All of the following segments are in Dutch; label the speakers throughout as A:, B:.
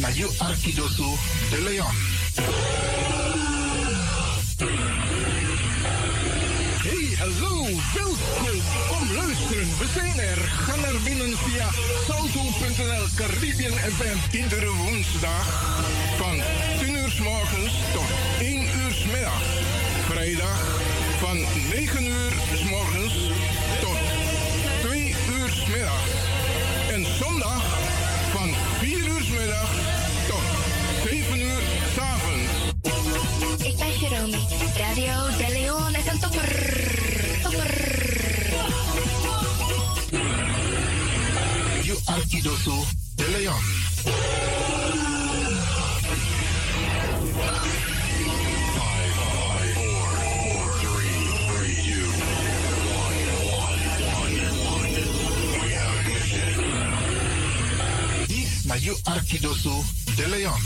A: Radio Arquidióceso de León. Hey, hallo, welkom. Kom luisteren, we zijn er. Ga naar binnen via salto.nl Caribbean FM. Iedere woensdag van 10 uur 's morgens tot 1 uur 's middags. Vrijdag van 9 uur 's morgens tot 2 uur 's middags. En zondag van 4 uur 's middags tot 7 uur 's avonds.
B: Ik ben Jerome. Radio De Leon is een topper.
A: Radio Arquidoso de Leon. Radio Arquidoso de Leon.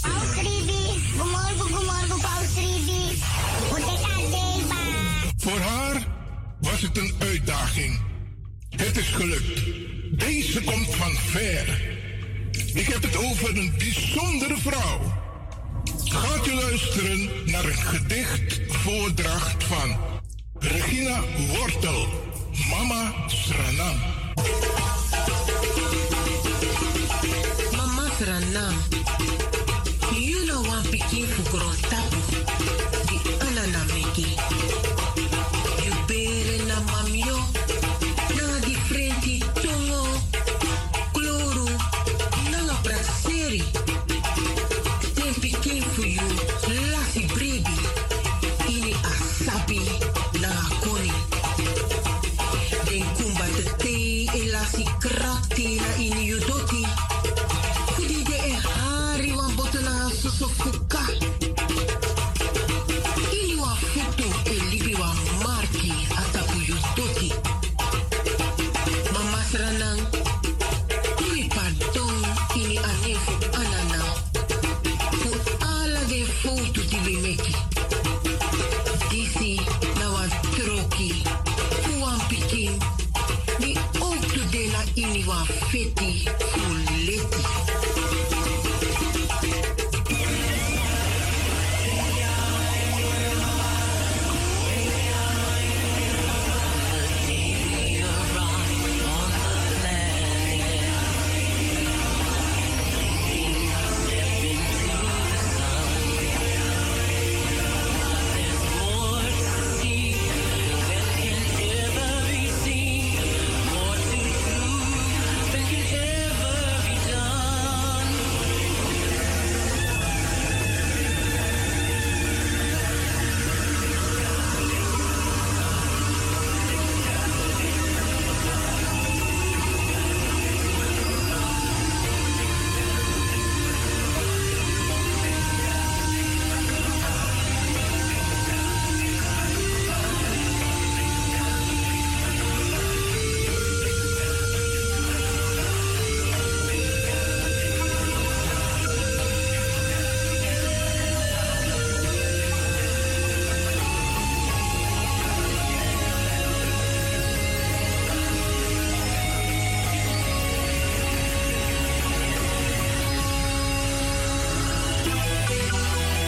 C: Paus Ribi, goedemorgen, goedemorgen, Paus Ribi. Hoe ik aan Deva.
A: Voor haar was het een uitdaging. Het is gelukt. Deze komt van ver. Ik heb het over een bijzondere vrouw. Gaat u luisteren naar een gedichtvoordracht van Regina Wortel, Mama Sranam.
D: Mama Sranam, you know one pikin for grown tapu, the anana meki. You bere na mamio, na di frenti tongo, kloro, na la praxeri. Ten pikin for you, lasi brebi, ini asabi na akoni. Den kumba te te, elasi krakti na ini yudoti. Kudide e hari wan bote na a soso fuka. Ini wan futu e libi wan marki a tapu yu doti. Mama sranang, ui pardon ini ane fu anana. Fu ala de foto di we meki. Disi na wan troki, fu wan pikin, di outu de na ini wan feti fu leti.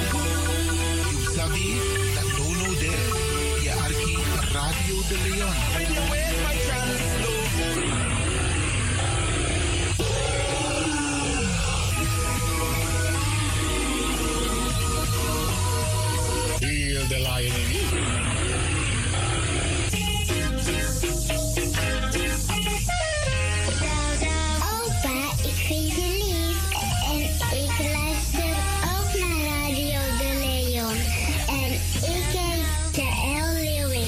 A: You sabi that no there. Je arki Radio de Leon. Heal the lion in you.
C: Opa, ik vind je lief. En ik luister ook naar Radio De Leon. En ik heet Jaël Leeuwing.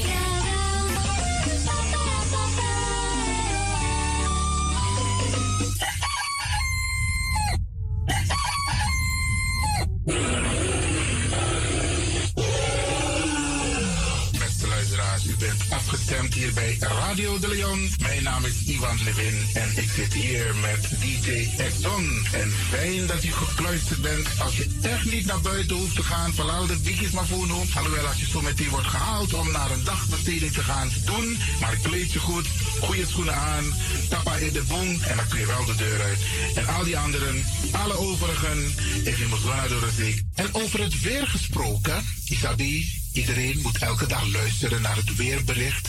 E: bent afgestemd hier bij Radio de Leon. Mijn naam is Ivan Levin en ik zit hier met DJ Exxon. En fijn dat u gekluisterd bent. Als je echt niet naar buiten hoeft te gaan, verlaal de bikjes maar voor nu. Alhoewel, als je zo meteen wordt gehaald om naar een dagbesteding te gaan doen. Maar kleed je goed, goede schoenen aan, tappa in de boom en dan kun je wel de deur uit. En al die anderen, alle overigen, even moet wel naar de zee. En over het weer gesproken, Isabi, iedereen moet elke dag luisteren naar het weerbericht.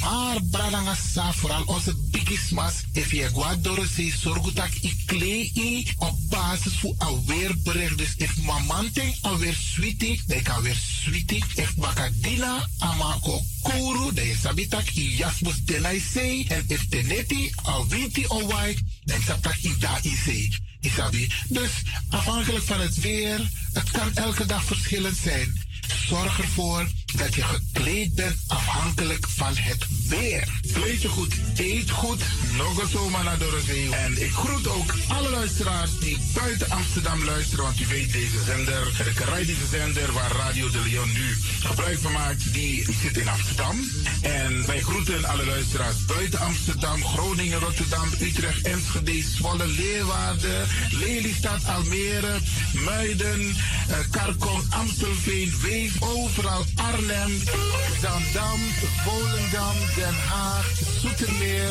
E: Maar Bradangasa, vooral onze bigismas, if je gaat door zee, zorg dat ik klei op basis voor een weerbericht. Dus if mamante alweer sweetie, dan kan weer sweetie. If bakadina, amako kuru, dan is abitak i jasmus denai zee. En if teneti, alwinti owai, dan is abitak i da i zee. Isabi. Dus afhankelijk van het weer, het kan elke dag verschillend zijn. Zorg ervoor dat je gekleed bent afhankelijk van het weer. Kleed je goed, eet goed, nog eens zomaar naar Dorothy. En ik groet ook alle luisteraars die buiten Amsterdam luisteren, want u weet deze zender, de Caribische zender waar Radio de Leon nu gebruik van maakt, die zit in Amsterdam. En wij groeten alle luisteraars buiten Amsterdam, Groningen, Rotterdam, Utrecht, Enschede, Zwolle, Leeuwarden, Lelystad, Almere, Muiden, eh, Karkong, Amstelveen, Weef, overal Arnhem, Zandam, Volendam, Den Haag, Zoetermeer,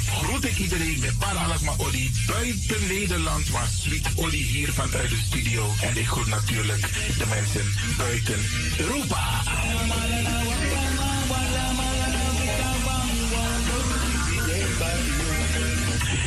E: groet ik iedereen met Baralasma Odi buiten Nederland, maar Sweet Odi hier vanuit de studio. En ik groet natuurlijk de mensen buiten Europa.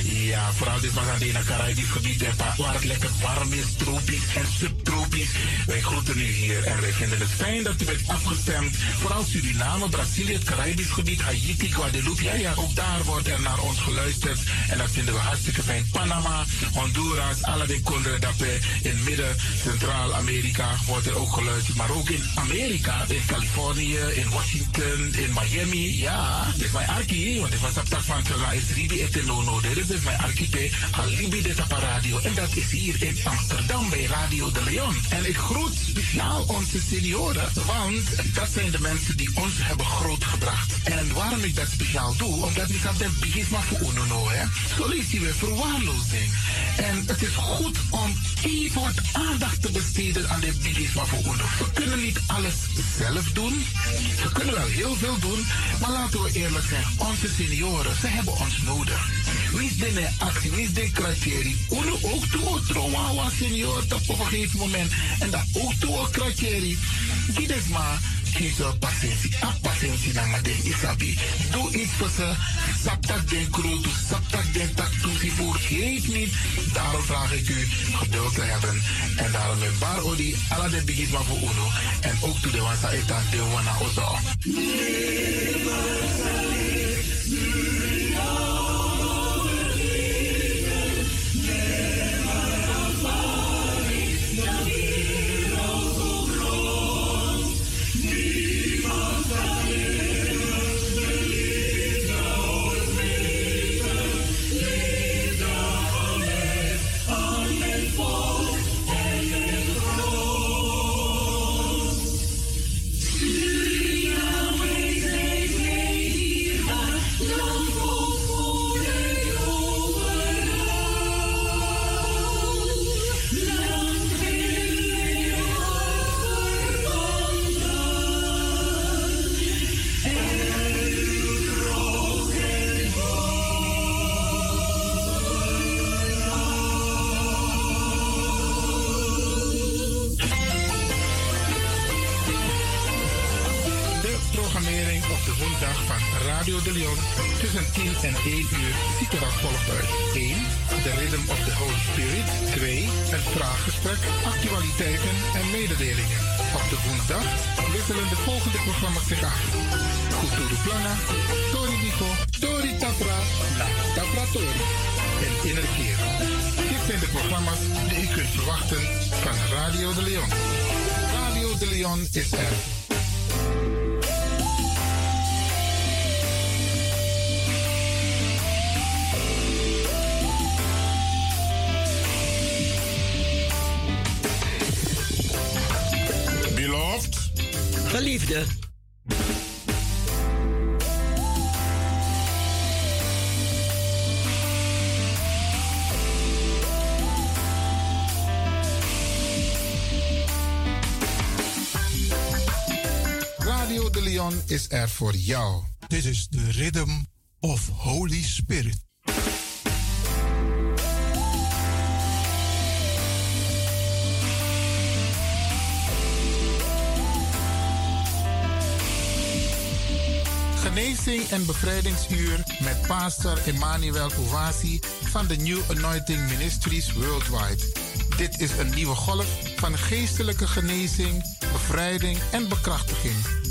E: Ja, vooral dit was aan het Caribisch gebied en pa- waar het lekker warm is, tropisch en subtropisch. Wij groeten u hier en wij vinden het fijn dat u bent afgestemd. Vooral Suriname, Brazilië, het Caribisch gebied, Haiti, Guadeloupe. Ja, ja, ook daar wordt er naar ons geluisterd en dat vinden we hartstikke fijn. Panama, Honduras, alle konden dat we in midden, Centraal-Amerika wordt er ook geluisterd. Maar ook in Amerika, in Californië, in Washington, in Miami. Ja, dit is mijn arkie, want dit was op dag van Tela is Ribi et Nono. Dit is dus mijn architect Alibi de Tapa Radio. En dat is hier in Amsterdam bij Radio de Leon. En ik groet speciaal onze senioren, want dat zijn de mensen die ons hebben grootgebracht. En waarom ik dat speciaal doe, omdat ik dat het begin maar voor Unono, hè. Zo lees je weer verwaarlozing. En het is goed om even wat aandacht te besteden aan de bigisma voor Uno. We kunnen niet alles zelf doen. We kunnen wel heel veel doen. Maar laten we eerlijk zijn, onze senioren, ze hebben ons nodig. Wie is de actie, wie is de kratjeri? Uno ook toe, trouwawa senior, dat op een gegeven moment. En dat ook toe, kratjeri. Dit is maar kizo pasensi a pasensi na maden isabi doe iets voor ze saptak den kroto saptak den tak toevoer geef niet daarom vraag ik u geduld te hebben en daarom met bar odi ala de bigisma voor uno en ook to de wansa etan de wana ozo
D: Suriname is een
E: Radio de Leon tussen 10 en 1 uur ziet er als volgt uit. 1. De Rhythm of the Holy Spirit. 2. Een vraaggesprek, actualiteiten en mededelingen. Op de woensdag wisselen de volgende programma's zich af. Cultura Plana, Tori Nico, Tori Tapra, La Tapra Tori. En Innerkeer. Dit zijn de programma's die u kunt verwachten van Radio de Leon. Radio de Leon is er. Beloved.
F: Geliefde.
E: Radio de Leon is er voor jou. Dit is de Rhythm of Holy Spirit. Genezing en bevrijdingsuur met pastor Emmanuel Owasi van de New Anointing Ministries Worldwide. Dit is een nieuwe golf van geestelijke genezing, bevrijding en bekrachtiging.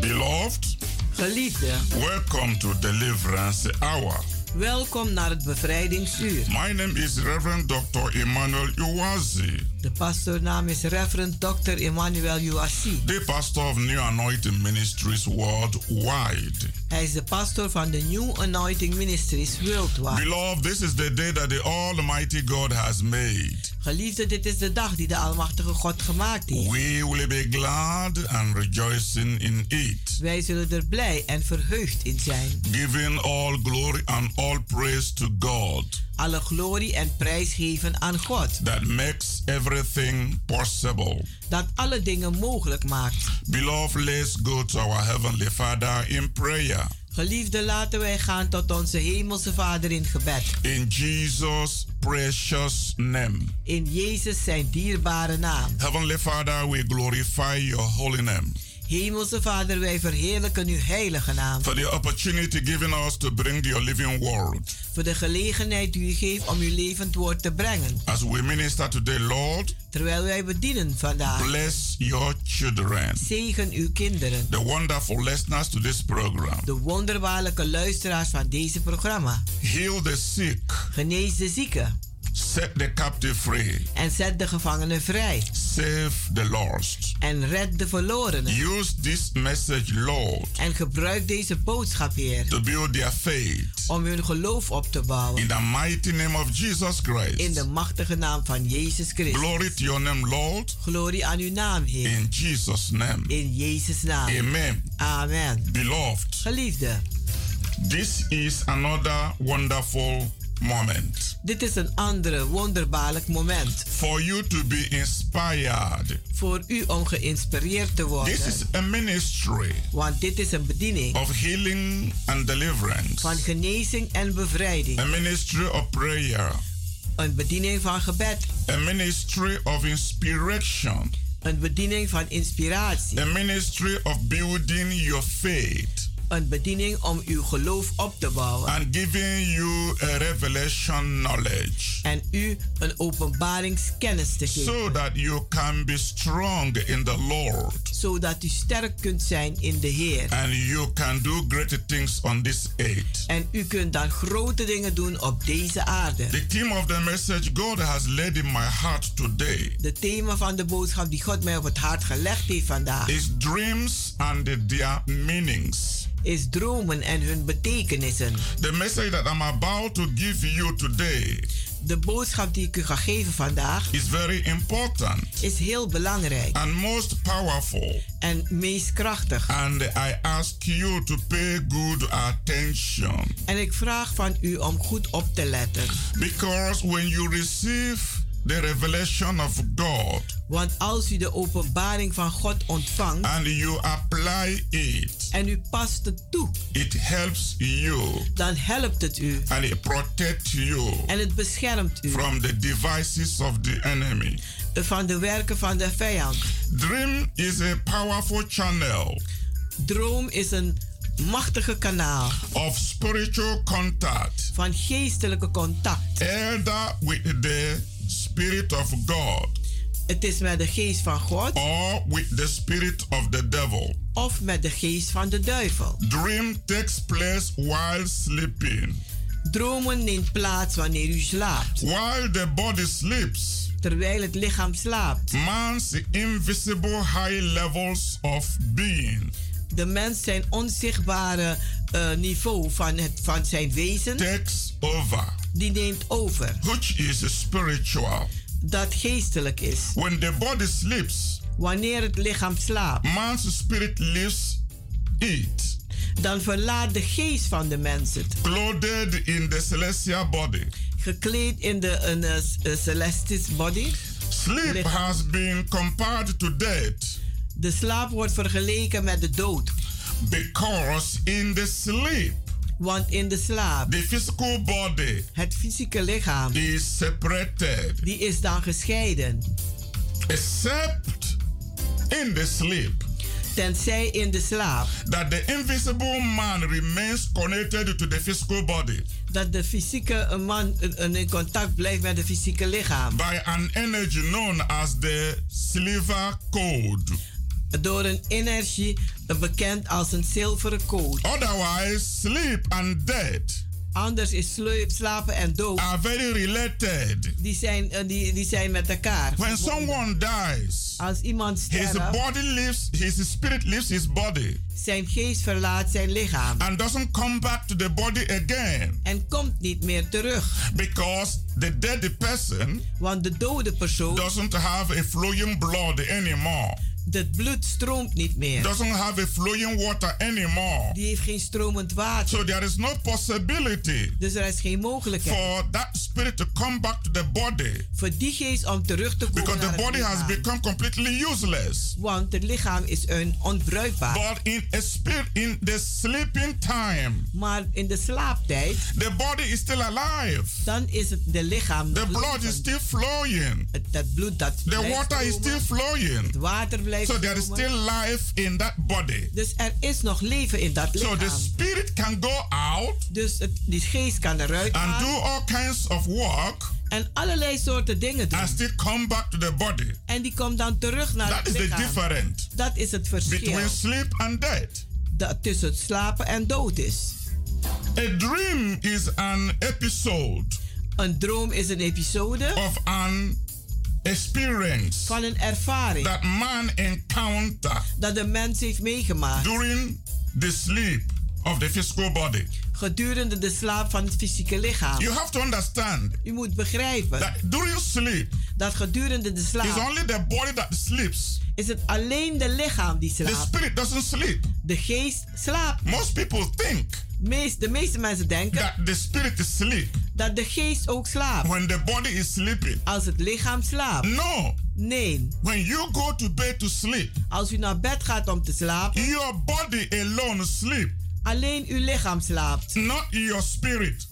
G: Beloved,
F: Geliefde.
G: welcome to Deliverance Hour.
F: Welkom naar het bevrijdingsuur.
G: My name is Reverend Dr. Emmanuel Iwazi,
F: De pastoornaam is Reverend Dr. Emmanuel Uassi.
G: the pastor of New Anointing Ministries worldwide.
F: Hij is de pastor van de New Anointing Ministries Worldwide.
G: Beloved, this is the day that the Almighty God has made.
F: Geliefde, dit is de dag die de Almachtige God gemaakt heeft.
G: We will be glad and rejoicing in it,
F: Wij zullen er blij en verheugd in zijn.
G: giving all glory and all praise to God
F: Alle glorie en prijs geven aan God,
G: that makes everything possible.
F: dat alle dingen mogelijk maakt.
G: Beloved, let's go to our Heavenly Father in prayer.
F: Geliefde, laten wij gaan tot onze Hemelse Vader in gebed.
G: In Jesus' precious name.
F: In Jezus zijn dierbare naam.
G: Heavenly Father, we glorify your holy name
F: Hemelse Vader, wij verheerlijken uw heilige naam.
G: for the opportunity given us to bring your living word.
F: Voor de gelegenheid die u geeft om uw levend woord te brengen.
G: As we minister today, Lord,
F: Terwijl wij bedienen vandaag.
G: bless your children,
F: Zegen uw kinderen.
G: the wonderful listeners to this program.
F: De wonderbaarlijke luisteraars van deze programma.
G: Heal the sick,
F: Genees de zieken.
G: set the captive free,
F: En zet de gevangenen vrij.
G: save the lost.
F: En red de verlorenen.
G: Use this message, Lord,
F: En gebruik deze boodschap, Heer.
G: to build their faith.
F: Om hun geloof op te bouwen.
G: In the mighty name of Jesus
F: In de
G: Christ.
F: machtige naam van Jezus Christus.
G: Glory to your name, Lord,
F: Glorie aan uw naam, Heer.
G: in Jesus' name.
F: In Jezus' naam.
G: Amen.
F: Amen.
G: Beloved,
F: Geliefde,
G: This is another wonderful moment
F: dit is een andere wonderbaarlijk moment
G: for you to be inspired.
F: voor u om geïnspireerd te
G: This
F: worden.
G: is a ministry
F: Want dit is een bediening
G: of healing and deliverance,
F: van genezing en bevrijding.
G: a ministry of prayer,
F: Een bediening van gebed.
G: a ministry of inspiration,
F: Een bediening van inspiratie.
G: a ministry of building your faith
F: Een bediening om uw geloof op te bouwen.
G: and giving you a revelation knowledge
F: En u een openbaringskennis te geven.
G: so that you can be strong in the Lord
F: Zodat u sterk kunt zijn in de Heer.
G: and you can do great things on this earth.
F: En u kunt dan grote dingen doen op deze aarde.
G: The theme of the message God has laid in my heart today
F: De thema van de boodschap die God mij op het hart gelegd heeft vandaag.
G: is dreams and their meanings.
F: is dromen en hun betekenissen.
G: The message that I'm about to give you today
F: de boodschap die ik u ga geven vandaag
G: is very important
F: is heel belangrijk
G: and most powerful.
F: en meest krachtig.
G: And I ask you to pay good attention
F: En ik vraag van u om goed op te letten.
G: because when you receive the revelation of God
F: Want als u de openbaring van God ontvangt
G: and you apply it,
F: en u past het toe,
G: it helps you
F: dan helpt het u
G: and it protects you
F: en het beschermt u
G: from the devices of the enemy.
F: van de werken van de vijand.
G: Dream is a powerful channel
F: Droom is een machtige kanaal
G: of spiritual contact,
F: van geestelijke contact.
G: either with the Spirit of God
F: Het is met de geest van God
G: or with the Spirit of the devil.
F: of met de geest van de duivel.
G: Dream takes place while sleeping.
F: Dromen neemt plaats wanneer u slaapt.
G: While the body sleeps,
F: Terwijl het lichaam slaapt.
G: man's invisible high levels of being
F: De mens zijn onzichtbare eh, niveau van, het, van zijn wezen,
G: takes over,
F: die neemt over.
G: which is spiritual.
F: Dat geestelijk is.
G: When the body sleeps,
F: Wanneer het lichaam slaapt,
G: man's spirit leaves it,
F: dan verlaat de geest van de mens het.
G: clothed in the celestial body.
F: Gekleed in de een, eh, s- eh, celestis body.
G: Sleep
F: Lit-
G: has been compared to death
F: De slaap wordt vergeleken met de dood.
G: because in the sleep,
F: Want in de slaap,
G: the physical body
F: het fysieke lichaam,
G: is separated
F: die is dan gescheiden.
G: except in the sleep
F: Tenzij in de slaap,
G: that the invisible man remains connected to the physical body
F: dat de fysieke eh, man eh, eh, in contact blijft met het fysieke lichaam.
G: by an energy known as the silver code
F: Door een energie eh, bekend als een zilveren koord.
G: otherwise sleep and death
F: Anders is slu- slapen en dood,
G: are very related
F: die zijn, eh, die, die zijn met elkaar.
G: when someone dies
F: Als iemand
G: his
F: sterft,
G: body leaves his spirit leaves his body
F: zijn geest verlaat zijn lichaam.
G: and doesn't come back to the body again
F: En komt niet meer terug.
G: because the dead person
F: Want de dode persoon,
G: doesn't have a flowing blood anymore
F: het bloed stroomt niet meer.
G: doesn't have a flowing water anymore.
F: Die heeft geen stromend water.
G: So there is no possibility
F: Dus er is geen mogelijkheid
G: for that spirit to come back to the body
F: voor die geest om terug te komen
G: because
F: naar
G: the
F: het
G: body has
F: lichaam.
G: become completely useless.
F: Want het lichaam is een onbruikbaar.
G: But in a spirit in the sleeping time,
F: Maar in de slaaptijd,
G: the body is still alive.
F: dan is het de lichaam.
G: The blood is
F: levend.
G: still flowing.
F: Het- dat bloed dat
G: The
F: blijft
G: water is still
F: stromen.
G: flowing.
F: Het water blijft
G: So there is
F: stromen.
G: still life in that body.
F: Dus er is nog leven in dat
G: So the
F: lichaam.
G: spirit can go out
F: Dus het, die geest kan eruit
G: and do
F: gaan
G: all kinds of work
F: en allerlei soorten dingen doen.
G: and still come back to the body.
F: En die komt dan terug naar
G: That
F: het
G: is the
F: lichaam.
G: difference.
F: Dat is het verschil
G: between sleep and death.
F: dat tussen slapen en dood is.
G: A dream is an episode
F: Een droom is een episode
G: of an experience
F: van een ervaring
G: that man encounter
F: dat de mens heeft meegemaakt
G: during the sleep of the physical body.
F: gedurende de slaap van het fysieke lichaam.
G: You have to understand
F: U moet begrijpen
G: that during sleep,
F: dat gedurende de
G: it's
F: slaap
G: only the body that sleeps.
F: is het alleen de lichaam die
G: The
F: slaapt.
G: spirit doesn't sleep.
F: De geest slaapt.
G: Most people think
F: Meest- De meeste mensen denken
G: that the spirit is sleep
F: dat de geest ook slaapt
G: when the body is sleeping.
F: als het lichaam slaapt.
G: No,
F: Nee,
G: when you go to bed to sleep,
F: als u naar bed gaat om te slapen,
G: your body alone sleep.
F: alleen uw lichaam slaapt,
G: not your spirit.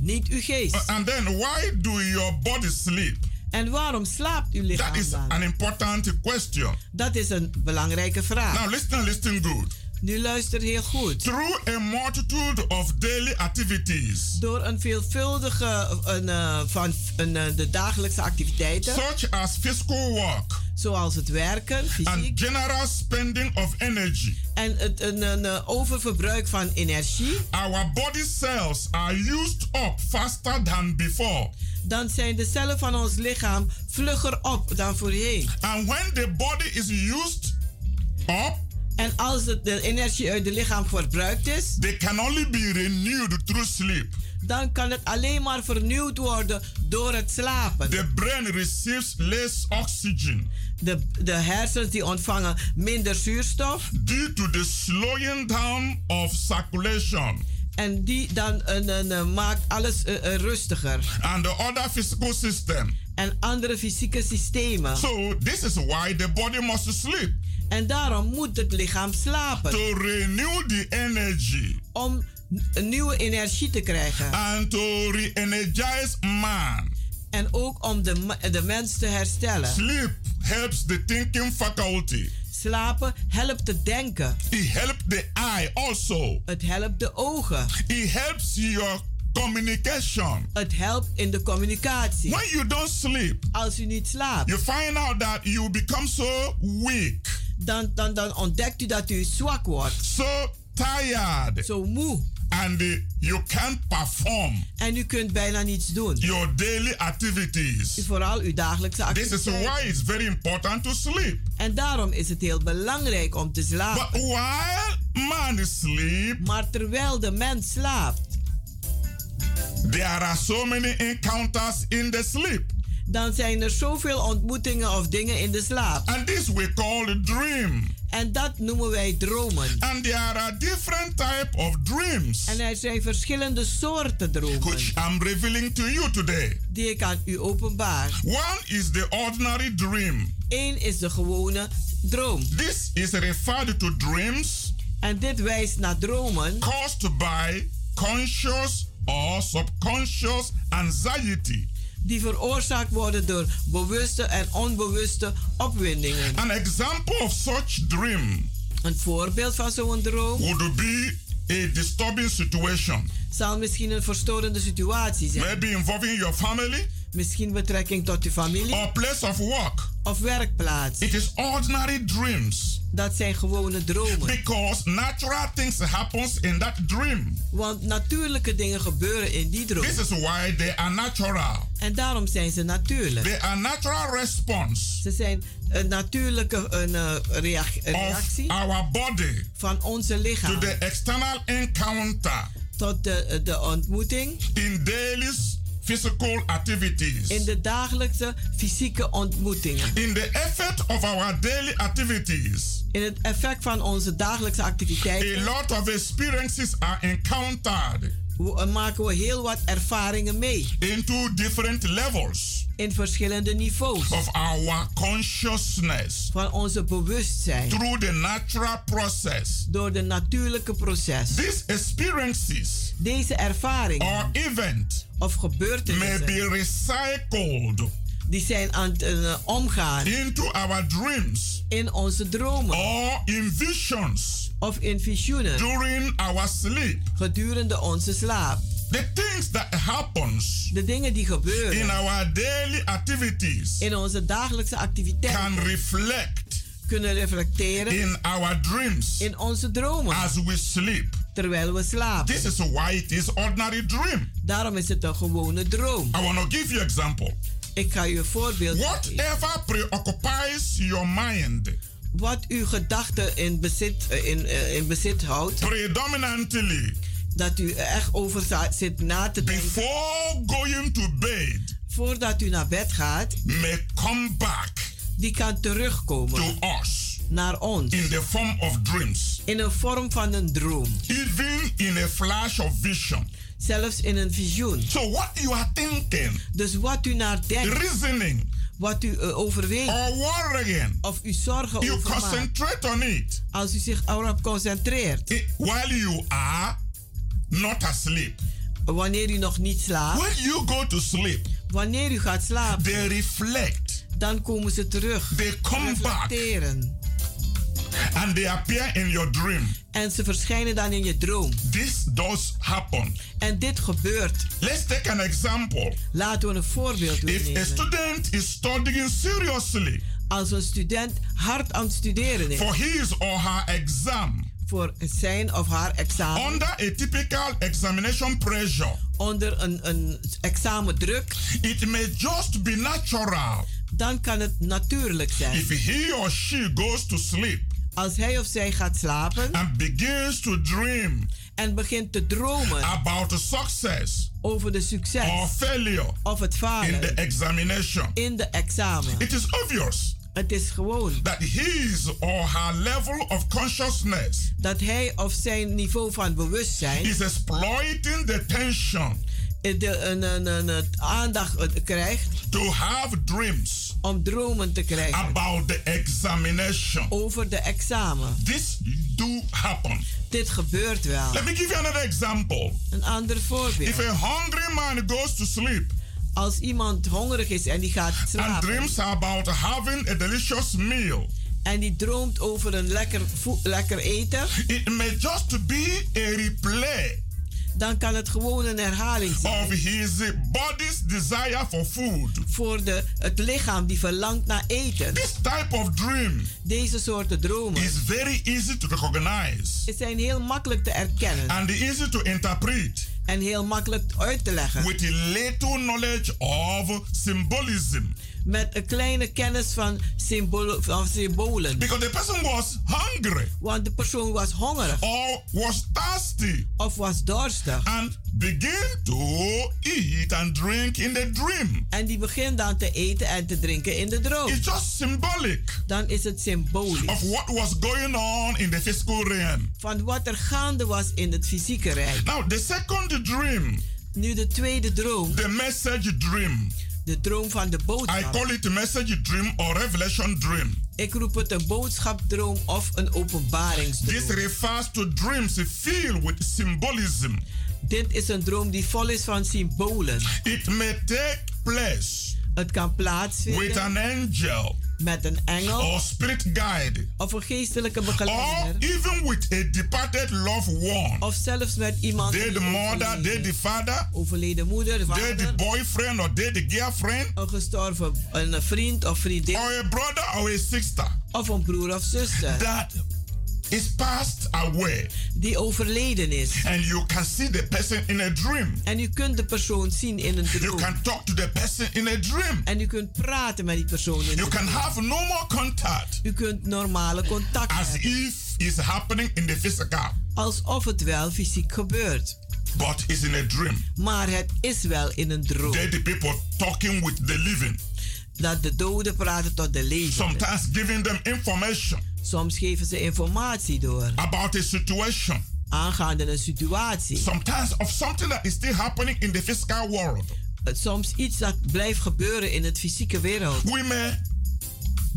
F: niet uw geest.
G: Uh, And then why do your body sleep?
F: En waarom slaapt uw
G: That
F: lichaam
G: is
F: dan?
G: an important question.
F: Dat is een belangrijke vraag.
G: Now listen, listen good.
F: Nu luister heel goed.
G: Through a multitude of daily activities,
F: Door een veelvuldige een, eh, van een, eh, de dagelijkse activiteiten,
G: such as physical work
F: zoals het werken,
G: and
F: fysiek,
G: general spending of energy,
F: en het een, een, eh, oververbruik van energie,
G: our body cells are used up faster than before.
F: dan zijn de cellen van ons lichaam vlugger op dan voorheen.
G: And when the body is used up,
F: En als het, de energie uit het lichaam verbruikt is,
G: they can only be renewed through sleep.
F: dan kan het alleen maar vernieuwd worden door het slapen.
G: The brain receives less oxygen
F: De, de hersens die ontvangen minder zuurstof
G: due to the slowing down of circulation
F: en die dan eh, eh, eh, maakt alles eh, eh, rustiger.
G: and the other physical system.
F: En andere fysieke systemen.
G: So this is why the body must sleep
F: En daarom moet het lichaam slapen
G: to renew the energy
F: om n- nieuwe energie te krijgen.
G: and to re-energize man.
F: En ook om de, ma- de mens te herstellen.
G: Sleep helps the thinking faculty.
F: Slapen helpt te denken.
G: It helps the eye also.
F: Het helpt de ogen.
G: It helps your communication.
F: Het helpt in de communicatie.
G: When you don't sleep,
F: Als u niet slaapt,
G: you find out that you become so weak,
F: dan, dan, dan ontdekt u dat u zwak wordt.
G: so tired,
F: Zo moe.
G: and uh, you can't perform
F: En u kunt bijna niets doen.
G: your daily activities.
F: Vooral uw dagelijkse
G: This is
F: activiteiten.
G: why it's very important to sleep.
F: En daarom is het heel belangrijk om te slapen.
G: But while man sleep,
F: Maar terwijl de mens slaapt,
G: there are so many encounters in the sleep,
F: dan zijn er zoveel ontmoetingen of dingen in de slaap.
G: and this we call a dream.
F: En dat noemen wij dromen.
G: And there are different type of dreams,
F: En er zijn verschillende soorten dromen
G: which I'm revealing to you today.
F: die ik aan u openbaar.
G: One is the ordinary dream.
F: Eén is de gewone droom.
G: This is referred to dreams
F: En dit wijst naar dromen
G: caused by conscious or subconscious anxiety.
F: die veroorzaakt worden door bewuste en onbewuste opwindingen.
G: An example of such dream
F: Een voorbeeld van zo'n droom
G: would be a disturbing situation,
F: zal misschien een verstorende situatie zijn.
G: maybe involving your family
F: Misschien betrekking tot uw familie
G: or place of work.
F: of werkplaats.
G: It is ordinary dreams
F: Dat zijn gewone dromen.
G: because natural things happens in that dream.
F: Want natuurlijke dingen gebeuren in die droom.
G: This is why they are natural.
F: En daarom zijn ze natuurlijk.
G: They are natural response
F: Ze zijn een natuurlijke een, eh, reac- een
G: of
F: reactie
G: our body
F: van onze
G: to
F: lichaam
G: the external encounter
F: tot de, de ontmoeting
G: in daily s- physical activities.
F: in de dagelijkse fysieke ontmoetingen.
G: In the effect of our daily activities,
F: In het effect van onze dagelijkse
G: a
F: activiteiten
G: lot of experiences are encountered
F: wo- maken we heel wat ervaringen mee
G: into different levels
F: in verschillende niveaus
G: of our consciousness
F: van onze bewustzijn
G: through the natural process.
F: door de natuurlijke proces.
G: These experiences
F: Deze ervaringen
G: or event
F: of
G: may
F: gebeurtenissen
G: be recycled
F: die zijn aan het eh, omgaan
G: into our dreams
F: in onze dromen
G: or in visions
F: of in visioenen
G: during our sleep.
F: gedurende onze slaap.
G: The things that happens
F: De dingen die
G: in
F: gebeuren
G: our daily activities
F: in onze dagelijkse
G: can
F: activiteiten
G: reflect
F: kunnen reflecteren
G: in our dreams
F: in onze dromen
G: as we sleep.
F: terwijl we slapen.
G: This is why it is ordinary dream.
F: Daarom is het een gewone droom.
G: I want to give you example.
F: Ik ga u een voorbeeld geven.
G: Whatever preoccupies your mind
F: Wat uw gedachten in bezit, eh, in, eh, in bezit houdt,
G: predominantly
F: dat u er echt over za- zit na te denken
G: before going to bed
F: voordat u naar bed gaat,
G: may come back
F: die kan terugkomen
G: to us
F: naar ons
G: in the form of dreams,
F: in een vorm van een droom.
G: even in a flash of vision.
F: zelfs in een visioen.
G: So what you are thinking,
F: Dus wat u naar denkt,
G: reasoning,
F: wat u eh, overweegt
G: or worrying,
F: of u zorgen
G: you
F: over maakt,
G: concentrate on it
F: als u zich erop concentreert,
G: eh, while you are not asleep.
F: wanneer u nog niet slaapt,
G: When you go to sleep,
F: wanneer u gaat slapen,
G: they reflect,
F: dan komen ze terug,
G: they come back,
F: reflecteren
G: and they appear in your dream.
F: en ze verschijnen dan in je droom.
G: This does happen.
F: En dit gebeurt.
G: Let's take an example.
F: Laten we een voorbeeld
G: If a
F: nemen.
G: student is studying seriously
F: Als een student hard aan het studeren is
G: for his or her exam
F: voor zijn of haar examen,
G: under a typical examination pressure,
F: onder een, een examendruk,
G: it may just be natural
F: dan kan het natuurlijk zijn.
G: if he or she goes to sleep
F: Als hij of zij gaat slapen
G: and begins to dream
F: en begint te dromen
G: about success
F: over de
G: or
F: succes
G: failure
F: of het
G: in the
F: falen
G: examination,
F: in de examen.
G: it is obvious
F: Het is gewoon
G: that his or her level of consciousness
F: dat hij of zijn niveau van bewustzijn
G: is exploiting the tension
F: eh, de, een, een, een, het aandacht eh, krijgt
G: to have dreams
F: om dromen te krijgen
G: about the examination.
F: over de examen.
G: This do happen.
F: Dit gebeurt wel.
G: Let me give you another example.
F: Een ander
G: If
F: voorbeeld.
G: a hungry man goes to sleep
F: Als iemand hongerig is en die gaat
G: and
F: slapen
G: dreams about having a delicious meal,
F: en die droomt over een lekker, voe- lekker eten,
G: it may just be a replay
F: dan kan het gewoon een herhaling zijn
G: of his body's desire for food.
F: voor de, het lichaam die verlangt naar eten.
G: This type of dream
F: Deze soorten dromen
G: is very easy to recognize
F: zijn heel makkelijk te erkennen
G: and easy to interpret
F: en heel makkelijk uit te leggen
G: with little knowledge of symbolism
F: met een kleine kennis van, symbolo- van symbolen.
G: because the person was hungry
F: Want de persoon was hongerig
G: or was thirsty
F: of was dorstig.
G: and begin to eat and drink in the dream.
F: En die begint dan te eten en te drinken in de droom.
G: It's just symbolic
F: Dan is het
G: of
F: symbolisch
G: what was going on in the physical realm.
F: van wat er gaande was in het fysieke rijk.
G: Now, the second dream,
F: Nu de tweede droom,
G: the message dream.
F: de droom van de
G: I
F: boodschap.
G: call it a message dream or revelation dream.
F: Ik roep het een boodschapdroom of een
G: This
F: openbaringsdroom.
G: refers to dreams filled with symbolism.
F: Dit is een droom die vol is van symbolen.
G: It may take place
F: Het kan
G: with
F: plaatsvinden
G: an angel
F: met een engel
G: or spirit guide
F: of een geestelijke
G: or
F: begeleider.
G: even with a departed loved one.
F: Of zelfs met iemand die
G: Dead mother,
F: overleden,
G: dead father,
F: overleden moeder, de
G: dead
F: vader,
G: boyfriend or dead girlfriend
F: een gestorven een vriend of vriendin
G: or a brother or a sister
F: of een broer of zuster
G: that is passed away
F: die overleden is.
G: and you can see the person in a dream.
F: En u kunt de persoon zien in een
G: You
F: droom.
G: can talk to the person in a dream.
F: En u kunt praten met die persoon in
G: You
F: de
G: can have no more contact
F: U kunt normale contact
G: as
F: hebben.
G: if it's happening in the physical,
F: Alsof het wel fysiek gebeurt.
G: but it's in a dream.
F: Maar het is wel in een droom.
G: Dead people talking with the living,
F: Dat de doden praten tot de levenden.
G: sometimes giving them information
F: Soms geven ze informatie door.
G: about a situation,
F: Aangaande een situatie.
G: sometimes of something that is still happening in the physical world.
F: Soms iets dat blijft gebeuren in het fysieke wereld.
G: We may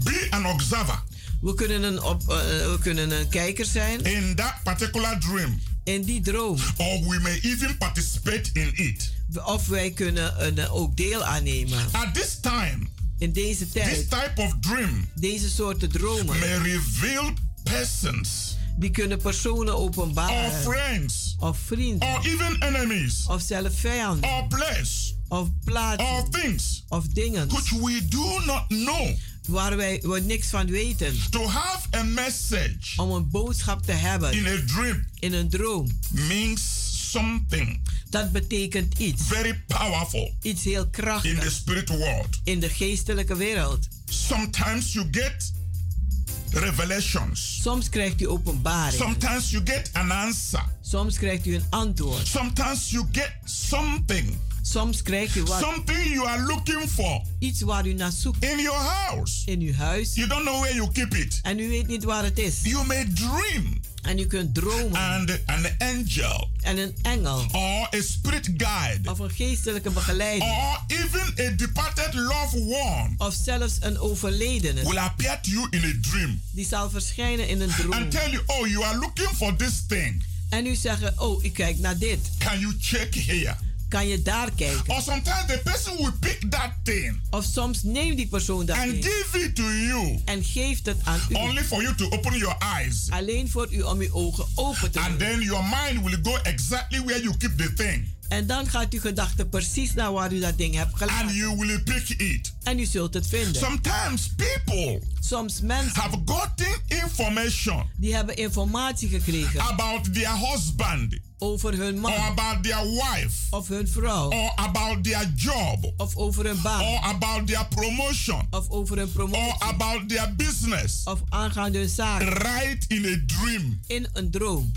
G: be an observer
F: We kunnen een, op, eh, we kunnen een kijker zijn
G: in that particular dream,
F: in die droom.
G: or we may even participate in it.
F: Of wij kunnen een, eh, ook deel aannemen.
G: At this time,
F: In deze
G: this
F: tijd,
G: type of dream
F: deze soorten dromen,
G: may reveal persons
F: die kunnen personen
G: or
F: openbaren.
G: friends
F: Of vrienden.
G: or even enemies
F: Of zelf vijanden.
G: or place
F: Of
G: or
F: plaatsen.
G: things
F: Of dingen
G: which we do not know
F: waar wij waar niks van weten.
G: to have a message
F: Om een boodschap te
G: in
F: hebben
G: a dream
F: in een droom.
G: means something
F: Dat betekent iets.
G: very powerful
F: Iets heel
G: in the
F: krachtigs
G: spirit world
F: in de geestelijke wereld.
G: sometimes you get revelations
F: Soms krijgt u openbaring.
G: sometimes you get an answer
F: Soms krijgt u een antwoord.
G: sometimes you get something
F: Soms krijgt u wat,
G: something you are looking for
F: iets waar u naar zoekt
G: in your house
F: in uw huis.
G: you don't know where you keep it
F: En u weet niet waar het is.
G: you may dream
F: En u kunt dromen.
G: and an angel
F: En een engel.
G: or a spirit guide
F: Of een geestelijke begeleider.
G: or even a departed loved one
F: Of zelfs een overledene.
G: will appear to you in a dream
F: Die zal verschijnen in een droom.
G: and tell you, oh, you are looking for this thing.
F: En u zeggen, oh, ik kijk naar dit.
G: Can you check here?
F: Kan je daar kijken?
G: Or sometimes the person will pick that thing
F: Of soms neemt die persoon dat
G: and
F: mee.
G: give it to you
F: En geeft het aan u.
G: only for you to open your eyes.
F: Alleen voor u om uw ogen open te
G: And
F: doen.
G: then your mind will go exactly where you keep the thing
F: En dan gaat uw gedachte precies naar waar u dat ding hebt
G: and
F: gelaten.
G: you will pick it.
F: En u zult het vinden.
G: Sometimes people
F: Soms mensen
G: have gotten information
F: die hebben informatie gekregen
G: about their husband
F: over hun
G: or
F: man
G: about their wife
F: of hun vrouw
G: or about their job
F: of over hun baan
G: or about their promotion
F: of over hun
G: or
F: promotie
G: about their business
F: of aangaande hun zaak
G: right in a dream
F: in een droom.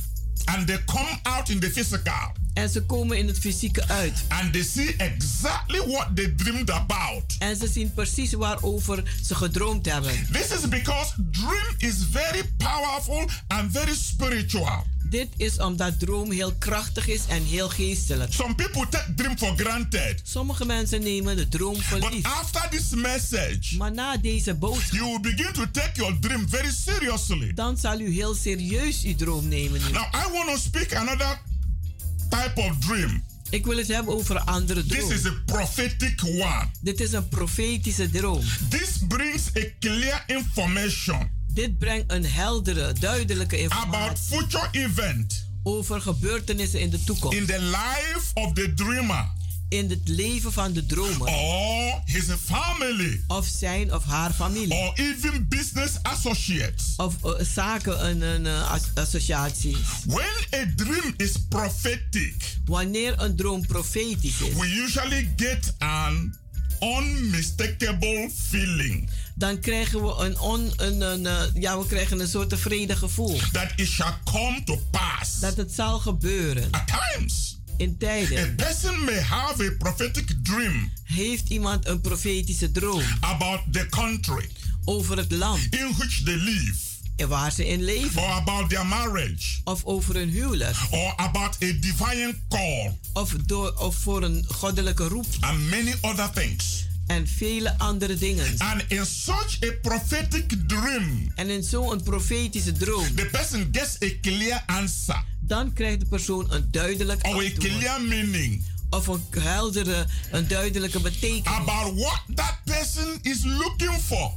G: and they come out in the physical
F: En ze komen in het fysieke uit.
G: and they see exactly what they dreamed about.
F: En ze zien precies waarover ze gedroomd hebben.
G: This is because dream is very powerful and very spiritual.
F: Dit is omdat droom heel krachtig is en heel geestelijk.
G: Some people take dream for granted.
F: Sommige mensen nemen de droom voor
G: But
F: lief.
G: after this message,
F: Maar na deze boodschap,
G: you will begin to take your dream very seriously.
F: dan zal u heel serieus uw droom nemen. nu.
G: Now, I want to speak another type of dream.
F: Ik wil het hebben over een andere
G: This
F: droom.
G: is a prophetic one.
F: Dit is een profetische droom.
G: This brings a clear information
F: Dit brengt een heldere, duidelijke
G: about
F: informatie
G: future event
F: over gebeurtenissen in de toekomst.
G: in the life of the dreamer
F: In het leven van de dromer.
G: or his family
F: Of zijn of haar familie.
G: or even business associates.
F: Of eh, zaken en en, eh, as- associaties.
G: When a dream is prophetic,
F: Wanneer een droom profetisch is,
G: we usually get an unmistakable feeling
F: dan krijgen we een, on, een, een, eh, ja, we krijgen een soort tevreden gevoel.
G: that it shall come to pass.
F: Dat het zal gebeuren.
G: At times,
F: In
G: a
F: tijden
G: person may have a prophetic dream
F: heeft iemand een profetische droom
G: about the country
F: over het land
G: in which they live,
F: en waar ze in leven.
G: or about their marriage,
F: Of over hun huwelijk.
G: or about a divine call,
F: Of, door, of voor een goddelijke roep.
G: and many other things.
F: En vele andere dingen.
G: And in such a prophetic dream,
F: En in zo'n profetische droom,
G: the person gets a clear answer
F: dan krijgt de persoon een duidelijk
G: or a
F: antwoord.
G: clear meaning
F: Of een heldere, een duidelijke betekenis
G: about what that person is looking for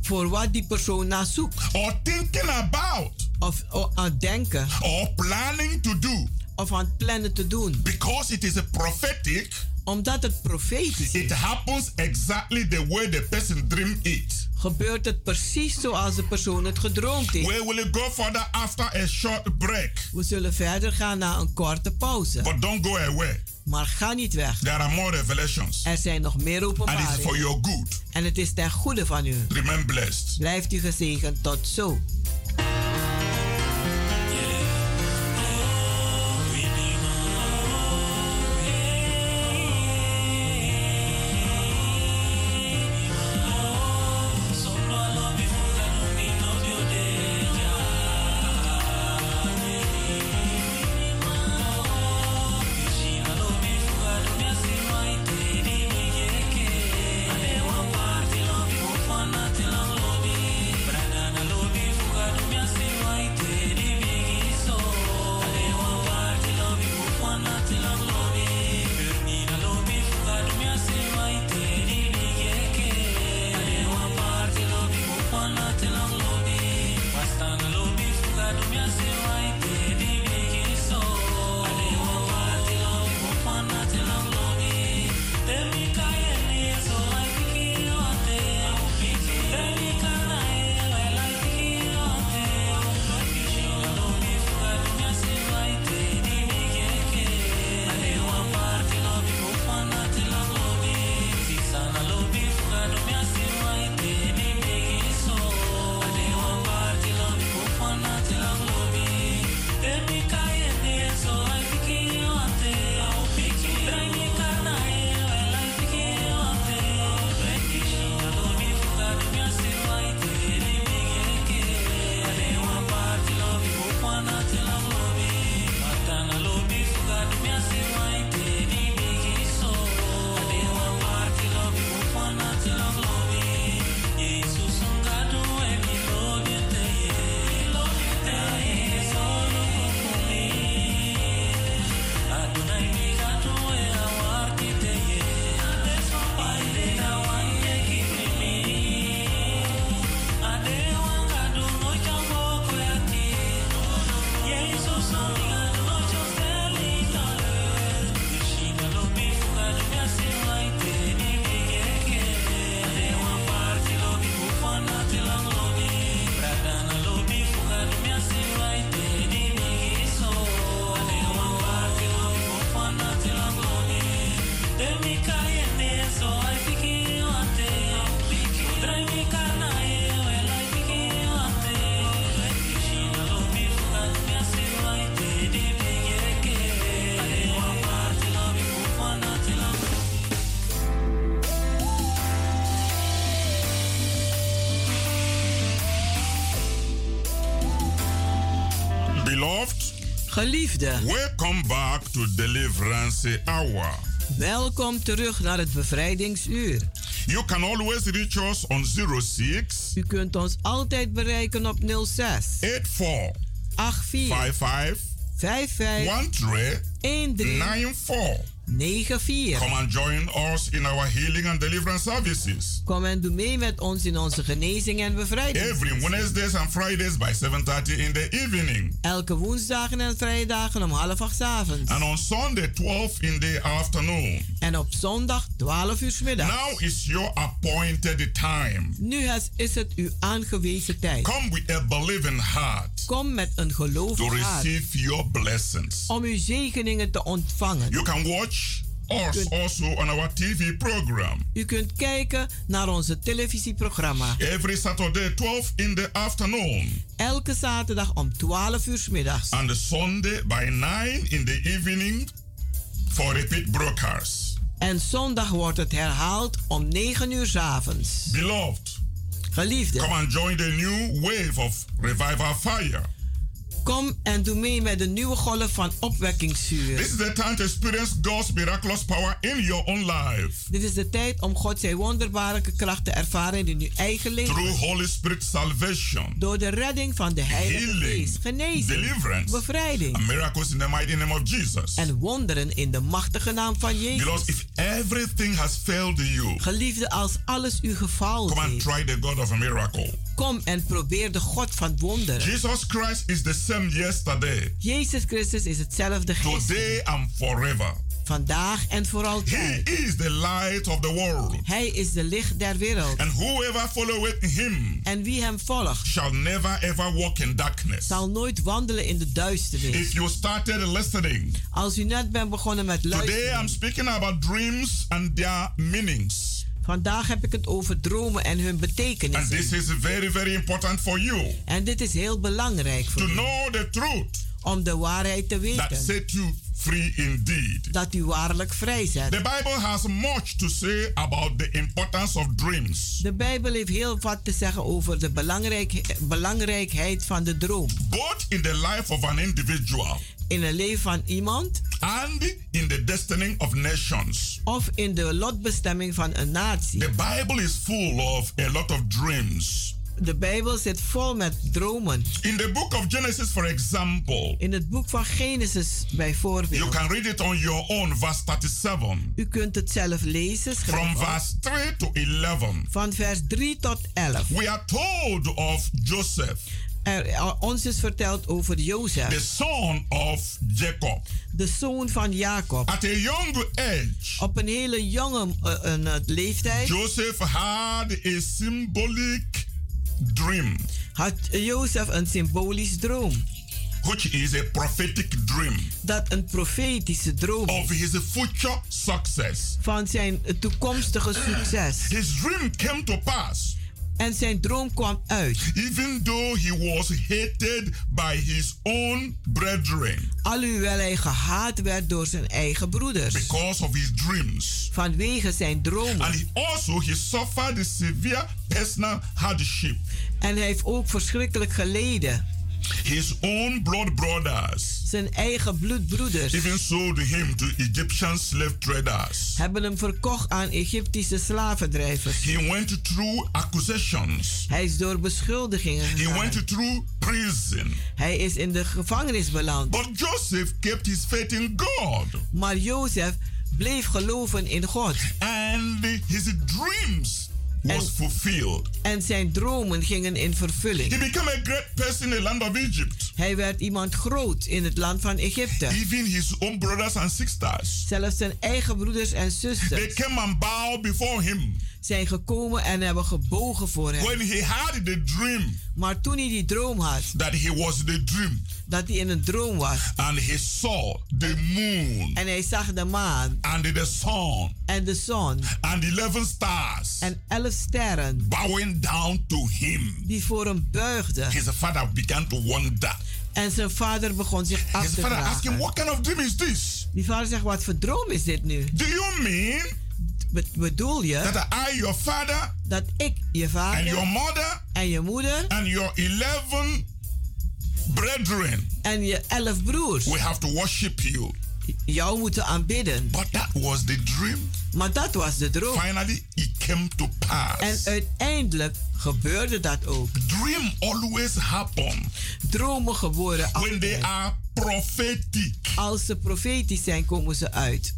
F: voor wat die persoon naar zoekt.
G: or thinking about
F: Of, of aan het denken.
G: or planning to do.
F: Of aan het plannen te doen.
G: Because it is a prophetic,
F: Omdat het profetisch
G: it
F: is,
G: happens exactly the way the person dreamed it.
F: gebeurt het precies zoals de persoon het gedroomd heeft.
G: We will go further after a short break.
F: We zullen verder gaan na een korte pauze.
G: But don't go away.
F: Maar ga niet weg.
G: There are more revelations.
F: Er zijn nog meer
G: And it's for
F: openbaringen.
G: your good.
F: En het is ten goede van u.
G: Remain blessed.
F: Blijft u gezegend tot zo. Geliefde,
G: Welcome back to Deliverance Hour.
F: welkom terug naar het bevrijdingsuur.
G: You can always reach us on 06
F: U kunt ons altijd bereiken op 06
G: 84
F: 84
G: 55
F: 55
G: 1394.
F: 13 94.
G: Come and join us in our healing and deliverance services
F: Kom en doe mee met ons in onze genezing en bevrijding.
G: every Wednesdays and Fridays by 7:30 in the evening
F: Elke woensdagen en vrijdagen om half acht 's avonds.
G: and on Sunday 12 in the afternoon.
F: En op zondag 12 uur 's middag.
G: Now is your appointed time.
F: Nu has- is het uw aangewezen tijd.
G: Come with a believing heart
F: Kom met een
G: to
F: gelovig hart
G: receive your blessings.
F: om uw zegeningen te ontvangen.
G: You can watch us
F: Good.
G: also on our TV program
F: U kunt kijken naar onze televisieprogramma.
G: every Saturday 12 in the afternoon
F: Elke zaterdag om 12 uur 's middags.
G: and Sunday by 9 in the evening for repeat broadcasts.
F: En zondag wordt het herhaald om 9 uur 's avonds.
G: Beloved, come
F: Geliefde,
G: and join the new wave of revival fire.
F: kom en doe mee met de nieuwe golf van opwekkingsvuur.
G: This is the time to experience God's miraculous power in your own life
F: Dit is de tijd om God zijn wonderbare kracht te ervaren in uw eigen leven.
G: through Holy Spirit salvation,
F: Door de redding van de Heilige
G: healing,
F: Geest, genezing,
G: deliverance, and
F: bevrijding
G: miracles in the mighty name of Jesus.
F: en wonderen in de machtige naam van
G: Because
F: Jezus.
G: if everything has failed you,
F: Geliefde, als alles u
G: Come
F: gefaald
G: and
F: heeft,
G: try the God of a miracle.
F: kom en probeer de God van wonderen.
G: Jesus Christ is the same yesterday,
F: Jezus Christus is hetzelfde gisteren,
G: today, and forever.
F: vandaag en voor
G: He
F: altijd.
G: is the light of the world,
F: Hij is de licht der wereld.
G: and whoever followeth him
F: En wie hem volgt,
G: shall never ever walk in darkness.
F: zal nooit wandelen in de duisternis.
G: If you started listening,
F: Als u net bent begonnen met
G: today
F: luisteren,
G: I'm speaking about dreams and their meanings.
F: vandaag heb ik het over dromen en hun
G: And
F: betekenis.
G: this is very, very important for you
F: En dit is heel belangrijk
G: to
F: voor u,
G: know the truth
F: om de waarheid te
G: that
F: weten,
G: set you free indeed.
F: dat u waarlijk vrij bent.
G: The Bible has much to say about the importance of dreams.
F: De Bijbel heeft heel wat te zeggen over de belangrijk, belangrijkheid van de droom
G: both in the life of an individual
F: in het leven van iemand
G: and in the destiny of nations.
F: of in de lotbestemming van een natie.
G: The Bible is full of a lot of dreams.
F: De Bijbel zit vol met dromen.
G: In the book of Genesis, for example,
F: In het boek van Genesis
G: you
F: bijvoorbeeld.
G: can read it on your own, verse 37,
F: U kunt het zelf lezen. schrijf
G: from
F: op.
G: verse 3 to 11.
F: Van vers 3 tot 11.
G: We are told of Joseph,
F: Er, er- ons is verteld over
G: the
F: Jozef,
G: son of Jacob.
F: de zoon van Jacob.
G: At a young age,
F: Op een hele jonge eh, een, eh, leeftijd
G: Joseph had a symbolic dream,
F: had Jozef een symbolisch droom.
G: which is a prophetic dream.
F: Dat een profetische droom is
G: of his future success.
F: van zijn toekomstige succes.
G: His dream came to pass,
F: En zijn droom kwam uit.
G: even though he was hated by his own brethren
F: Alhoewel hij gehaat werd door zijn eigen broeders.
G: because of his dreams.
F: Vanwege zijn dromen.
G: And he also he suffered severe personal hardship.
F: En hij heeft ook verschrikkelijk geleden.
G: His own blood brothers
F: Zijn eigen bloedbroeders
G: even sold him to Egyptian slave traders.
F: hebben hem verkocht aan Egyptische slavendrijvers.
G: He went through accusations.
F: Hij is door beschuldigingen
G: He
F: gegaan.
G: went through prison.
F: Hij is in de gevangenis beland.
G: But Joseph kept his faith in God.
F: Maar Jozef bleef geloven in God.
G: and his dreams was
F: And-
G: fulfilled.
F: En zijn dromen gingen in
G: He
F: vervulling.
G: became a great person in the land of Egypt.
F: Hij werd iemand groot in het land van Egypte.
G: Even his own brothers and sisters,
F: Zelfs zijn eigen broeders en
G: they
F: zusters
G: came and bowed before him
F: zijn gekomen en hebben gebogen voor hem.
G: when he had the dream
F: Maar toen hij die droom had,
G: that he was the dream
F: dat hij in een droom was,
G: and he saw the moon
F: en hij zag de maan
G: and the sun
F: en de zon
G: and 11 stars
F: en elf sterren
G: bowing down to him.
F: die voor hem buigden.
G: His father began to wonder.
F: En zijn vader begon zich af
G: His
F: te
G: father asked him,
F: vragen.
G: What kind of dream is this?
F: Die vader zegt, wat voor droom is dit nu?
G: Do you mean
F: Be- bedoel je
G: that I, your father,
F: dat ik, je
G: and
F: vader
G: your mother
F: en je moeder
G: and your 11 brethren.
F: en je elf broers.
G: We have to worship you.
F: Jou moeten aanbidden.
G: But that was the dream.
F: Maar dat was de droom.
G: Finally, it came to
F: En
G: pass.
F: uiteindelijk gebeurde dat ook.
G: Dream always happen
F: Dromen geboren
G: when they are prophetic.
F: Als ze profetisch zijn, komen ze uit.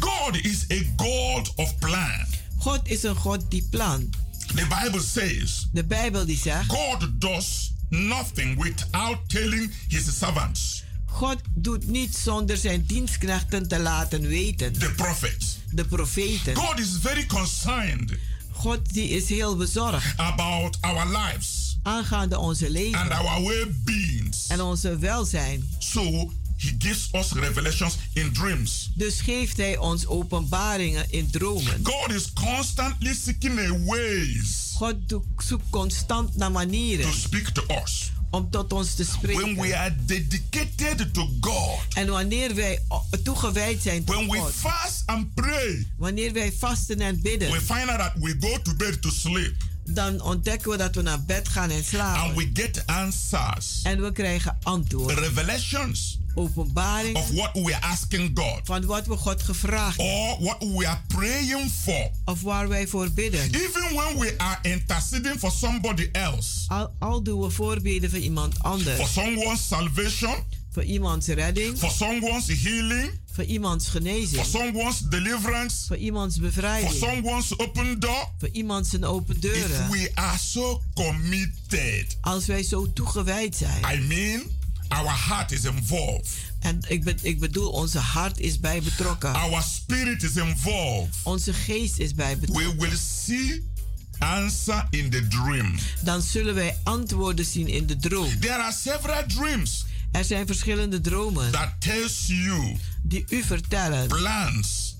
G: God is a God of plan.
F: God is een God die plan.
G: The Bible says
F: De Bijbel die zegt,
G: God does nothing without telling his servants,
F: God doet niet zonder zijn dienstknechten te laten weten.
G: the prophets.
F: De profeten.
G: God is very concerned
F: God die is heel bezorgd
G: about our lives
F: aangaande onze
G: and
F: leven
G: our well beings.
F: en onze welzijn.
G: So he gives us revelations in dreams.
F: Dus geeft hij ons openbaringen in dromen.
G: God is constantly seeking a ways
F: God do- zoekt constant naar
G: to
F: manieren
G: speak to us.
F: om tot ons te
G: When we
F: spreken.
G: are dedicated to God,
F: En wanneer wij o- toegewijd zijn tot
G: when we
F: God,
G: fast and pray,
F: wanneer wij vasten en
G: we
F: bidden,
G: find out that we go to bed to sleep
F: dan ontdekken we dat we naar bed gaan en
G: and we
F: slapen.
G: get answers,
F: En we krijgen antwoorden,
G: revelations
F: openbaringen
G: of what we are asking God
F: van wat we God gevraagd
G: or what we are praying for.
F: of waar wij voor bidden.
G: Even when we are interceding for somebody else,
F: Al, al doen we voorbeden voor iemand
G: for
F: anders.
G: someone's salvation,
F: Voor iemands redding,
G: for someone's healing,
F: voor iemands
G: for
F: genezing,
G: someone's deliverance,
F: voor iemands
G: for
F: bevrijding,
G: someone's open door,
F: voor iemands een open
G: if
F: deuren.
G: we are so committed,
F: Als wij zo toegewijd zijn.
G: I mean, our heart is involved,
F: En ik, be- ik bedoel, onze hart is bij betrokken.
G: our spirit is involved,
F: Onze geest is bij betrokken.
G: we will see answer in the dream.
F: Dan zullen wij antwoorden zien in de droom.
G: There are several dreams
F: Er zijn verschillende dromen
G: that tells you
F: die u vertellen.
G: plans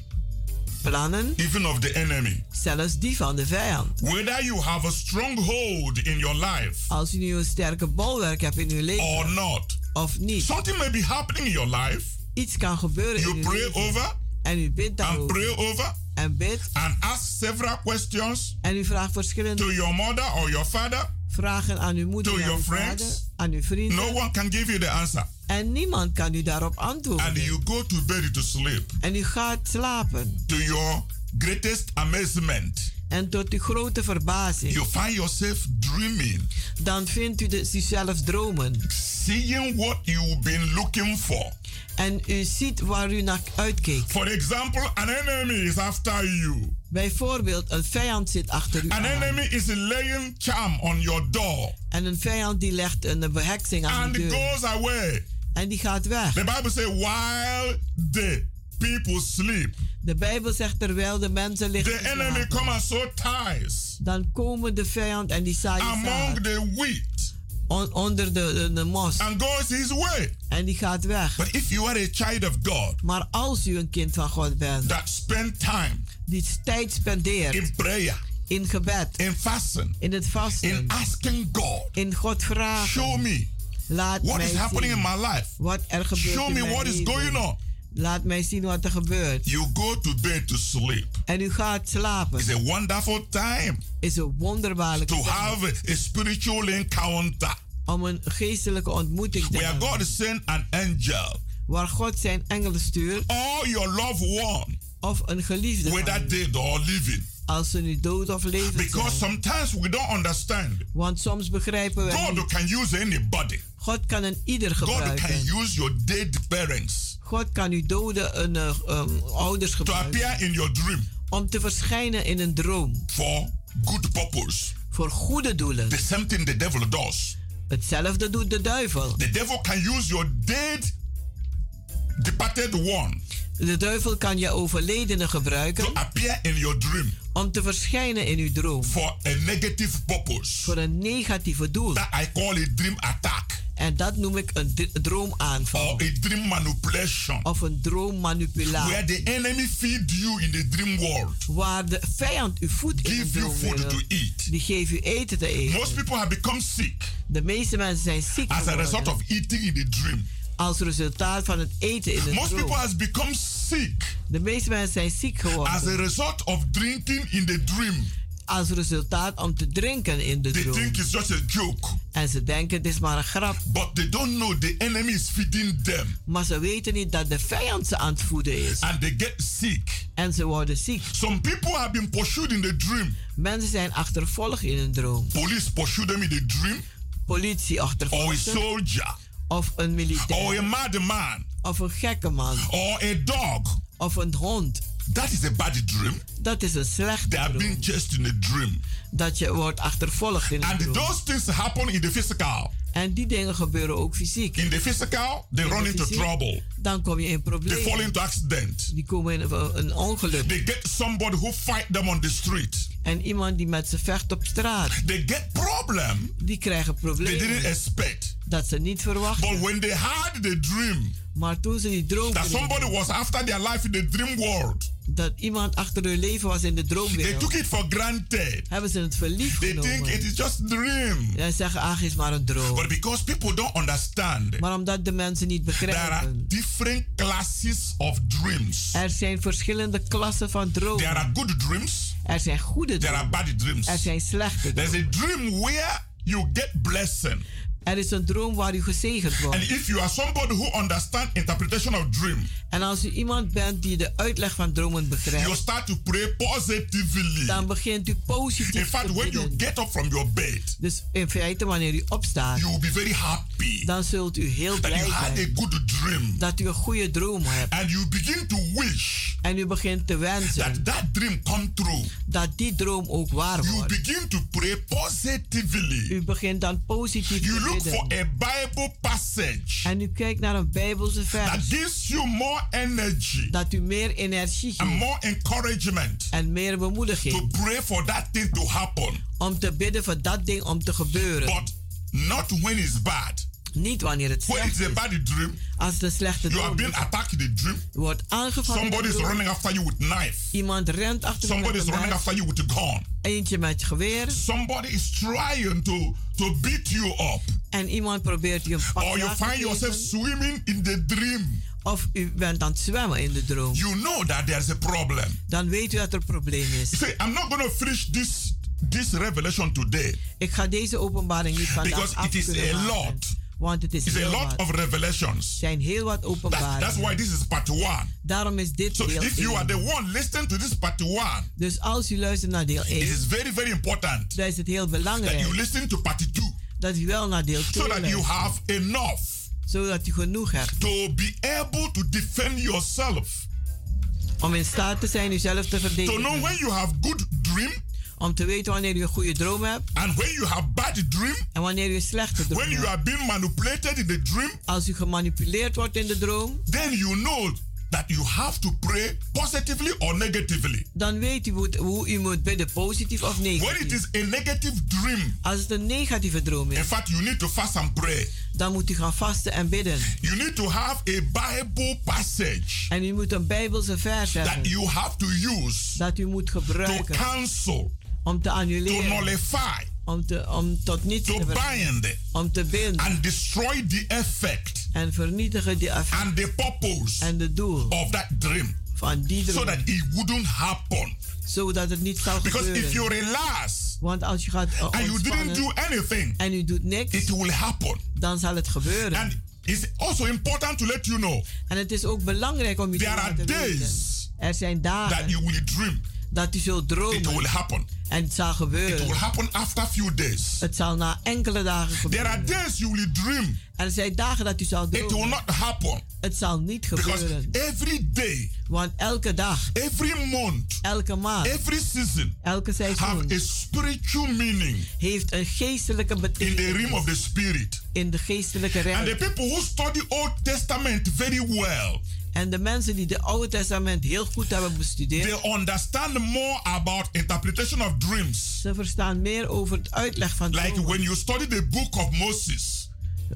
F: Plannen,
G: even of the enemy.
F: zelfs die van de vijand.
G: Whether you have a stronghold in your life
F: Als u nu een sterke bolwerk hebt in uw leven
G: or not,
F: of niet.
G: something may be happening in your life.
F: Iets kan gebeuren in
G: You
F: uw
G: pray
F: leven.
G: over
F: En u bidt
G: and
F: daarover.
G: pray over
F: En bidt.
G: and ask several questions
F: En u vraagt
G: to
F: verschillende
G: your mother or your father.
F: vragen aan uw moeder,
G: To
F: en aan uw
G: your
F: vader,
G: friends?
F: aan uw vrienden.
G: No one can give you the answer.
F: En niemand kan u daarop
G: And
F: antwoorden.
G: you go to bed to sleep
F: En u gaat slapen.
G: to your greatest amazement.
F: En tot uw grote verbazing,
G: You find yourself dreaming,
F: dan vindt u dus uzelf dromen.
G: seeing what you've been looking for.
F: En u ziet waar u naar uitkeek.
G: For example, an enemy is after you.
F: Bijvoorbeeld, een vijand zit achter u
G: An
F: aan.
G: enemy is laying charm on your door
F: En een vijand die legt een beheksing aan
G: and
F: de deur.
G: goes away.
F: En die gaat weg.
G: The Bible says, while the people sleep,
F: De Bijbel zegt, terwijl de mensen liggen
G: the
F: te
G: enemy
F: slapen,
G: come and sow ties
F: dan komen de vijand en die zaaien
G: among
F: zaad
G: the wheat
F: on- onder de, de, de mos.
G: and goes his way.
F: En die gaat weg.
G: But if you are a child of God
F: Maar als u een kind van God bent,
G: that spend time
F: die tijd spendeert
G: in prayer,
F: in gebed,
G: in fasting,
F: in het
G: in
F: vasten,
G: asking God,
F: in God vragen,
G: show me
F: laat
G: what
F: mij
G: is happening in
F: zien
G: my life.
F: wat er gebeurt
G: Show
F: in
G: me
F: mijn
G: what is
F: leven.
G: going on.
F: Laat mij zien wat er gebeurt.
G: You go to bed to sleep.
F: En u gaat slapen.
G: It's a wonderful time
F: Is een wonderbaarlijke
G: to
F: tijd
G: have a spiritual encounter
F: om een geestelijke ontmoeting te
G: where
F: hebben.
G: God sent an angel
F: Waar God zijn engelen stuurt
G: or your loved one,
F: of een geliefde
G: whether
F: van u,
G: dead or living.
F: Als ze nu dood of levend
G: Because
F: zijn.
G: sometimes we don't understand.
F: Want soms begrijpen we
G: God
F: niet.
G: can use anybody.
F: God kan een ieder
G: God can
F: gebruiken.
G: use your dead parents
F: God kan uw doden een, eh, um, ouders
G: to
F: gebruiken.
G: appear in your dream
F: Om te verschijnen in een droom.
G: for good purpose.
F: Voor goede doelen.
G: The same thing the devil does.
F: Hetzelfde doet de duivel.
G: The devil can use your dead, departed one
F: De duivel kan je overledene gebruiken.
G: to appear in your dream
F: om te verschijnen in uw droom
G: for a negative purpose.
F: voor een negatieve doel.
G: That I call a dream attack
F: En dat noem ik een dr-
G: or
F: droomaanval
G: a dream manipulation.
F: of een
G: Where
F: droommanipulatie.
G: the enemy feed you in the dream world,
F: Waar de vijand uw voet in de
G: give you
F: droom
G: food
F: wil,
G: to eat.
F: die geeft u eten te
G: Most
F: eten.
G: people have become sick
F: De meeste mensen zijn ziek
G: as a result
F: geworden
G: of eating in the dream.
F: als resultaat van het eten in de
G: Most people
F: droom.
G: has become sick
F: De meeste mensen zijn
G: as
F: ziek
G: a
F: geworden
G: result of drinking in the dream.
F: als resultaat om te drinken in de
G: They
F: droom.
G: think it's just a joke.
F: En ze denken, dit is maar een grap.
G: But they don't know the enemy is feeding them
F: Maar ze weten niet dat de vijand ze aan het voeden is.
G: and they get sick.
F: En ze worden ziek.
G: Some people have been pursued in the dream.
F: Mensen zijn achtervolgd in een droom.
G: Police pursue them in the dream,
F: Politie
G: or a
F: achtervolgt ze,
G: soldier,
F: Of een
G: or a
F: militair.
G: madman,
F: Of een gekke man.
G: or a dog.
F: Of een hond.
G: That is a bad dream.
F: Dat is een slechte
G: They have
F: droom.
G: been chased in a dream.
F: Dat je wordt achtervolgd in een
G: And
F: droom.
G: those things happen in the physical.
F: En die dingen gebeuren ook fysiek.
G: In the physical, they
F: In the
G: run into
F: physique.
G: trouble.
F: Dan kom je in
G: They fall
F: problemen.
G: into accident.
F: Die komen in een- een ongeluk.
G: They get somebody who fight them on the street.
F: En iemand die met ze vecht op straat,
G: They get problem
F: die krijgen
G: they didn't
F: problemen
G: expect.
F: dat ze niet verwachten.
G: But when they had the dream
F: Maar toen ze die droom
G: that
F: kregen,
G: somebody was after their life in the dream world,
F: dat iemand achter hun leven was in de
G: they took
F: droomwereld,
G: it for granted.
F: hebben ze het verliefd
G: They think it
F: genomen.
G: is just dream.
F: En zeggen, ach, is maar een droom.
G: But because people don't understand,
F: Maar omdat de mensen niet
G: there are
F: begrijpen,
G: different classes of dreams.
F: er zijn verschillende klassen van
G: There
F: dromen.
G: are good dreams,
F: Er zijn goede
G: there are
F: dromen,
G: bad dreams.
F: er zijn slechte
G: There's
F: dromen.
G: a dream where you get blessing.
F: Er is een droom waar u gezegend
G: And
F: wordt.
G: if you are somebody who understand interpretation of dream,
F: En als u iemand bent die de uitleg van dromen
G: you
F: begrijpt,
G: start to pray positively.
F: dan begint u
G: In
F: positief
G: fact,
F: te
G: when you
F: bidden.
G: get up from your bed,
F: Dus in feite, wanneer u opstaat,
G: you will be very happy
F: dan zult u heel
G: that
F: blij
G: you had a
F: zijn
G: good dream.
F: dat u een goede droom hebt.
G: And you begin to wish
F: En u begint te wensen
G: that that dream come true.
F: dat die droom ook waar
G: You
F: wordt.
G: begin to pray positively.
F: U begint dan positief
G: You
F: te
G: look for
F: bidden.
G: a Bible passage
F: En u kijkt naar een Bijbelse
G: that
F: vers
G: gives you more energy
F: dat u meer energie
G: and
F: geeft
G: more encouragement
F: en meer
G: to
F: bemoediging
G: pray for that thing to happen,
F: om te bidden voor dat ding om te gebeuren.
G: but not when it's bad.
F: Niet wanneer het
G: When
F: slecht
G: it's a
F: is.
G: bad dream,
F: Als het een slechte
G: you are
F: droom
G: being
F: is,
G: attacked in the dream.
F: wordt aangevallen. door de
G: Somebody's
F: droom.
G: running after you with knife.
F: Iemand rent achter u met
G: Somebody's
F: een
G: running
F: mes,
G: after you with a gun.
F: eentje met geweer
G: Somebody is trying to to beat you up.
F: en iemand probeert je een pak
G: Or you
F: aan te
G: find yourself
F: geven.
G: swimming in the dream.
F: of u bent aan het zwemmen in de droom,
G: You know that there's a problem.
F: dan weet u dat er een probleem
G: You
F: is.
G: see, I'm not going to finish this this revelation today.
F: Ik ga deze openbaring niet
G: Because
F: vandaag af
G: it is
F: kunnen
G: a
F: maken,
G: lot.
F: want het is
G: It's a
F: heel wat.
G: lot of
F: Er
G: revelations.
F: zijn heel wat
G: That's, that's
F: openbaringen.
G: why this is part one.
F: Daarom is dit
G: So
F: deel
G: if you are the
F: 1.
G: one listening to this part one,
F: Dus als u luistert naar deel
G: it
F: 1,
G: is very very important
F: dan is het heel
G: that you
F: belangrijk
G: listen to part two
F: dat u wel naar deel 2
G: so that you
F: luistert,
G: have enough
F: zodat u genoeg hebt
G: to be able to defend yourself.
F: om in staat te zijn uzelf te
G: To know
F: verdedigen.
G: when you have good dream
F: Om te weten wanneer u een goede droom hebt
G: and when you have bad dream,
F: en wanneer u een slechte droom
G: when you
F: hebt.
G: are being manipulated in the dream,
F: Als u gemanipuleerd wordt in de droom,
G: then you know that you have to pray positively or negatively.
F: dan weet u hoe- hoe u moet bidden, positief of
G: When it
F: negatief.
G: is a negative dream,
F: Als het een negatieve droom
G: in
F: is,
G: fact, you need to fast and pray.
F: dan moet u gaan vasten en bidden.
G: You need to have a Bible passage
F: En u moet een Bijbelse vers
G: that
F: hebben
G: you have to use
F: dat u moet
G: to
F: gebruiken
G: cancel,
F: om te
G: to
F: annuleren,
G: nullify,
F: om, te, om tot niets te
G: to
F: ver-
G: bind,
F: om te binden
G: and destroy the effect
F: en vernietigen die af
G: and the purpose
F: en de doel
G: of that dream
F: van die
G: so that
F: droom,
G: it wouldn't happen.
F: zodat het niet zal
G: Because if you
F: gebeuren.
G: relax
F: Want als je gaat eh,
G: and you didn't do
F: ontspannen
G: anything,
F: en u doet
G: it
F: niks,
G: will happen.
F: dan zal het gebeuren.
G: And it's also important to let you know
F: En het is ook belangrijk om u te
G: there are
F: laten weten.
G: days
F: Er zijn
G: that
F: dagen
G: you will dream.
F: dat u zult
G: It
F: dromen
G: will happen.
F: en het zal
G: It will
F: gebeuren.
G: happen after few days.
F: Het zal na enkele dagen
G: There are
F: gebeuren.
G: days you will dream.
F: Er zijn dagen dat u zal
G: It will
F: dromen.
G: not happen
F: Het zal niet
G: because
F: gebeuren.
G: every day,
F: Want elke dag,
G: every month,
F: elke maand,
G: every season
F: elke
G: have
F: seizoen
G: a spiritual meaning
F: heeft een geestelijke
G: in the
F: betekenis
G: realm of the spirit.
F: in de geestelijke
G: And the
F: ruimte.
G: people who study Old Testament very well,
F: En de mensen die het Oude Testament heel goed hebben bestudeerd,
G: they understand more about interpretation of dreams.
F: ze verstaan meer over het uitleg van
G: Like
F: dromen.
G: when you study the book of Moses,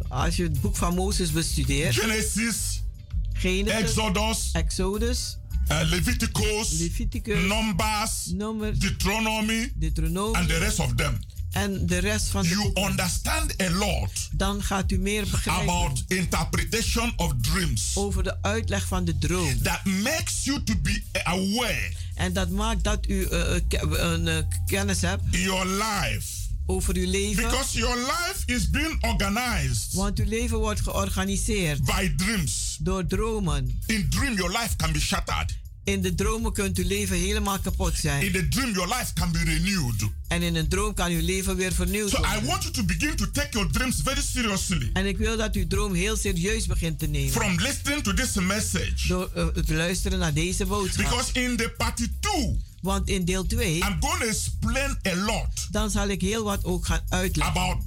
F: Als je het boek van Mozes bestudeert,
G: Genesis,
F: Genesis,
G: Exodus,
F: Exodus,
G: uh, Leviticus,
F: Leviticus,
G: Numbers,
F: Nummer,
G: Deuteronomy, and
F: Deuteronomie
G: the rest of them.
F: en de rest van de
G: You
F: boeken.
G: understand a lot
F: Dan gaat u meer begrijpen
G: about interpretation of dreams
F: over de uitleg van de droom.
G: that makes you to be aware
F: En dat maakt dat u eh, eh, ke- een eh, kennis hebt
G: in your life
F: over uw leven.
G: Because your life is being organized
F: Want uw leven wordt georganiseerd
G: by dreams.
F: door dromen.
G: In dream, your life can be shattered.
F: In de dromen kunt uw leven helemaal kapot zijn.
G: In the dream, your life can be renewed.
F: En in een droom kan uw leven weer vernieuwd
G: So I
F: worden.
G: want you to begin to take your dreams very seriously.
F: En ik wil dat uw droom heel serieus begint te nemen.
G: From listening to this message.
F: Door eh, te luisteren naar deze boodschap.
G: Because in the part two,
F: Want in deel 2,
G: I'm going to explain a lot
F: dan zal ik heel wat ook gaan uitleggen
G: about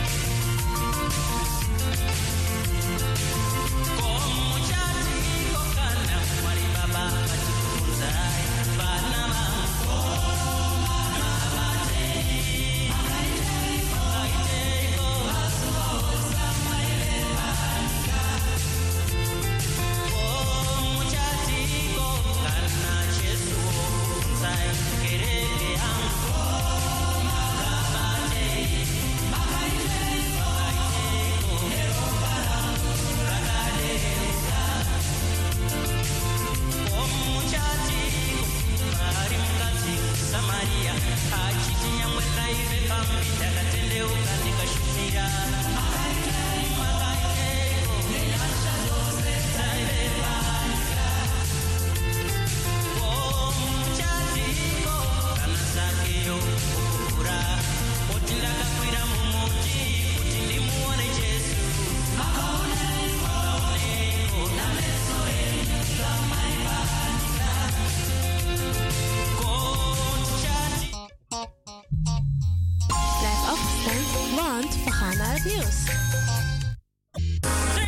C: Blijf afgestemd, want we gaan naar het nieuws.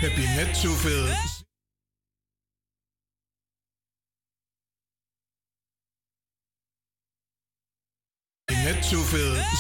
A: Heb je net zoveel Heb je net zoveel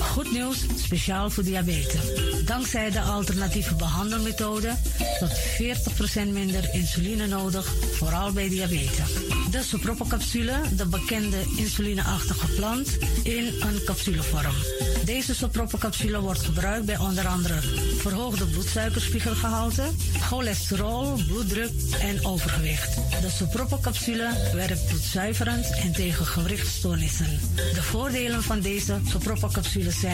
H: Goed nieuws, speciaal voor diabetes. Dankzij de alternatieve behandelmethode tot 40% minder insuline nodig, vooral bij diabetes. De soproppencapsule, de bekende insulineachtige plant, in een capsulevorm. Deze soproppencapsule wordt gebruikt bij onder andere verhoogde bloedsuikerspiegelgehalte, cholesterol, bloeddruk en overgewicht. De soproppencapsule werkt bloedzuiverend en tegen gewrichtstoornissen. De voordelen van deze soproppencapsules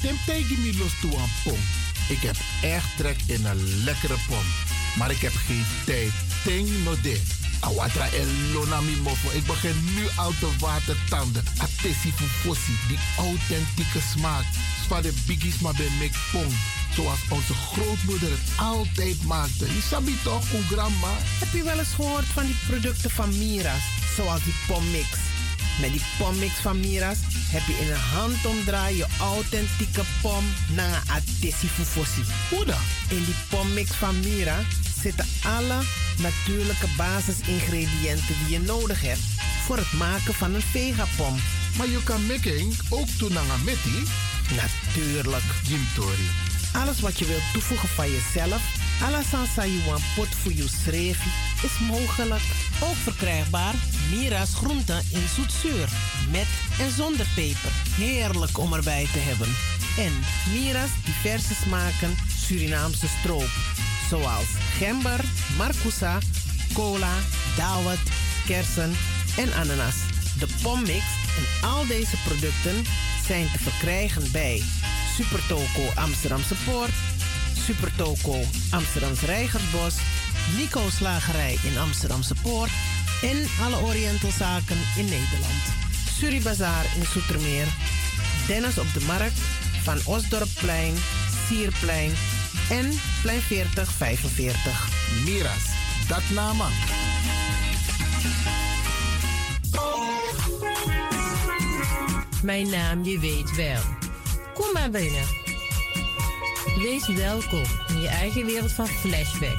E: Tim tegen me los toe aan pom. Ik heb echt trek in een lekkere pom. Maar ik heb geen tijd. Ting no de. Awatra en lona mi mofo. Ik begin nu al te watertanden. Atesi fufossi. Die authentieke smaak. van de biggies, maar bij Mick Pong. Zoals onze grootmoeder het altijd maakte. Je sabi toch, hoe grandma?
I: Heb je wel eens gehoord van die producten van Mira's? Zoals die pommix. Met die pommix van Mira's heb je in een handomdraai je authentieke pom naar een atissi fufossi.
E: Hoe dan?
I: In die pommix van Mira zitten alle natuurlijke basisingrediënten die je nodig hebt voor het maken van een vegapom.
E: Maar je kan making ook doen aan metti?
I: Natuurlijk.
E: Jim Tori.
I: Alles wat je wilt toevoegen van jezelf, à sansa yuan pot voor je schreef, is mogelijk.
J: Ook verkrijgbaar Mira's groenten in zoetzuur. Met en zonder peper. Heerlijk om erbij te hebben.
I: En Mira's diverse smaken Surinaamse stroop. Zoals gember, marcousa, cola, dawet, kersen en ananas. De pommix en al deze producten zijn te verkrijgen bij Supertoco Amsterdamse Poort, Supertoco Amsterdamse Reigersbos,
J: Nico Slagerij in Amsterdamse Poort en alle Orientalzaken in Nederland.
I: Suribazaar in Soetermeer, Dennis op de Markt, Van Osdorpplein, Sierplein en Plein 4045.
E: Miras, dat nama.
K: Mijn naam, je weet wel. Kom maar binnen. Wees welkom in je eigen wereld van Flashback.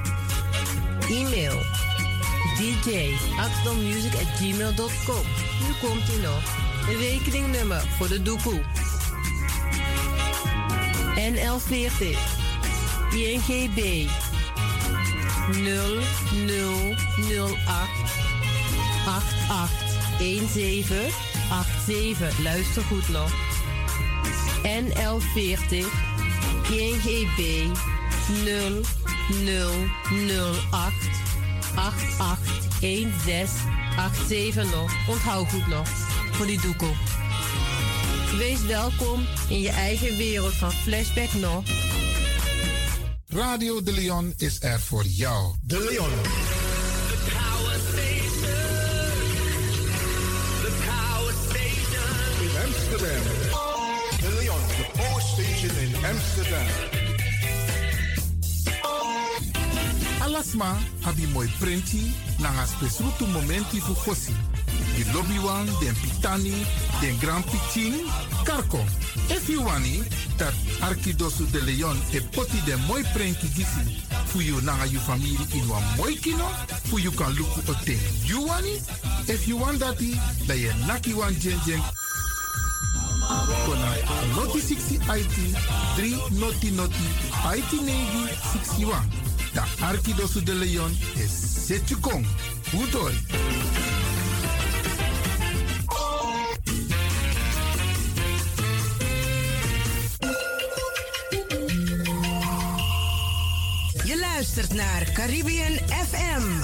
K: E-mail djaxdommusic.gmail.com Nu komt ie nog. De rekeningnummer voor de doekoe. NL40 INGB 0008 881787. Luister goed nog. NL40 GGB 0008 881687 nog. Onthoud goed nog. Voor die doekel. Wees welkom in je eigen wereld van Flashback nog.
E: Radio De Leon is er voor jou. De Leon.
C: Amsterdam. De Leon, the power station in Amsterdam.
E: Alasma, habi moi prenti, nanga spesrutu momenti fu fosi. Di lobby wan, den pitani, den grand pitin, karko. If you wani, dat arkidosu de Leon e poti den moi prenti gisi. Fu you nanga you family in wan moi kino, fu you kan luku oten. You wani? If you want dati, da ye naki wan jen jen. Kona Noti 60 IT 3 Noti Noti IT 61. Da Arquidosu de Leon is Setchukong. Udori.
L: Je luistert naar Caribbean FM,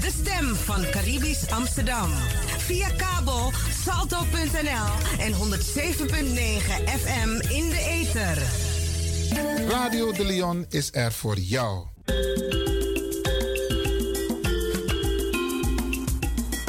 L: de stem van Caribisch Amsterdam. Via kabel salto.nl en 107.9 FM in de ether.
E: Radio De Leon is er voor jou.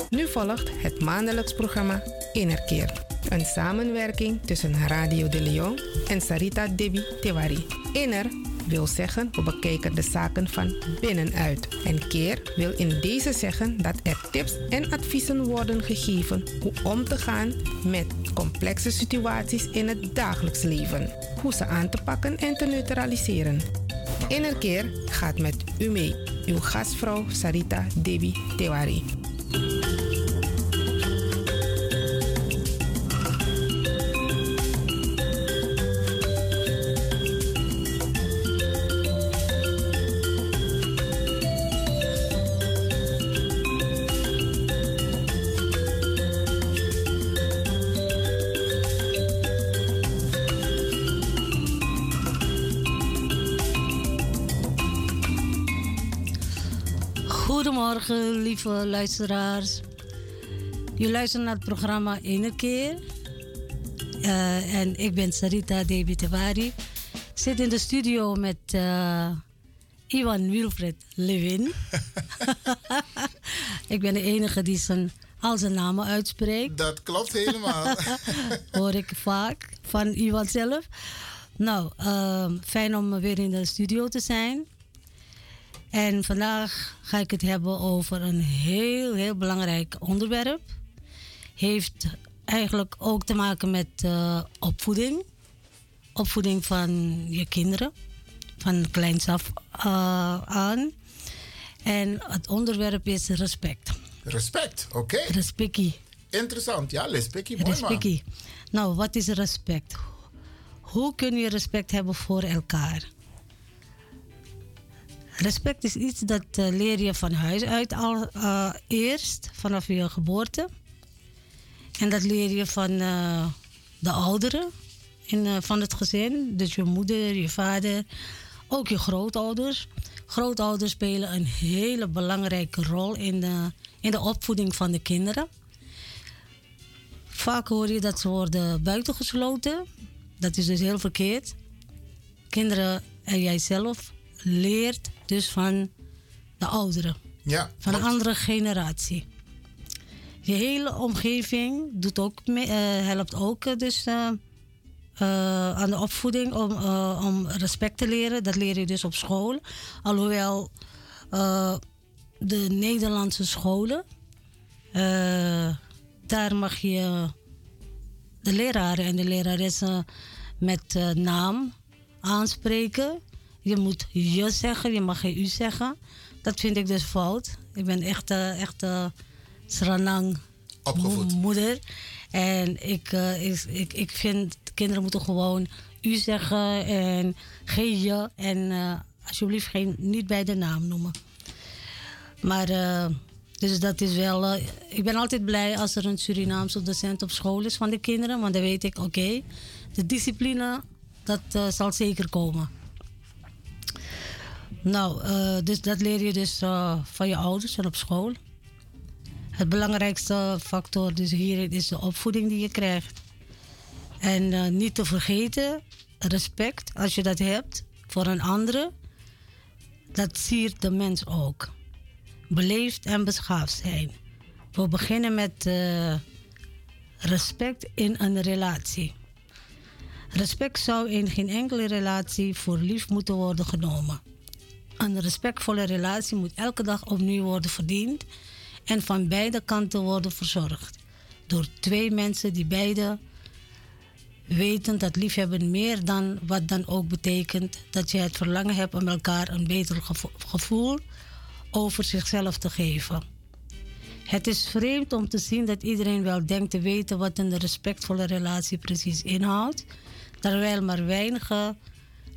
M: Nu volgt het maandelijks programma Innerkeer. Een samenwerking tussen Radio de Leon en Sarita Debi Tewari. Inner wil zeggen we bekijken de zaken van binnenuit. En keer wil in deze zeggen dat er tips en adviezen worden gegeven hoe om te gaan met complexe situaties in het dagelijks leven. Hoe ze aan te pakken en te neutraliseren. Innerkeer gaat met u mee, uw gastvrouw Sarita Debi Tewari.
H: Goedemorgen, lieve luisteraars. Je luistert naar het programma Ene Keer. Eh, en ik ben Sarita Debitewari. Ik zit in de studio met eh, Iwan Wilfred Lewin. ik ben de enige die zijn, al zijn namen uitspreekt.
N: Dat klopt helemaal.
H: Hoor ik vaak van Iwan zelf. Nou, ehm, fijn om weer in de studio te zijn. En vandaag ga ik het hebben over een heel, heel belangrijk onderwerp. Heeft eigenlijk ook te maken met eh, opvoeding. Opvoeding van je kinderen. Van kleins af eh, aan. En het onderwerp is respect.
N: Respect, oké.
H: Respectie.
N: Interessant, ja, respectie, mooi man.
H: Respectie. Nou, wat is respect? Hoe kun je respect hebben voor elkaar? Respect is iets dat eh, leer je van huis uit al eh, eerst, vanaf je geboorte. En dat leer je van eh, de ouderen in, eh, van het gezin. Dus je moeder, je vader, ook je grootouders. Grootouders spelen een hele belangrijke rol in de, in de opvoeding van de kinderen. Vaak hoor je dat ze worden buitengesloten. Dat is dus heel verkeerd. Kinderen en jijzelf leert dus van de ouderen.
N: Ja,
H: van een andere generatie. Je hele omgeving doet ook mee, eh, helpt ook eh, dus, eh, eh, aan de opvoeding om, eh, om respect te leren. Dat leer je dus op school. Alhoewel eh, de Nederlandse scholen, eh, daar mag je de leraren en de leraressen met eh, naam aanspreken. Je moet je zeggen, je mag geen u zeggen. Dat vind ik dus fout. Ik ben echt, eh, echt eh, Sranang mo- moeder. En ik, eh, ik, ik, ik vind kinderen moeten gewoon u zeggen en geen je. En eh, alsjeblieft geen, niet bij de naam noemen. Maar eh, dus dat is wel. eh, ik ben altijd blij als er een Surinaamse docent op school is van de kinderen, want dan weet ik, oké, de discipline dat eh, zal zeker komen. Nou, eh, dus dat leer je dus eh, van je ouders en op school. Het belangrijkste factor dus hierin is de opvoeding die je krijgt. En eh, niet te vergeten, respect, als je dat hebt voor een andere, dat siert de mens ook. Beleefd en beschaafd zijn. We beginnen met eh, respect in een relatie. Respect zou in geen enkele relatie voor lief moeten worden genomen. Een respectvolle relatie moet elke dag opnieuw worden verdiend en van beide kanten worden verzorgd. Door twee mensen die beide weten dat liefhebben meer dan wat dan ook betekent dat je het verlangen hebt om elkaar een beter gevo- gevoel over zichzelf te geven. Het is vreemd om te zien dat iedereen wel denkt te weten wat een respectvolle relatie precies inhoudt, terwijl maar weinigen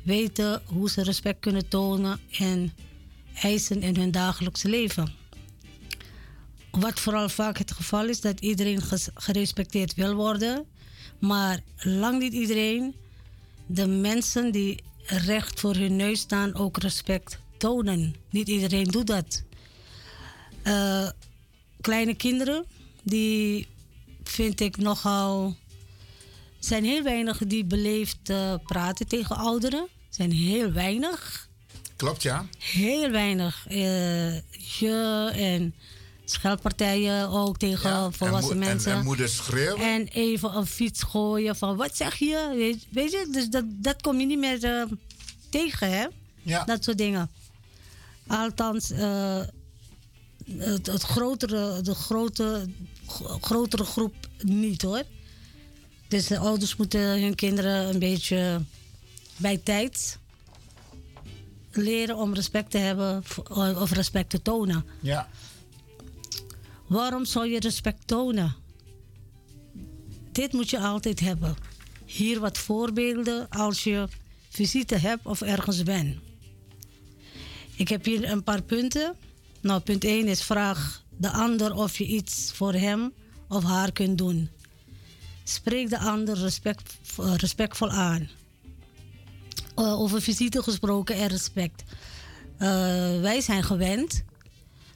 H: weten hoe ze respect kunnen tonen en eisen in hun dagelijks leven. Wat vooral vaak het geval is, dat iedereen ges- gerespecteerd wil worden, maar lang niet iedereen de mensen die recht voor hun neus staan ook respect tonen. Niet iedereen doet dat. Eh, kleine kinderen, die vind ik nogal. zijn heel weinig die beleefd eh, praten tegen ouderen. zijn heel weinig
N: Klopt, ja.
H: heel weinig eh, je en scheldpartijen ook tegen volwassen
N: en moe- en-
H: mensen.
N: en moeders schreeuwen.
H: En even een fiets gooien van wat zeg je? Weet, weet je, dus dat, dat kom je niet meer eh, tegen, hè? Dat soort dingen. Althans, eh, het, het grotere, de grote, gro- grotere groep niet hoor. Dus de ouders moeten hun kinderen een beetje bij tijd leren om respect te hebben voor- of respect te tonen.
N: Ja.
H: Waarom zou je respect tonen? Dit moet je altijd hebben. Hier wat voorbeelden als je visite hebt of ergens bent. Ik heb hier een paar punten. Nou, punt 1 is vraag de ander of je iets voor hem of haar kunt doen. Spreek de ander respect, eh, respectvol aan. Eh, over visite gesproken en respect. Eh, wij zijn gewend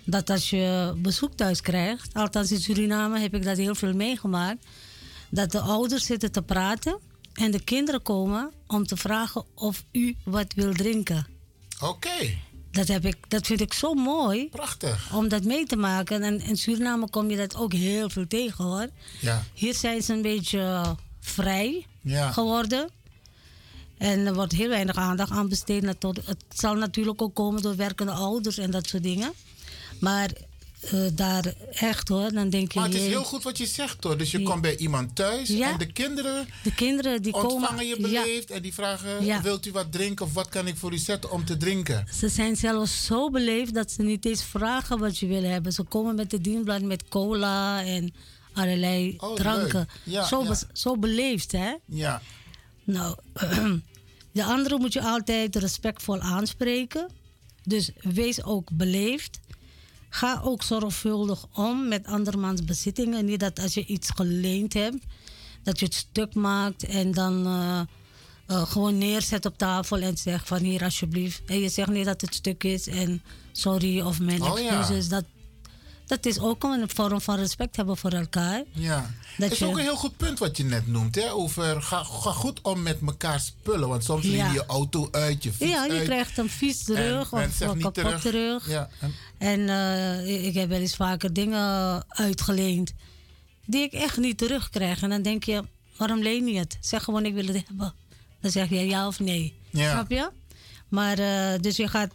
H: dat als je bezoek thuis krijgt, althans in Suriname heb ik dat heel veel meegemaakt, dat de ouders zitten te praten en de kinderen komen om te vragen of u wat wil drinken.
N: Oké.
H: Dat, heb ik, dat vind ik zo mooi.
N: Prachtig.
H: Om dat mee te maken. En in Suriname kom je dat ook heel veel tegen hoor.
N: Ja.
H: Hier zijn ze een beetje eh, vrij
N: Ja.
H: geworden. En er wordt heel weinig aandacht aan besteed. Na- tot- Het zal natuurlijk ook komen door werkende ouders en dat soort dingen. Maar eh, daar echt hoor, dan denk je...
N: Maar het is
H: jee.
N: heel goed wat je zegt hoor. Dus je komt bij iemand thuis
H: Ja.
N: en de kinderen
H: De kinderen die komen...
N: ontvangen je
H: Ja.
N: beleefd en die vragen:
H: Ja.
N: wilt u wat drinken of wat kan ik voor u zetten om te drinken?
H: Ze zijn zelfs zo beleefd dat ze niet eens vragen wat je wil hebben. Ze komen met de dienblad met cola en allerlei
N: Oh,
H: dranken.
N: leuk. Ja,
H: zo,
N: ja.
H: bes- zo beleefd, hè?
N: Ja.
H: Nou, de anderen moet je altijd respectvol aanspreken. Dus wees ook beleefd. Ga ook zorgvuldig om met andermans bezittingen. Niet dat als je iets geleend hebt, dat je het stuk maakt en dan eh, eh, gewoon neerzet op tafel en zegt van hier alsjeblieft. En je zegt niet dat het stuk is en sorry of mijn
N: Oh, ja.
H: excuses. Dat, dat is ook een vorm van respect hebben voor elkaar.
N: Ja,
H: Dat
N: dat is
H: je-
N: ook een heel goed punt wat je net noemt. Hè? Over ga, ga goed om met elkaar spullen. Want soms
H: Ja.
N: leen je je auto uit, je fiets
H: Ja, je
N: uit.
H: krijgt een vies
N: En
H: terug
N: men
H: of
N: zegt
H: een
N: niet
H: kapot terug.
N: Ja, en-
H: En eh, ik heb wel eens vaker dingen uitgeleend die ik echt niet terugkrijg. En dan denk je, waarom leen je het? Zeg gewoon, ik wil het hebben. Dan zeg je ja of nee.
O: Ja.
H: Snap je? Maar eh, dus je gaat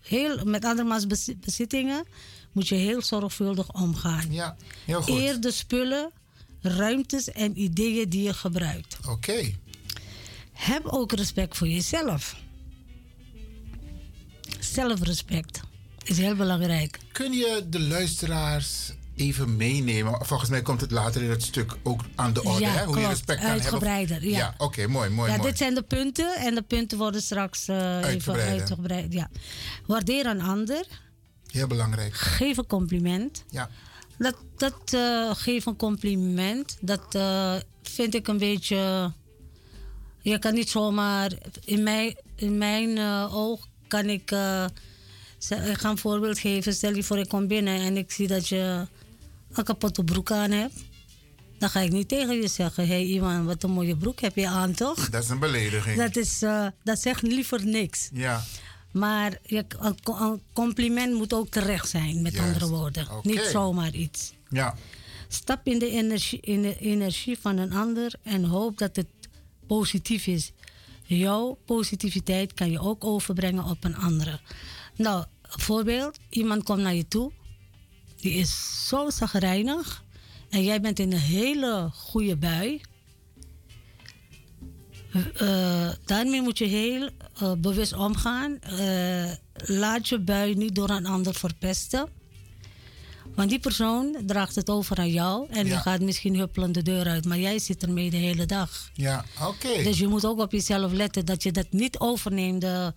H: heel, met andermans bezi- bezittingen moet je heel zorgvuldig omgaan.
N: Ja, heel goed.
H: Eer de spullen, ruimtes en ideeën die je gebruikt.
N: Oké.
H: Heb ook respect voor jezelf. Zelfrespect is heel belangrijk.
N: Kun je de luisteraars even meenemen? Volgens mij komt het later in het stuk ook aan de orde.
H: Ja,
N: hè? Hoe je
H: klopt.
N: respect kan hebben.
H: Uitgebreider, ja.
N: oké, mooi, mooi,
H: ja,
N: mooi.
H: dit zijn de punten en de punten worden straks eh, even
N: Uitgebreider.
H: uitgebreid. Ja. Waardeer een ander,
N: Heel belangrijk.
H: geef een compliment.
N: Ja.
H: Dat, dat eh, geef een compliment, dat eh, vind ik een beetje. Je kan niet zomaar. In mijn, in mijn eh, oog kan ik. eh, ze- ik ga een voorbeeld geven. Stel je voor, ik kom binnen en ik zie dat je een kapotte broek aan hebt. Dan ga ik niet tegen je zeggen: Hé, hey, Iwan, wat een mooie broek heb je aan, toch?
N: Dat is een belediging.
H: Dat, is, eh, dat zegt liever niks.
N: Ja.
H: Maar je, een, co- een compliment moet ook terecht zijn, met
N: Juist.
H: andere woorden.
N: Oké.
H: Niet zomaar iets.
N: Ja.
H: Stap in de, energie, in de energie van een ander en hoop dat het positief is. Jouw positiviteit kan je ook overbrengen op een andere. Nou, voorbeeld, iemand komt naar je toe, die is zo zagrijnig en jij bent in een hele goede bui. Eh, daarmee moet je heel eh, bewust omgaan. Eh, laat je bui niet door een ander verpesten. Want die persoon draagt het over aan jou en die
N: Ja.
H: gaat misschien huppelend de deur uit, maar jij zit ermee de hele dag.
N: Ja, oké.
H: Dus je moet ook op jezelf letten dat je dat niet overneemt. De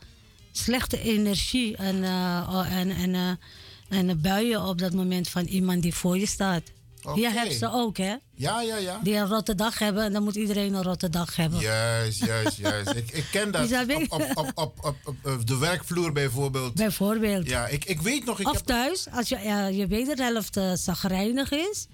H: slechte energie en, eh, oh, en, en, eh, en de buien op dat moment van iemand die voor je staat.
N: Oké.
H: Je hebt ze ook, hè?
N: Ja, ja, ja.
H: Die een rotte dag hebben en dan moet iedereen een rotte dag hebben.
N: Juist, juist, juist. ik, ik ken dat.
H: Isabel.
N: Op, op, op, op, op, op, op de werkvloer bijvoorbeeld.
H: Bijvoorbeeld.
N: Ja, ik, ik weet nog... Ik
H: of
N: heb-
H: thuis, als je, eh, je wederhelft eh zagrijnig is,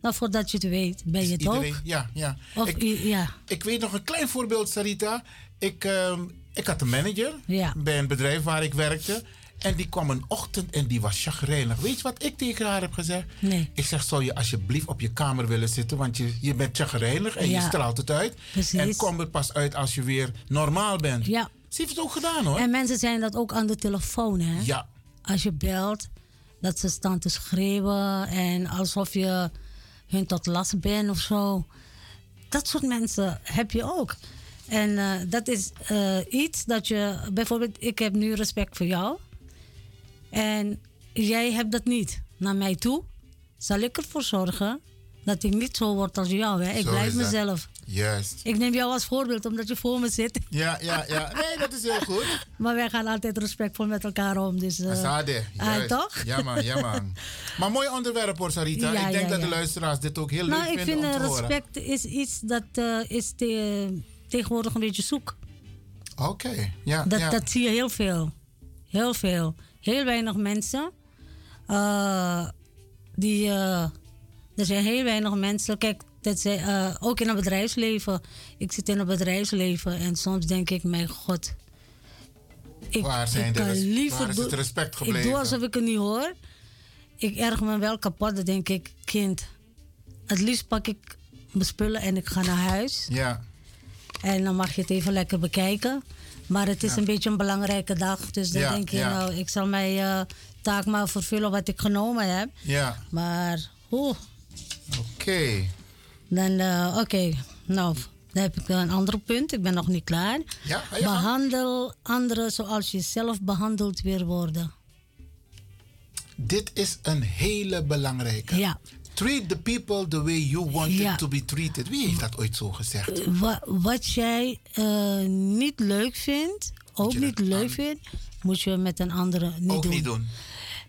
H: dan voordat je het weet, ben je het
N: Iedereen,
H: ook.
N: ja, ja.
H: Of
N: ik,
H: i- ja.
N: ik weet nog een klein voorbeeld, Sarita. Ik, ehm, ik had een manager
H: Ja.
N: bij een bedrijf waar ik werkte. En die kwam een ochtend en die was chagrijnig. Weet je wat ik tegen haar heb gezegd?
H: Nee.
N: Ik zeg, zou je alsjeblieft op je kamer willen zitten? Want je, je bent chagrijnig en
H: Ja.
N: je straalt het uit.
H: Precies.
N: En kom er pas uit als je weer normaal bent.
H: Ja.
N: Ze heeft het ook gedaan hoor.
H: En mensen zijn dat ook aan de telefoon, hè?
N: Ja.
H: Als je belt, dat ze staan te schreeuwen en alsof je hun tot last bent of zo. Dat soort mensen heb je ook. En eh, dat is eh, iets dat je, bijvoorbeeld, ik heb nu respect voor jou. En jij hebt dat niet naar mij toe. Zal ik ervoor zorgen dat ik niet zo word als jou? Hè? Ik
N: Zo
H: blijf
N: is dat.
H: mezelf.
N: Juist.
H: Ik neem jou als voorbeeld omdat je voor me zit.
N: Ja, ja, ja. Nee, dat is heel goed.
H: Maar wij gaan altijd respectvol met elkaar om. Dus, eh,
N: Azade,
H: ah,
N: juist.
H: toch?
N: Ja man, ja man. Maar mooi onderwerp hoor Sarita.
H: Ja,
N: ik denk
H: ja,
N: dat
H: ja.
N: de luisteraars dit ook heel
H: nou,
N: leuk
H: ik
N: vinden
H: vind
N: om
H: eh,
N: te horen.
H: respect is iets dat eh, is te- tegenwoordig een beetje zoek.
N: Oké, ja.
H: dat,
N: ja.
H: dat zie je heel veel. Heel veel. Heel weinig mensen. eh, die, eh, er zijn heel weinig mensen. Kijk, dat zijn, eh, ook in het bedrijfsleven. Ik zit in het bedrijfsleven en soms denk ik, mijn god. Ik,
N: Waar zijn
H: ik
N: de
H: kan
N: res-
H: liever
N: waar is
H: doen-
N: het respect
H: Ik
N: gebleven?
H: doe alsof ik het niet hoor. Ik erg me wel kapot. Dan denk ik, kind, het liefst pak ik mijn spullen en ik ga naar huis.
N: Ja.
H: En dan mag je het even lekker bekijken. Maar het is
N: Ja.
H: een beetje een belangrijke dag. Dus dan
N: Ja,
H: denk je,
N: ja.
H: nou, ik zal mijn eh, taak maar vervullen wat ik genomen heb.
N: Ja,
H: Maar, oeh,
N: oké.
H: dan, eh, oké. Nou, dan heb ik een ander punt. Ik ben nog niet klaar.
N: Ja, ga je gang.
H: Behandel anderen zoals je zelf behandeld wil worden.
N: Dit is een hele belangrijke.
H: Ja.
N: Treat the people the way you want
H: Ja.
N: it to be treated. Wie heeft dat ooit zo gezegd?
H: Wa- wat jij eh, niet leuk vindt, ook niet leuk vindt, moet je met een andere niet
N: Ook
H: doen.
N: niet doen.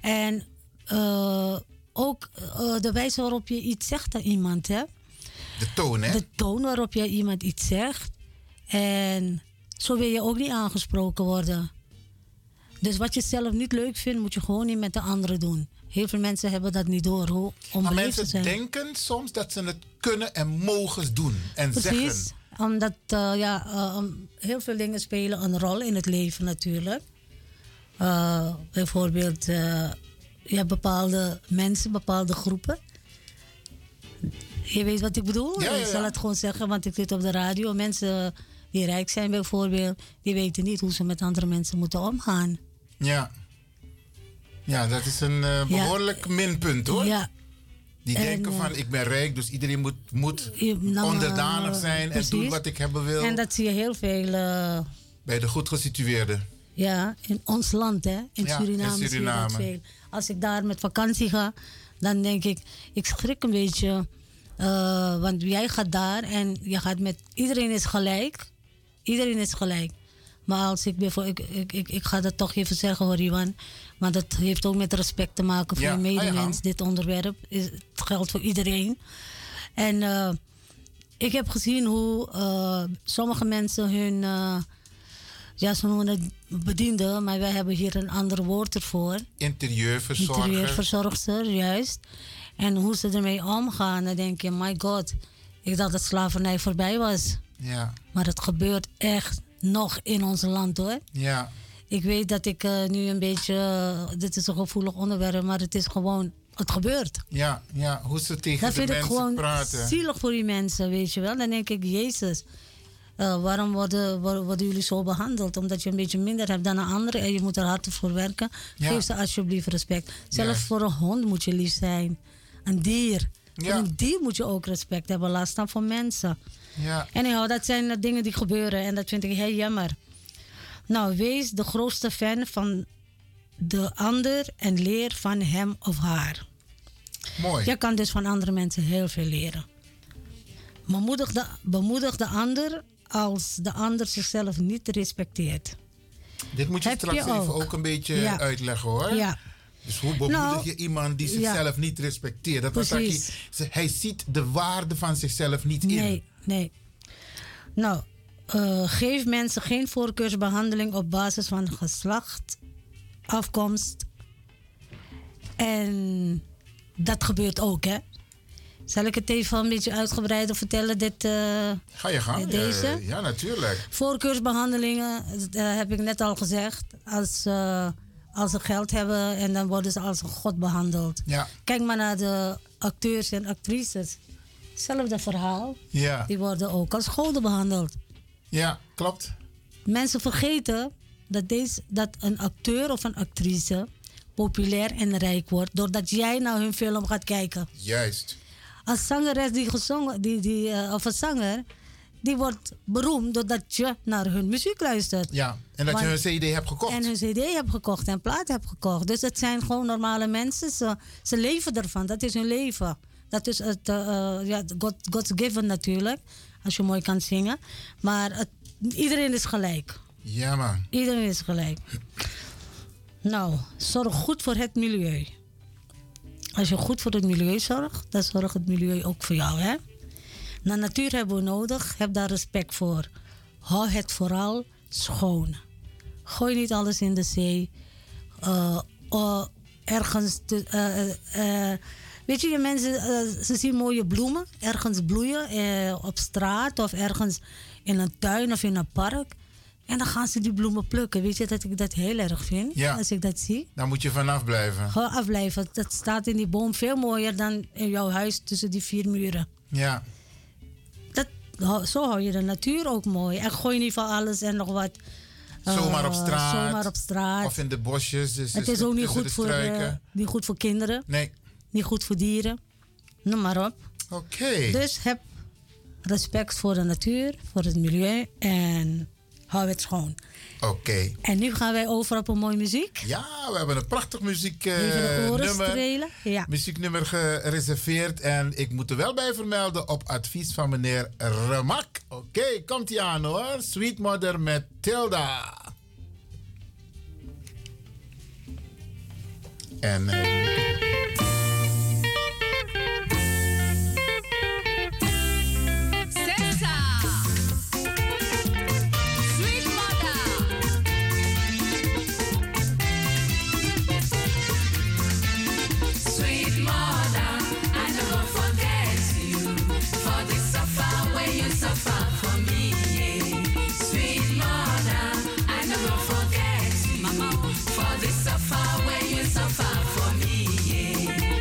H: En eh, ook eh, de wijze waarop je iets zegt aan iemand, hè?
N: De toon, hè?
H: De toon waarop jij iemand iets zegt. En zo wil je ook niet aangesproken worden. Dus wat je zelf niet leuk vindt, moet je gewoon niet met de anderen doen. Heel veel mensen hebben dat niet door, hoe
N: Maar
H: onbeleefd ze
N: mensen
H: zijn.
N: denken soms dat ze het kunnen en mogen doen en
H: Precies,
N: zeggen.
H: omdat eh, ja, eh, om- heel veel dingen spelen een rol in het leven natuurlijk. Eh, bijvoorbeeld eh, ja, bepaalde mensen, bepaalde groepen. Je weet wat ik bedoel?
N: Ja, ja,
H: Ik
N: ja.
H: zal het gewoon zeggen, want ik zit op de radio. Mensen die rijk zijn bijvoorbeeld, die weten niet hoe ze met andere mensen moeten omgaan.
N: Ja. Ja, dat is een eh, behoorlijk minpunt hoor.
H: Ja.
N: Die
H: En,
N: denken van
H: eh,
N: ik ben rijk, dus iedereen moet, moet
H: Je- nou,
N: onderdanig
H: eh,
N: zijn en doen
H: precies.
N: wat ik hebben wil.
H: En dat zie je heel veel eh,
N: Bij de goed gesitueerden.
H: Ja, in ons land, hè? In
N: Ja,
H: Suriname.
N: in
H: zie je dat
N: Suriname.
H: veel. Als ik daar met vakantie ga, dan denk ik, ik schrik een beetje. eh, want jij gaat daar en je gaat met iedereen is gelijk. Iedereen is gelijk. Maar als ik bijvoorbeeld, ik, ik, ik, ik ga dat toch even zeggen hoor, Iwan. Maar dat heeft ook met respect te maken voor
P: Ja,
H: je
P: ga je
H: medemens.
P: gang.
H: Dit onderwerp is, het geldt voor iedereen. En eh, ik heb gezien hoe eh, sommige mensen hun. eh, ja, ze noemen het bediende, maar wij hebben hier een ander woord ervoor.
N: Interieurverzorger.
H: Interieurverzorgster, juist. En hoe ze ermee omgaan, dan denk je, my god, ik dacht dat slavernij voorbij was.
N: Ja,
H: Maar het gebeurt echt nog in ons land hoor.
N: ja.
H: Ik weet dat ik eh, nu een beetje, eh, dit is een gevoelig onderwerp, maar het is gewoon, het gebeurt.
N: Ja, ja, hoe ze tegen
H: Dat
N: de
H: vind ik
N: mensen
H: gewoon
N: praten.
H: zielig voor die mensen, weet je wel. Dan denk ik, Jezus, eh, waarom worden, wor- worden jullie zo behandeld? Omdat je een beetje minder hebt dan een ander en je moet er hard voor werken.
P: Ja.
H: Geef ze alsjeblieft respect. Zelfs
P: Juist.
H: voor een hond moet je lief zijn. Een dier.
P: Ja.
H: Voor een dier moet je ook respect hebben, laat staan voor mensen.
N: Ja.
H: Anyhow, dat zijn de dingen die gebeuren en dat vind ik heel jammer. Nou, wees de grootste fan van de ander en leer van hem of haar.
N: Mooi.
H: Je kan dus van andere mensen heel veel leren. Bemoedig de, bemoedig de ander als de ander zichzelf niet respecteert.
N: Dit moet je
H: Heb je
N: straks even
H: ook.
N: ook een beetje
H: Ja.
N: uitleggen hoor.
H: Ja.
N: Dus hoe bemoedig
H: Nou,
N: je iemand die
H: ja.
N: zichzelf niet respecteert? Dat was dat
H: Precies.
N: hij, ze- hij ziet de waarde van zichzelf niet in.
H: Nee, nee. Nou, eh, geef mensen geen voorkeursbehandeling op basis van geslacht, afkomst. En dat gebeurt ook, hè? Zal ik het even een beetje uitgebreider vertellen? Dit, eh,
N: Ga je gang.
H: Deze?
N: Eh, ja, natuurlijk.
H: Voorkeursbehandelingen, eh, heb ik net al gezegd. Als, eh, als ze geld hebben en dan worden ze als een god behandeld.
N: Ja.
H: Kijk maar naar de acteurs en actrices. Hetzelfde verhaal.
N: Ja.
H: Die worden ook als goden behandeld.
N: Ja, klopt.
H: Mensen vergeten dat, deze, dat een acteur of een actrice populair en rijk wordt doordat jij naar hun film gaat kijken.
N: Juist.
H: Een zangeres die gezongen, die, die, eh, of een zanger, die wordt beroemd doordat je naar hun muziek luistert.
N: Ja, en dat
H: Want-
N: je een CD hebt gekocht.
H: En hun CD hebt gekocht en plaat hebt gekocht. Dus het zijn gewoon normale mensen. Ze, ze leven ervan. Dat is hun leven. Dat is het, eh, eh, ja, God, God's given natuurlijk. Als je mooi kan zingen. Maar het- iedereen is gelijk.
N: Ja, man.
H: Iedereen is gelijk. Nou, zorg goed voor het milieu. Als je goed voor het milieu zorgt, dan zorgt het milieu ook voor jou. Hè? Nou, natuur hebben we nodig. Heb daar respect voor. Hou het vooral schoon. Gooi niet alles in de zee. Eh, eh, ergens. te- eh, eh, weet je, je mensen, eh, ze zien mooie bloemen ergens bloeien eh, op straat of ergens in een tuin of in een park. En dan gaan ze die bloemen plukken. Weet je dat ik dat heel erg vind
N: Ja.
H: als ik dat zie?
N: Daar moet je vanaf blijven.
H: Gewoon afblijven. Dat staat in die boom veel mooier dan in jouw huis tussen die vier muren.
N: Ja.
H: Dat, hou- zo hou je de natuur ook mooi. En gooi niet van alles en nog wat. eh,
N: Zomaar op straat.
H: Zomaar op straat.
N: Of in de bosjes. Dus
H: het
N: dus
H: is ook niet
N: tussen
H: goed,
N: de
H: voor, eh,
N: struiken.
H: niet goed voor kinderen.
N: Nee.
H: Niet goed voor dieren. Noem maar op.
N: Oké.
H: Dus heb respect voor de natuur, voor het milieu en hou het schoon.
N: Oké.
H: En nu gaan wij over op een mooie muziek.
N: Ja, we hebben een prachtig muziek, eh,
H: Even de oren
N: nummer,
H: strelen. Ja.
N: muzieknummer gereserveerd. En ik moet er wel bij vermelden op advies van meneer Remak. Oké, komt ie aan hoor. Sweet Mother met Tilda. En... eh,
P: Senza. Sweet mother.
O: Sweet mother, I never forget you for the suffer where you suffer for me. yeah. Sweet mother, I never forget you for the suffer where you suffer for me. yeah.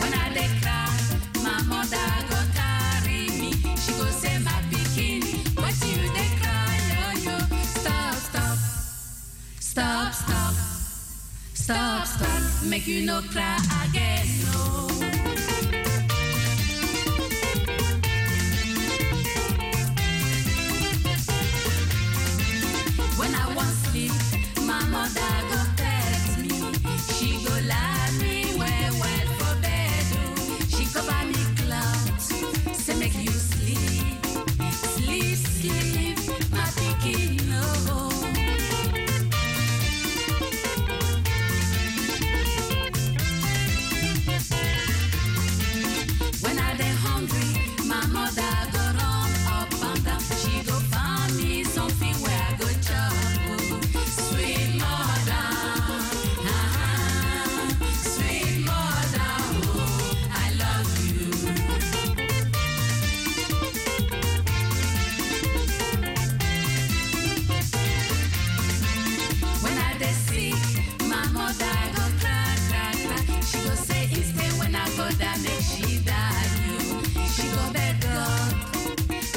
O: When I dey cry, my mother go carry me. She go say, my pikin, what you dey cry, yo yo? Stop, stop, stop, stop, stop, stop. Make you no cry again, no. When I want sleep, my mother go text me. She go lie me well, well for bed. oh. She cover me clouds, say make you sleep, sleep, sleep, my pikin oh. no. When I dey hungry, my mother go run up and down. She go find me something where I go chop. oh. Sweet mother, ah, sweet mother, oh, I love you. When I dey sick, my mother go cry, cry, cry. She go say it's pain when I go down, make she die. You, she go beg God,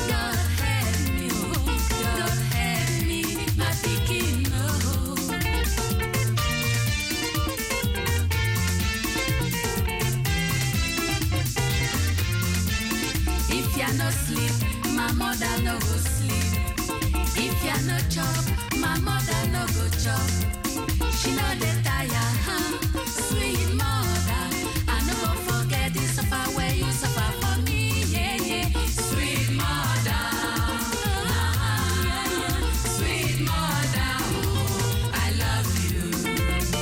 O: God help me, oh, God help me, my pikin oh." no. If you no sleep, my mother no go sleep. If you no chop, my mother no go chop. She no dey tire, huh? sweet mother. I no go forget the suffer where you suffer for me, yeah yeah. Sweet mother, ah, sweet mother, oh, I love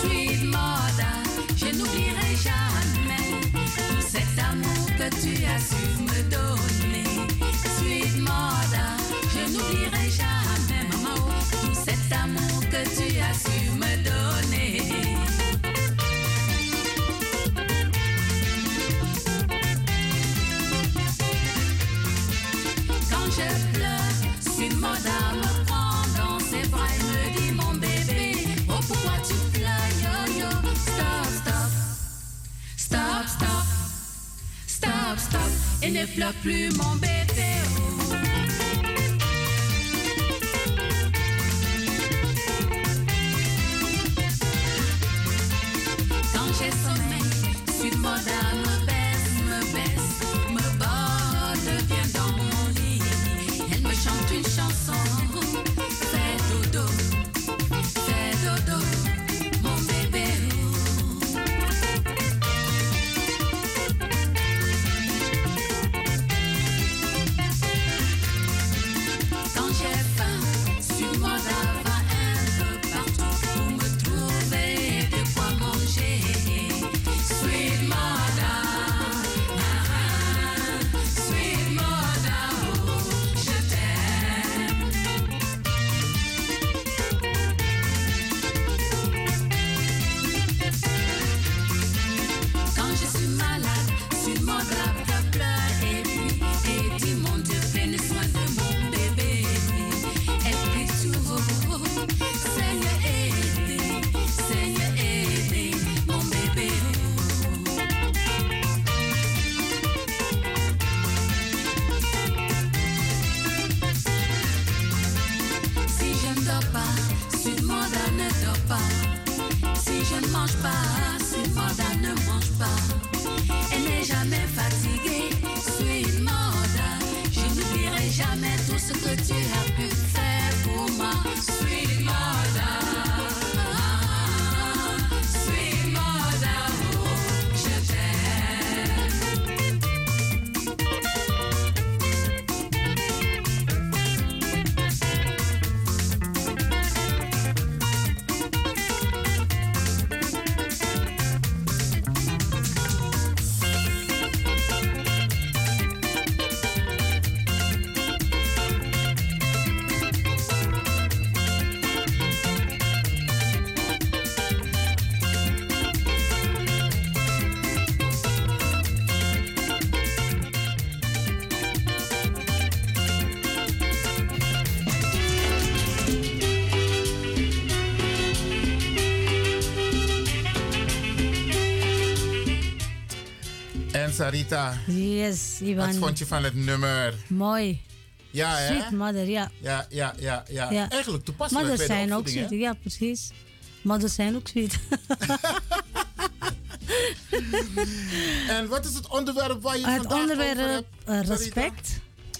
O: Sweet mother, je n'oublierai jamais tout cet amour que tu as su me donner. Sweet mother, je n'oublierai jamais maman, tout cet amour que tu as su me donner. Quand je pleure, Sweet Mother me prend dans ses bras et me dit mon bébé, oh pourquoi tu pleures yo yo? Stop stop, stop stop, stop stop, et ne pleure plus mon bébé. oh. Quand j'ai sommeil, Sweet Mother me baisse, me baisse, me borde bien dans mon lit. Elle me chante une chanson. Fais dodo, fais dodo, mon bébé.
N: Sarita.
H: Yes, Ivan.
N: Wat vond je van het nummer?
H: Mooi.
N: Ja, hè?
H: Sweet mother, ja.
N: Ja, ja, ja, ja.
H: Ja.
N: Eigenlijk toepasselijk
H: Mothers
N: bij de
H: zijn ook
N: opvoeding,
H: sweet,
N: hè?
H: ja, precies. Mothers zijn ook sweet.
N: En wat is het onderwerp waar je het
H: Het
N: vandaag over
H: onderwerp
N: hebt?
H: eh,
N: Sarita?
H: respect.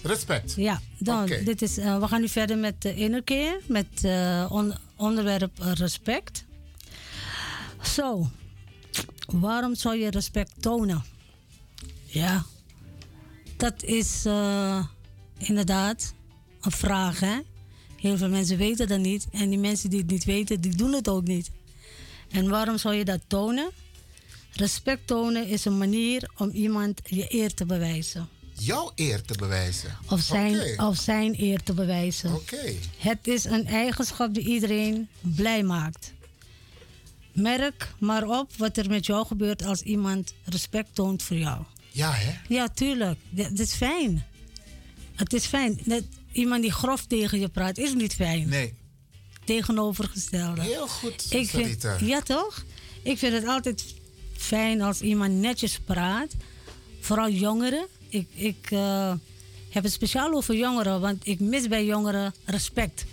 N: Respect.
H: Ja, dan,
N: Oké.
H: dit is, eh, we gaan nu verder met de ene keer, met eh on- onderwerp eh, respect. Zo, waarom zou je respect tonen? Ja, dat is eh, inderdaad een vraag, hè. Heel veel mensen weten dat niet. En die mensen die het niet weten, die doen het ook niet. En waarom zou je dat tonen? Respect tonen is een manier om iemand je eer te bewijzen.
N: Jouw eer te bewijzen.
H: Of zijn, oh.
N: Oké.
H: of zijn eer te bewijzen.
N: Oké.
H: Het is een eigenschap die iedereen blij maakt. Merk maar op wat er met jou gebeurt als iemand respect toont voor jou.
N: Ja, hè?
H: Ja, tuurlijk. D- Het is fijn. Het is fijn. Net iemand die grof tegen je praat is niet fijn.
N: Nee.
H: Tegenovergestelde.
N: Heel goed,
H: Ik vind,
N: Sarita.
H: ja, toch? Ik vind het altijd fijn als iemand netjes praat. Vooral jongeren. Ik, ik eh, heb het speciaal over jongeren, want ik mis bij jongeren respect.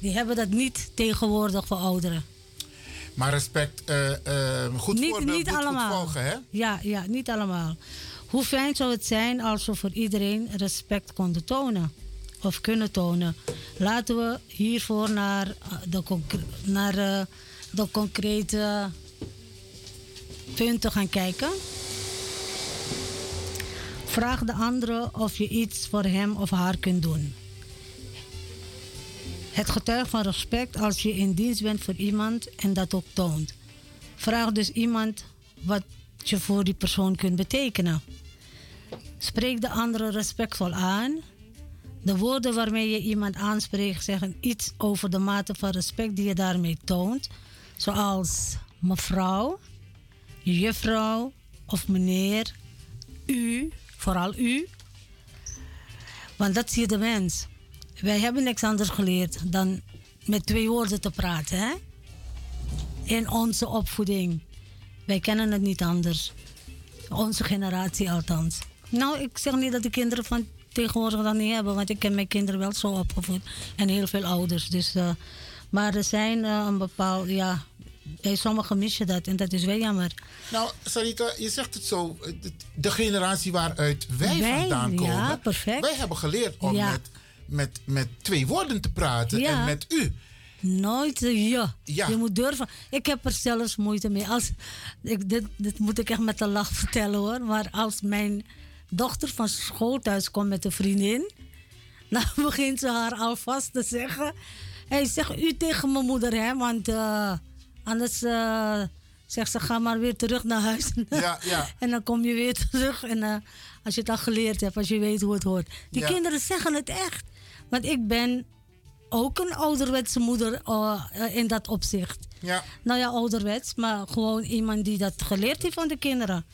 H: Die hebben dat niet tegenwoordig voor ouderen.
N: Maar respect, eh, eh, goed voorbeeld moet goed volgen, hè?
H: Ja, ja, niet allemaal. Hoe fijn zou het zijn als we voor iedereen respect konden tonen? Of kunnen tonen? Laten we hiervoor naar eh, de, concre- naar, eh, de concrete punten gaan kijken. Vraag de andere of je iets voor hem of haar kunt doen. Het getuigt van respect als je in dienst bent voor iemand en dat ook toont. Vraag dus iemand wat je voor die persoon kunt betekenen. Spreek de andere respectvol aan. De woorden waarmee je iemand aanspreekt zeggen iets over de mate van respect die je daarmee toont. Zoals mevrouw, juffrouw of meneer, u, vooral u. Want dat zie je de mens. Wij hebben niks anders geleerd dan met twee woorden te praten. Hè? in onze opvoeding. Wij kennen het niet anders. Onze generatie althans. Nou, ik zeg niet dat de kinderen van tegenwoordig dat niet hebben, want ik heb mijn kinderen wel zo opgevoed en heel veel ouders. Dus, eh, maar er zijn eh, een bepaald, ja, bij sommigen mis je dat en dat is wel jammer.
N: Nou, Sarita, je zegt het zo. eh, de- De generatie waaruit wij,
H: Wij,
N: vandaan
H: ja,
N: komen. Wij hebben geleerd om
H: Ja.
N: met, met, met twee woorden te praten
H: Ja.
N: en met u.
H: Nooit eh, ja. Je moet durven. Ik heb er zelfs moeite mee. Als, ik, dit, dit moet ik echt met een lach vertellen hoor. Maar als mijn dochter van school thuis komt met een vriendin, dan begint ze haar alvast te zeggen: Hé, hey, zeg u tegen mijn moeder, hè? Want eh, anders eh, zegt ze: ga maar weer terug naar huis.
N: Ja, ja.
H: En dan kom je weer terug. En eh, als je het al geleerd hebt, als je weet hoe het hoort. Die
N: Ja.
H: kinderen zeggen het echt. Want ik ben ook een ouderwetse moeder eh, eh, in dat opzicht.
N: Ja.
H: Nou ja, ouderwets, maar gewoon iemand die dat geleerd heeft van de kinderen.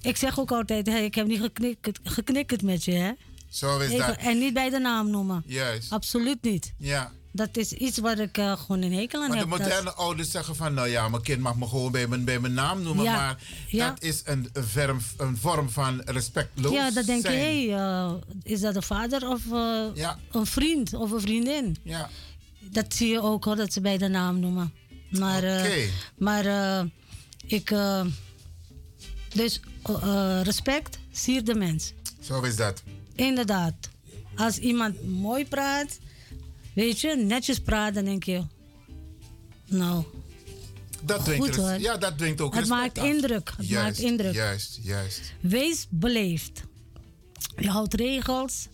H: Ik zeg ook altijd, hey, ik heb niet geknikkerd, geknikkerd met je, hè?
N: Zo is
H: Even-
N: dat.
H: En niet bij de naam noemen.
N: Juist.
H: Absoluut niet.
N: Ja.
H: Dat is iets waar ik eh, gewoon een hekel aan
N: Maar de
H: heb.
N: moderne ouders zeggen van, nou ja, mijn kind mag me gewoon bij mijn, bij mijn naam noemen,
H: Ja,
N: maar
H: ja.
N: dat is een, een, verm- een vorm van respectloos
H: dat, ja, dan denk je,
N: zijn.
H: hé, eh, is dat een vader of eh, een vriend of een vriendin?
N: Ja.
H: Dat zie je ook hoor, dat ze bij de naam noemen. Maar, eh,
N: Oké.
H: maar eh, ik. eh, dus eh, eh, respect siert de mens.
N: Zo is dat.
H: Inderdaad. Als iemand mooi praat, weet je, netjes praat, dan denk je. Nou,
N: Dat
H: Goed,
N: dwingt res-
H: hoor.
N: Ja, dat dwingt ook
H: het
N: respect
H: maakt
N: af.
H: indruk. Het
N: Juist,
H: maakt indruk.
N: Juist, juist.
H: Wees beleefd. Je houdt regels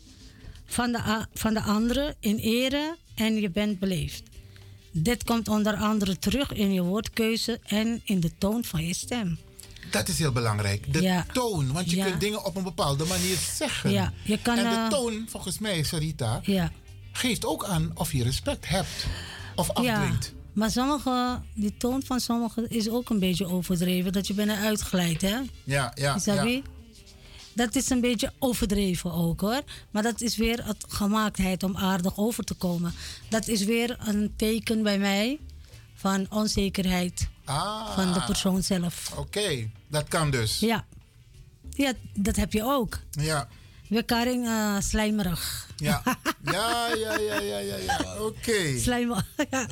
H: van de, a- van de anderen in ere en je bent beleefd. Dit komt onder andere terug in je woordkeuze en in de toon van je stem.
N: Dat is heel belangrijk. De
H: Ja.
N: toon. Want je
H: Ja.
N: kunt dingen op een bepaalde manier zeggen.
H: Ja, je kan,
N: en de
H: eh,
N: toon, volgens mij, Sarita,
H: Ja.
N: geeft ook aan of je respect hebt. Of afdwingt.
H: Ja, maar sommige, die toon van sommigen is ook een beetje overdreven. Dat je bijna uitglijdt, hè?
N: Ja, ja, ja.
H: Isabi? Dat is een beetje overdreven ook, hoor. Maar dat is weer het gemaaktheid om aardig over te komen. Dat is weer een teken bij mij van onzekerheid
N: Ah.
H: van de persoon zelf.
N: Oké, dat kan dus.
H: Ja. Ja, dat heb je ook.
N: Ja.
H: Wekaring eh slijmerig.
N: Ja. Ja, ja, ja, ja, ja. ja. Oké.
H: Slijm, ja.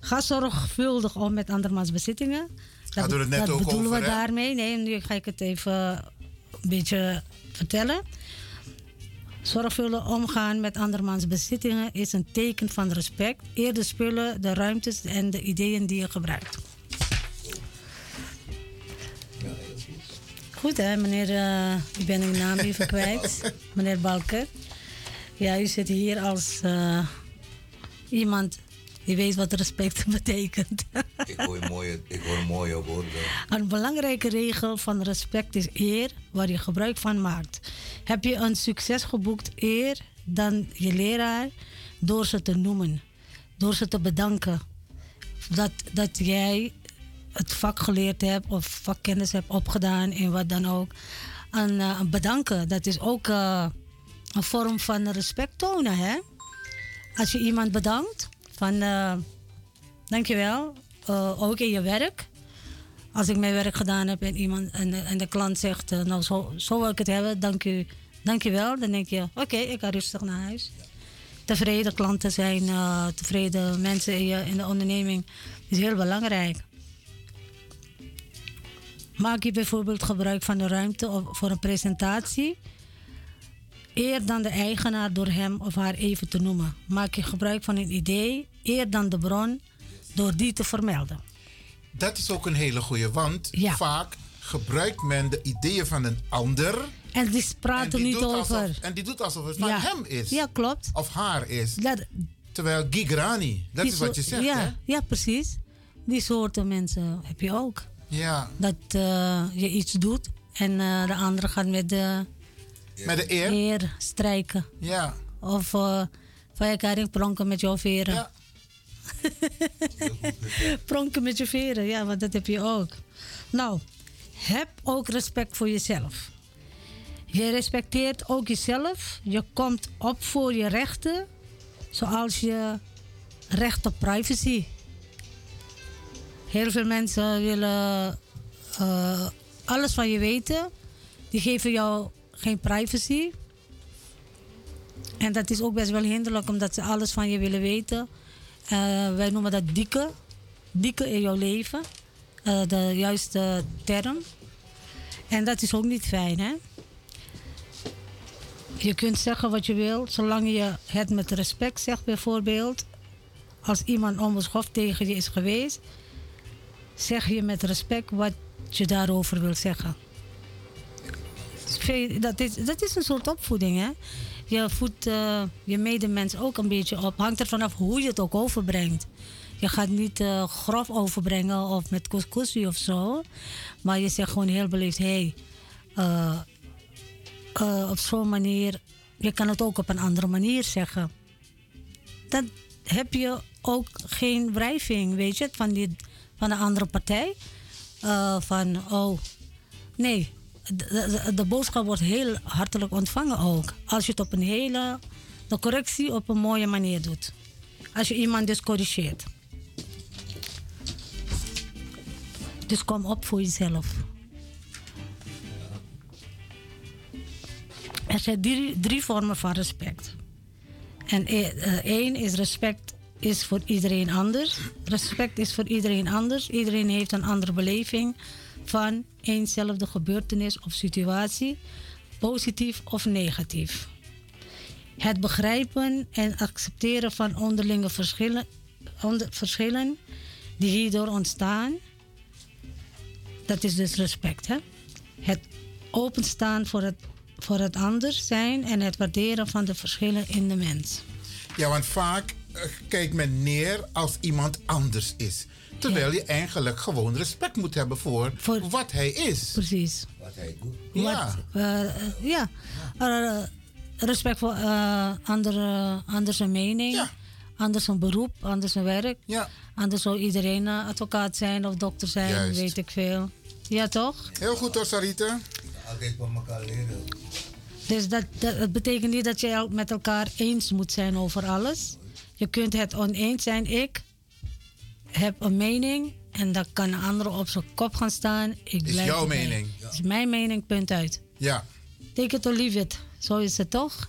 H: Ga zorgvuldig om met andermans bezittingen.
N: Hadden we het net
H: dat
N: ook
H: bedoelen
N: over,
H: we
N: hè?
H: daarmee. Nee, nu ga ik het even een beetje vertellen. Zorgvuldig omgaan met andermans bezittingen is een teken van respect. Eer de spullen, de ruimtes en de ideeën die je gebruikt. Goed hè, meneer, eh, ik ben uw naam even kwijt. meneer Balker. Ja, u zit hier als eh, iemand die weet wat respect betekent.
Q: Ik hoor mooie, ik hoor mooie woorden.
H: Een belangrijke regel van respect is eer, waar je gebruik van maakt. Heb je een succes geboekt eer dan je leraar door ze te noemen, door ze te bedanken. Dat, dat jij het vak geleerd hebt of vakkennis hebt opgedaan en wat dan ook. En eh, bedanken, dat is ook eh, een vorm van respect tonen, hè? Als je iemand bedankt, van eh, dankjewel, eh, ook in je werk als ik mijn werk gedaan heb en, iemand, en, de- en de klant zegt, eh, nou zo, zo wil ik het hebben, dank u, dank u wel. Dan denk je, oké, ik ga rustig naar huis. Tevreden klanten zijn, eh, tevreden mensen in, je, in de onderneming is heel belangrijk. Maak je bijvoorbeeld gebruik van de ruimte of- voor een presentatie. Eer dan de eigenaar door hem of haar even te noemen. Maak je gebruik van een idee, eer dan de bron door die te vermelden.
N: Dat is ook een hele goeie, want vaak gebruikt men de ideeën van een ander.
H: En die praten
N: die
H: niet
N: doet
H: over.
N: alsof- en die doet alsof het van
H: Ja.
N: hem is.
H: Ja, klopt.
N: Of haar is.
H: Dat,
N: Terwijl Gigrani, dat
H: die
N: is wat
H: soort-
N: je zegt,
H: ja,
N: hè?
H: Ja, precies. Die soorten mensen heb je ook.
N: Ja.
H: Dat eh, je iets doet en eh, de andere gaat met de,
N: Met de eer.
H: strijken.
N: Ja.
H: Of eh, van je karing pronken met jouw veren. pronken met je veren, ja, want dat heb je ook. Nou, heb ook respect voor jezelf. Je respecteert ook jezelf. Je komt op voor je rechten, zoals je recht op privacy. Heel veel mensen willen eh, alles van je weten. Die geven jou geen privacy. En dat is ook best wel hinderlijk, omdat ze alles van je willen weten. Eh, wij noemen dat dikke. Dikke in jouw leven. Eh, de juiste term. En dat is ook niet fijn, hè? Je kunt zeggen wat je wil, zolang je het met respect zegt, bijvoorbeeld. Als iemand onbeschoft tegen je is geweest, zeg je met respect wat je daarover wil zeggen. Veel- Dat is, dat is een soort opvoeding, hè? Je voedt eh, je medemens ook een beetje op. Hangt er vanaf hoe je het ook overbrengt. Je gaat niet eh, grof overbrengen of met couscousie of zo. Maar je zegt gewoon heel beleefd: hé, hey, eh, eh, op zo'n manier. Je kan het ook op een andere manier zeggen. Dan heb je ook geen wrijving, weet je, van, die, van de andere partij. Eh, van, oh, nee. De, de, de boodschap wordt heel hartelijk ontvangen ook. Als je het op een hele, de correctie op een mooie manier doet. Als je iemand dus corrigeert. Dus kom op voor jezelf. Er zijn drie, drie vormen van respect. En e- eh, één is respect is voor iedereen anders. Respect is voor iedereen anders. Iedereen heeft een andere beleving van eenzelfde gebeurtenis of situatie, positief of negatief. Het begrijpen en accepteren van onderlinge verschillen, onder- verschillen die hierdoor ontstaan, dat is dus respect. Hè? Het openstaan voor het, voor het ander zijn en het waarderen van de verschillen in de mens.
N: Ja, want vaak eh, kijkt men neer als iemand anders is. Terwijl je eigenlijk gewoon respect moet hebben voor, wat hij is.
H: Precies.
Q: Wat hij doet.
N: Ja.
H: Wat, eh, eh, ja. Eh, respect voor eh andere, anders een mening, anders een beroep, anders een werk. Anders zou iedereen eh, advocaat zijn of dokter zijn,
N: Juist.
H: weet ik veel. Ja, toch?
N: Heel goed hoor, Sarita.
Q: Altijd van elkaar leren.
H: Dus dat, dat, het betekent niet dat je el- met elkaar eens moet zijn over alles. Je kunt het oneens zijn. Ik heb een mening en dan kan een ander op zijn kop gaan staan. Ik
N: Is
H: blijf
N: jouw
H: erbij.
N: mening.
H: Is mijn mening, punt uit.
N: Ja.
H: Take it or leave it. Zo is het toch?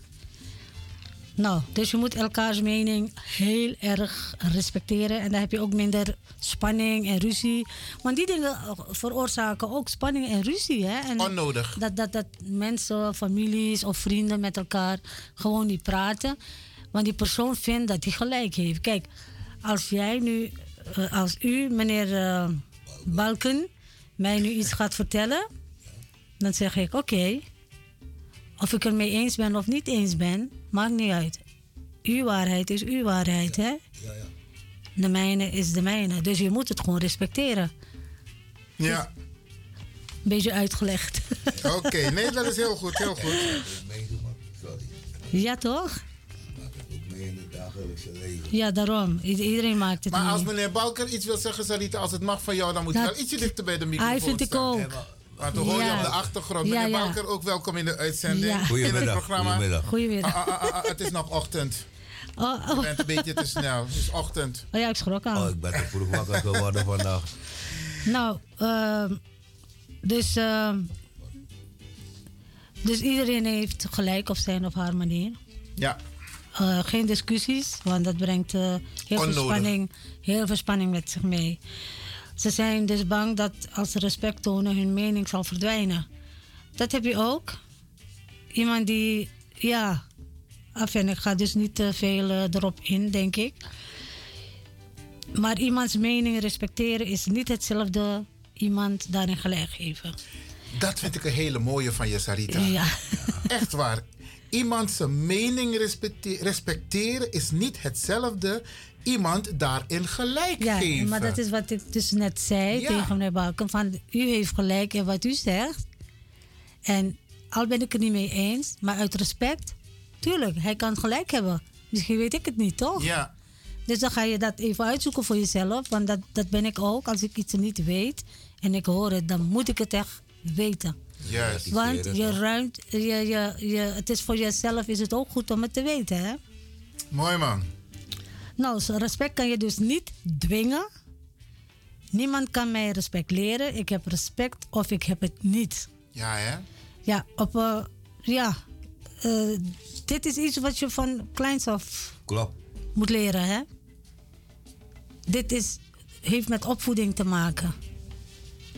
H: Nou, dus je moet elkaars mening heel erg respecteren. En dan heb je ook minder spanning en ruzie. Want die dingen eh, veroorzaken ook spanning en ruzie. Hè? En
N: Onnodig.
H: Dat, dat, dat mensen, families of vrienden met elkaar gewoon niet praten. Want die persoon vindt dat hij gelijk heeft. Kijk, als jij nu, eh, als u, meneer eh, Balken, mij nu iets gaat vertellen, dan zeg ik: Oké, of ik ermee eens ben of niet eens ben, maakt niet uit. Uw waarheid is uw waarheid, hè? De mijne is de mijne. Dus je moet het gewoon respecteren.
N: Ja.
H: Beetje uitgelegd.
N: Oké, nee, dat is heel goed, heel goed.
H: Ja, toch?
Q: mee in het dagelijkse leven.
H: Ja, daarom. I- iedereen maakt het
N: Maar als
H: mee.
N: meneer Balker iets wil zeggen, Sarita, als het mag van jou, dan moet je
H: Dat-
N: wel ietsje dichter bij de
H: Hij
N: microfoon
H: vind ik
N: staan.
H: ook.
N: Maar dan hoor je
H: Ja.
N: op de achtergrond.
H: Ja,
N: Meneer
H: ja.
N: Balker, ook welkom in de uitzending.
H: Ja.
N: In het
Q: Goedemiddag,
N: programma.
Q: goedemiddag.
H: Goedemiddag.
N: Ah, ah, ah, ah, het is nog ochtend.
H: Oh,
N: Je bent een beetje te snel. Het is ochtend.
H: Oh ja, ik schrok al.
Q: Oh, ik ben te vroeg wakker geworden vandaag.
H: Nou, ehm, dus, ehm, dus iedereen heeft gelijk op zijn of haar manier.
N: Ja.
H: Eh, geen discussies, want dat brengt eh, heel, veel
N: Onnodig.
H: spanning, heel veel spanning met zich mee. Ze zijn dus bang dat als ze respect tonen, hun mening zal verdwijnen. Dat heb je ook. Iemand die, ja, af en ik ga dus niet te veel eh, erop in, denk ik. Maar iemands mening respecteren is niet hetzelfde iemand daarin gelijk geven.
N: Dat vind ik een hele mooie van je, Sarita.
H: Ja.
N: Echt waar. Iemand zijn mening respecte- respecteren is niet hetzelfde. Iemand daarin gelijk
H: Ja,
N: geven.
H: maar dat is wat ik dus net zei
N: Ja.
H: tegen meneer Balken. Van, u heeft gelijk in wat u zegt. En al ben ik het niet mee eens, maar uit respect, tuurlijk, hij kan gelijk hebben. Misschien weet ik het niet, toch?
N: Ja.
H: Dus dan ga je dat even uitzoeken voor jezelf. Want dat, dat ben ik ook. Als ik iets niet weet en ik hoor het, dan moet ik het echt weten.
N: Juist.
H: Want je ruimt, je, je, je, het is voor jezelf is het ook goed om het te weten, hè?
N: Mooi man.
H: Nou, zo respect kan je dus niet dwingen. Niemand kan mij respect leren. Ik heb respect of ik heb het niet.
N: Ja, hè?
H: Ja, op, eh, ja eh, dit is iets wat je van kleins af
Q: Klopt.
H: moet leren, hè? Dit is, heeft met opvoeding te maken.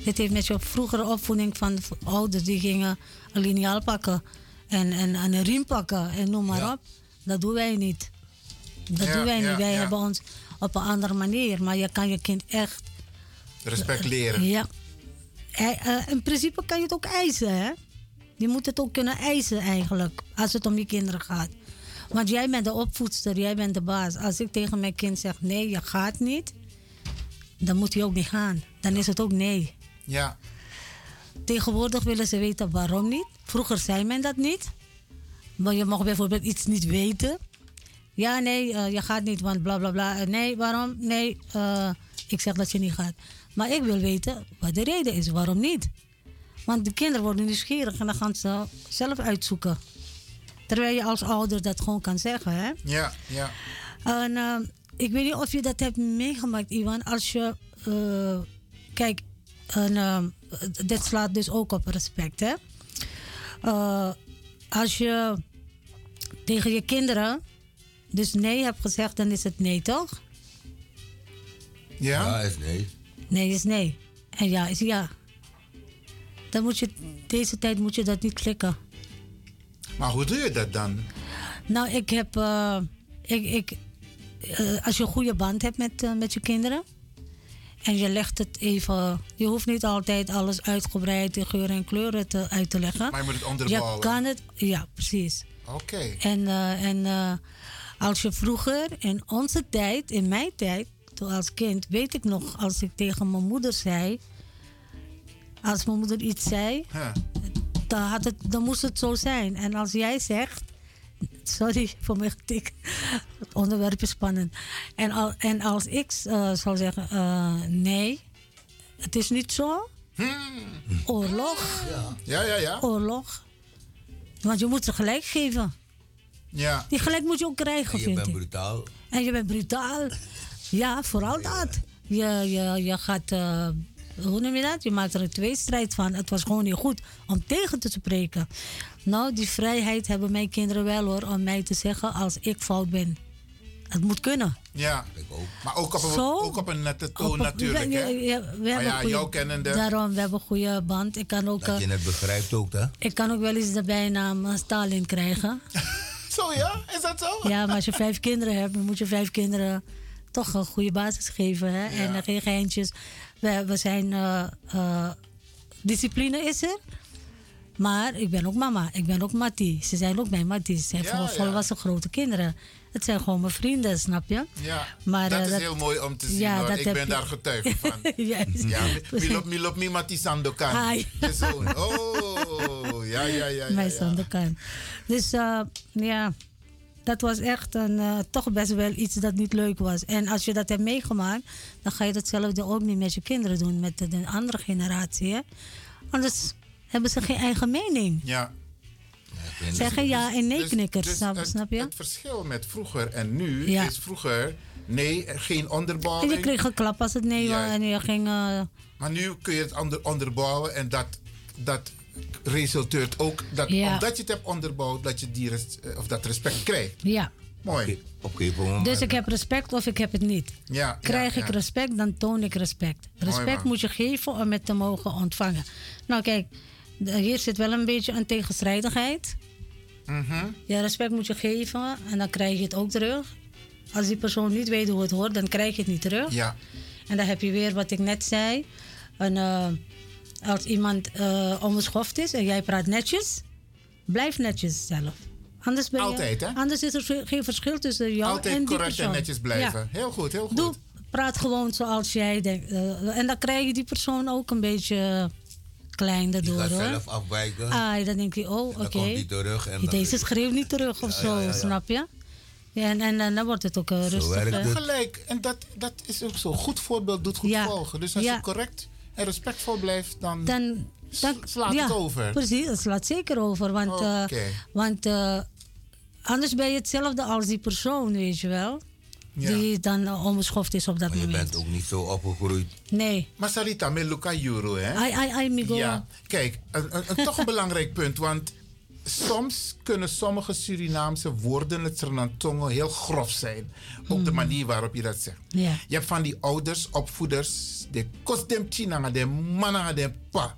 H: Dit heeft met je vroegere opvoeding van v- ouders die gingen een liniaal pakken en, en, en een riem pakken en noem maar op. Dat doen wij niet. Dat
N: Ja,
H: doen wij niet.
N: ja,
H: wij
N: ja.
H: hebben ons op een andere manier. Maar je kan je kind echt.
N: Respect leren.
H: Ja. Hij- eh, in principe kan je het ook eisen, hè? Je moet het ook kunnen eisen eigenlijk, als het om je kinderen gaat. Want jij bent de opvoedster, jij bent de baas. Als ik tegen mijn kind zeg nee, je gaat niet, dan moet hij ook niet gaan. Dan is het ook nee.
N: Ja.
H: Tegenwoordig willen ze weten waarom niet. Vroeger zei men dat niet. Maar je mag bijvoorbeeld iets niet weten. Ja, nee, eh, je gaat niet, want bla bla bla. Eh, nee, waarom? Nee, eh, ik zeg dat je niet gaat. Maar ik wil weten wat de reden is, waarom niet. Want de kinderen worden nieuwsgierig en dan gaan ze zelf uitzoeken. Terwijl je als ouder dat gewoon kan zeggen, hè?
N: Ja, ja.
H: En, ehm, ik weet niet of je dat hebt meegemaakt, Iwan. Als je. eh, kijk, en, ehm, dit slaat dus ook op respect, hè? Eh, als je tegen je kinderen dus nee hebt gezegd, dan is het nee, toch?
N: Ja?
Q: is nee.
H: Nee is nee. En ja is ja. Dan moet je, deze tijd moet je dat niet klikken.
N: Maar hoe doe je dat dan?
H: Nou, ik heb. eh, ik, ik, eh, als je een goede band hebt met, eh, met je kinderen. En je legt het even. Je hoeft niet altijd alles uitgebreid in geuren en kleuren te, uit te leggen.
N: Maar je moet het onderbouwen.
H: Je kan het. Ja, precies.
N: Oké.
H: En, eh, en eh, als je vroeger, in onze tijd, in mijn tijd, toen als kind, weet ik nog, als ik tegen mijn moeder zei. Als mijn moeder iets zei,
N: Huh.
H: dan, had het, dan moest het zo zijn. En als jij zegt. Sorry voor mijn getik. Het onderwerp is spannend. En, al, en als ik eh, zou zeggen: eh, nee, het is niet zo. Oorlog.
N: Hmm. Ja, ja, ja.
H: Oorlog. Want je moet ze gelijk geven.
N: Ja.
H: Die gelijk moet je ook krijgen,
Q: Je
H: vind
Q: bent
H: ik.
Q: brutaal.
H: En je bent brutaal. Ja, vooral dat. Je, je, je gaat eh, hoe noem je dat? Je maakt er een tweestrijd van. Het was gewoon niet goed om tegen te spreken. Nou, die vrijheid hebben mijn kinderen wel hoor, om mij te zeggen als ik fout ben. Het moet kunnen.
N: Ja, maar ook op, een,
H: Zo?
N: ook op een nette toon
H: Op-
N: natuurlijk.
H: ja,
N: hè?
H: ja, ja, we
N: maar
H: hebben
N: ja,
H: goeie-
N: jouw kennende.
H: Daarom, we hebben een goede band. Ik kan ook,
Q: Dat je
H: eh,
Q: het begrijpt ook, hè?
H: ik kan ook wel eens de bijnaam eh, Stalin krijgen.
N: Zo ja, is dat zo?
H: Ja, maar als je vijf kinderen hebt, dan moet je vijf kinderen toch een goede basis geven. Hè? En eh, geen geintjes. We, we zijn. eh, eh, discipline is er. Maar ik ben ook mama. Ik ben ook Mattie. Ze zijn ook mijn Mattie. Ze zijn
N: Ja,
H: vol-
N: ja.
H: volwassen grote kinderen. Het zijn gewoon mijn vrienden, snap je?
N: Ja,
H: Maar,
N: dat
H: eh,
N: is
H: dat-
N: heel mooi om te zien
H: Ja,
N: hoor.
H: dat
N: Ik
H: heb
N: ben
H: je-
N: daar getuige van.
H: Juist.
N: Ja, Milop Milop Mimati Sandokan.
H: Hi.
N: Je zoon. Oh, ja, ja, ja. ja,
H: Mijn
N: ja.
H: zoon de kan. Dus eh, ja, dat was echt een, eh, toch best wel iets dat niet leuk was. En als je dat hebt meegemaakt, dan ga je datzelfde ook niet met je kinderen doen, met de, de andere generatie. Hè? Anders hebben ze geen eigen mening.
N: Ja.
H: Zeggen
N: dus-
H: ja en nee knikkers, snap, snap je?
N: Het verschil met vroeger en nu
H: Ja.
N: is vroeger nee, geen
H: En
N: onderbouwing.
H: je kreeg een klap als het nee was
N: Juist.
H: en je ging... eh,
N: Maar nu kun je het onder, onderbouwen en dat, dat resulteert ook dat
H: Ja.
N: omdat je het hebt onderbouwd dat je die res- eh, of dat respect krijgt.
H: ja.
N: Mooi.
Q: Oké, okay,
H: Dus ik heb respect of ik heb het niet.
N: Ja,
H: Krijg
N: ja,
H: ik
N: ja.
H: respect, dan toon ik respect.
N: Mooi,
H: Respect
N: man.
H: moet je geven om het te mogen ontvangen. Nou kijk, d- hier zit wel een beetje een tegenstrijdigheid.
N: Mhm.
H: Ja, respect moet je geven en dan krijg je het ook terug. Als die persoon niet weet hoe het hoort, dan krijg je het niet terug.
N: Ja.
H: En dan heb je weer wat ik net zei. Een, eh, als iemand eh onbeschoft is en jij praat netjes, blijf netjes zelf. Anders ben je-
N: Altijd, hè?
H: Anders is er ge- geen verschil tussen jou en
N: Altijd
H: die
N: correct en
H: persoon.
N: netjes blijven.
H: Ja.
N: Heel goed, heel goed.
H: Doe, praat gewoon zoals jij denkt. eh, en dan krijg je die persoon ook een beetje klein daardoor,
Q: Ga
H: hoor.
Q: zelf afwijken.
H: Ah, dan denk je, oh, oké.
Q: dan komt die terug en dan-
H: Deze schreeuwt niet terug of zo, snap je? Ja, en, en, en dan wordt het ook eh, rustig.
N: Heb
H: hè.
N: je gelijk. En dat, dat is ook zo. Goed voorbeeld doet goed volgen. Dus als je correct en respectvol blijft, dan,
H: dan,
N: slaat
H: ja,
N: het over.
H: Precies, het slaat zeker over. Want, eh,
N: Oké.
H: want eh, anders ben je hetzelfde als die persoon, weet je wel.
N: Ja. Oh,
H: Die dan eh, onbeschoft is op dat
Q: Je
H: moment.
Q: bent ook niet zo opgegroeid.
H: Nee.
N: Maar Sarita, met Luca Juro, hè?
H: Ai, ai, ai, Migo.
N: Ja, kijk, een, een, een toch een belangrijk punt. Want soms kunnen sommige Surinaamse woorden, het Sernantongo, heel grof zijn. Op de manier waarop je dat zegt.
H: Mm. Ja.
N: Je hebt van die ouders, opvoeders, de kostem chinanga, de mananga, de pa.